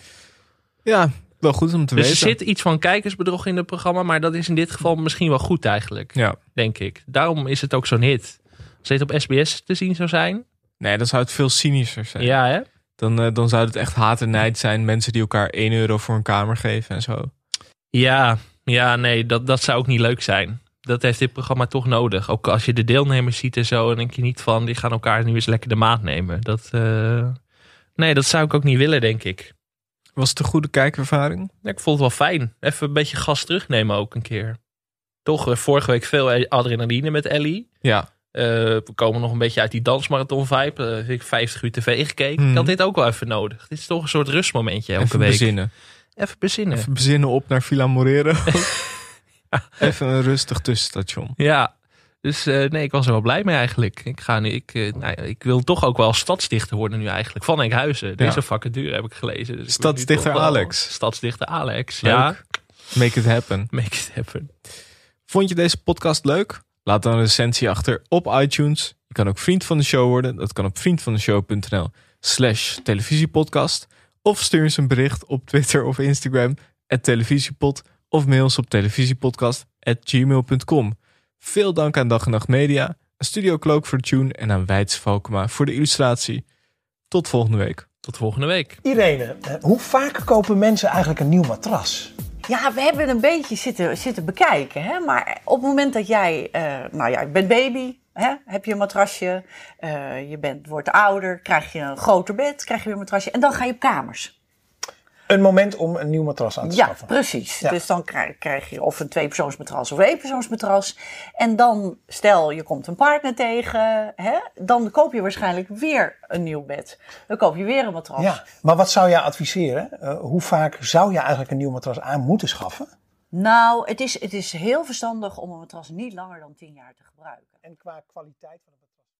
[SPEAKER 2] Ja, wel goed om te
[SPEAKER 1] Dus er
[SPEAKER 2] weten.
[SPEAKER 1] zit iets van kijkersbedrog in het programma... maar dat is in dit geval misschien wel goed eigenlijk,
[SPEAKER 2] Ja.
[SPEAKER 1] denk ik. Daarom is het ook zo'n hit. Als dit op SBS te zien zou zijn...
[SPEAKER 2] Nee, dan zou het veel cynischer zijn.
[SPEAKER 1] Ja, hè?
[SPEAKER 2] Dan, eh, dan zou het echt haat en nijd zijn. Mensen die elkaar 1 euro voor een kamer geven en zo.
[SPEAKER 1] Ja, ja nee, dat, dat zou ook niet leuk zijn. Dat heeft dit programma toch nodig. Ook als je de deelnemers ziet en zo, dan denk je niet van... die gaan elkaar nu eens lekker de maat nemen. Dat, eh, nee, dat zou ik ook niet willen, denk ik.
[SPEAKER 2] Was het een goede kijkervaring?
[SPEAKER 1] Ja, ik vond het wel fijn. Even een beetje gas terugnemen ook een keer. Toch, eh, vorige week veel adrenaline met Ellie.
[SPEAKER 2] Ja.
[SPEAKER 1] Eh, we komen nog een beetje uit die dansmarathon-vibe. Eh, heb ik 50 uur tv gekeken.
[SPEAKER 2] Mhm.
[SPEAKER 1] Ik had dit ook wel even nodig. Dit is toch een soort rustmomentje elke
[SPEAKER 2] Even
[SPEAKER 1] week.
[SPEAKER 2] bezinnen.
[SPEAKER 1] Even bezinnen.
[SPEAKER 2] Even bezinnen op naar Villa Morero. Even een rustig tussenstation.
[SPEAKER 1] Ja, Dus eh, nee, ik was er wel blij mee eigenlijk. Ik, ga nu, ik, eh, nou ja, ik wil toch ook wel stadsdichter worden nu eigenlijk. Van Enkhuizen. Deze
[SPEAKER 2] Ja.
[SPEAKER 1] vacature heb ik gelezen. Dus ik wil nu
[SPEAKER 2] Stadsdichter
[SPEAKER 1] toch wel-
[SPEAKER 2] Alex.
[SPEAKER 1] Stadsdichter Alex,
[SPEAKER 2] Leuk.
[SPEAKER 1] ja.
[SPEAKER 2] Make it happen.
[SPEAKER 1] Make it happen.
[SPEAKER 2] Vond je deze podcast leuk? Laat dan een recensie achter op iTunes. Je kan ook vriend van de show worden. Dat kan op vriendvandeshow.nl slash televisiepodcast. Of stuur eens een bericht op Twitter of Instagram. At televisiepod. Of mail ons op televisiepodcast at gmail.com. Veel dank aan Dag en Nacht Media. Aan Studio Cloak voor de tune. En aan Weids Valkema voor de illustratie. Tot volgende week.
[SPEAKER 1] Tot volgende week.
[SPEAKER 5] Irene, eh, hoe vaak kopen mensen eigenlijk een nieuw matras?
[SPEAKER 20] Ja, we hebben een beetje zitten, zitten bekijken. Hè? Maar op het moment dat jij, eh, nou ja, je bent baby, hè? heb je een matrasje, eh, je bent, wordt ouder, krijg je een groter bed, krijg je weer een matrasje en dan ga je op kamers.
[SPEAKER 5] Een moment om een nieuw matras aan te
[SPEAKER 20] Ja,
[SPEAKER 5] schaffen.
[SPEAKER 20] precies.
[SPEAKER 5] Ja.
[SPEAKER 20] Dus dan krijg, krijg je of een tweepersoonsmatras of een eenpersoonsmatras. En dan, stel je komt een partner tegen, hè? dan koop je waarschijnlijk weer een nieuw bed. Dan koop je weer een matras.
[SPEAKER 5] Ja, maar wat zou jij adviseren? Eh, hoe vaak zou je eigenlijk een nieuw matras aan moeten schaffen?
[SPEAKER 20] Nou, het is, het is heel verstandig om een matras niet langer dan 10 jaar te gebruiken.
[SPEAKER 5] En qua kwaliteit van het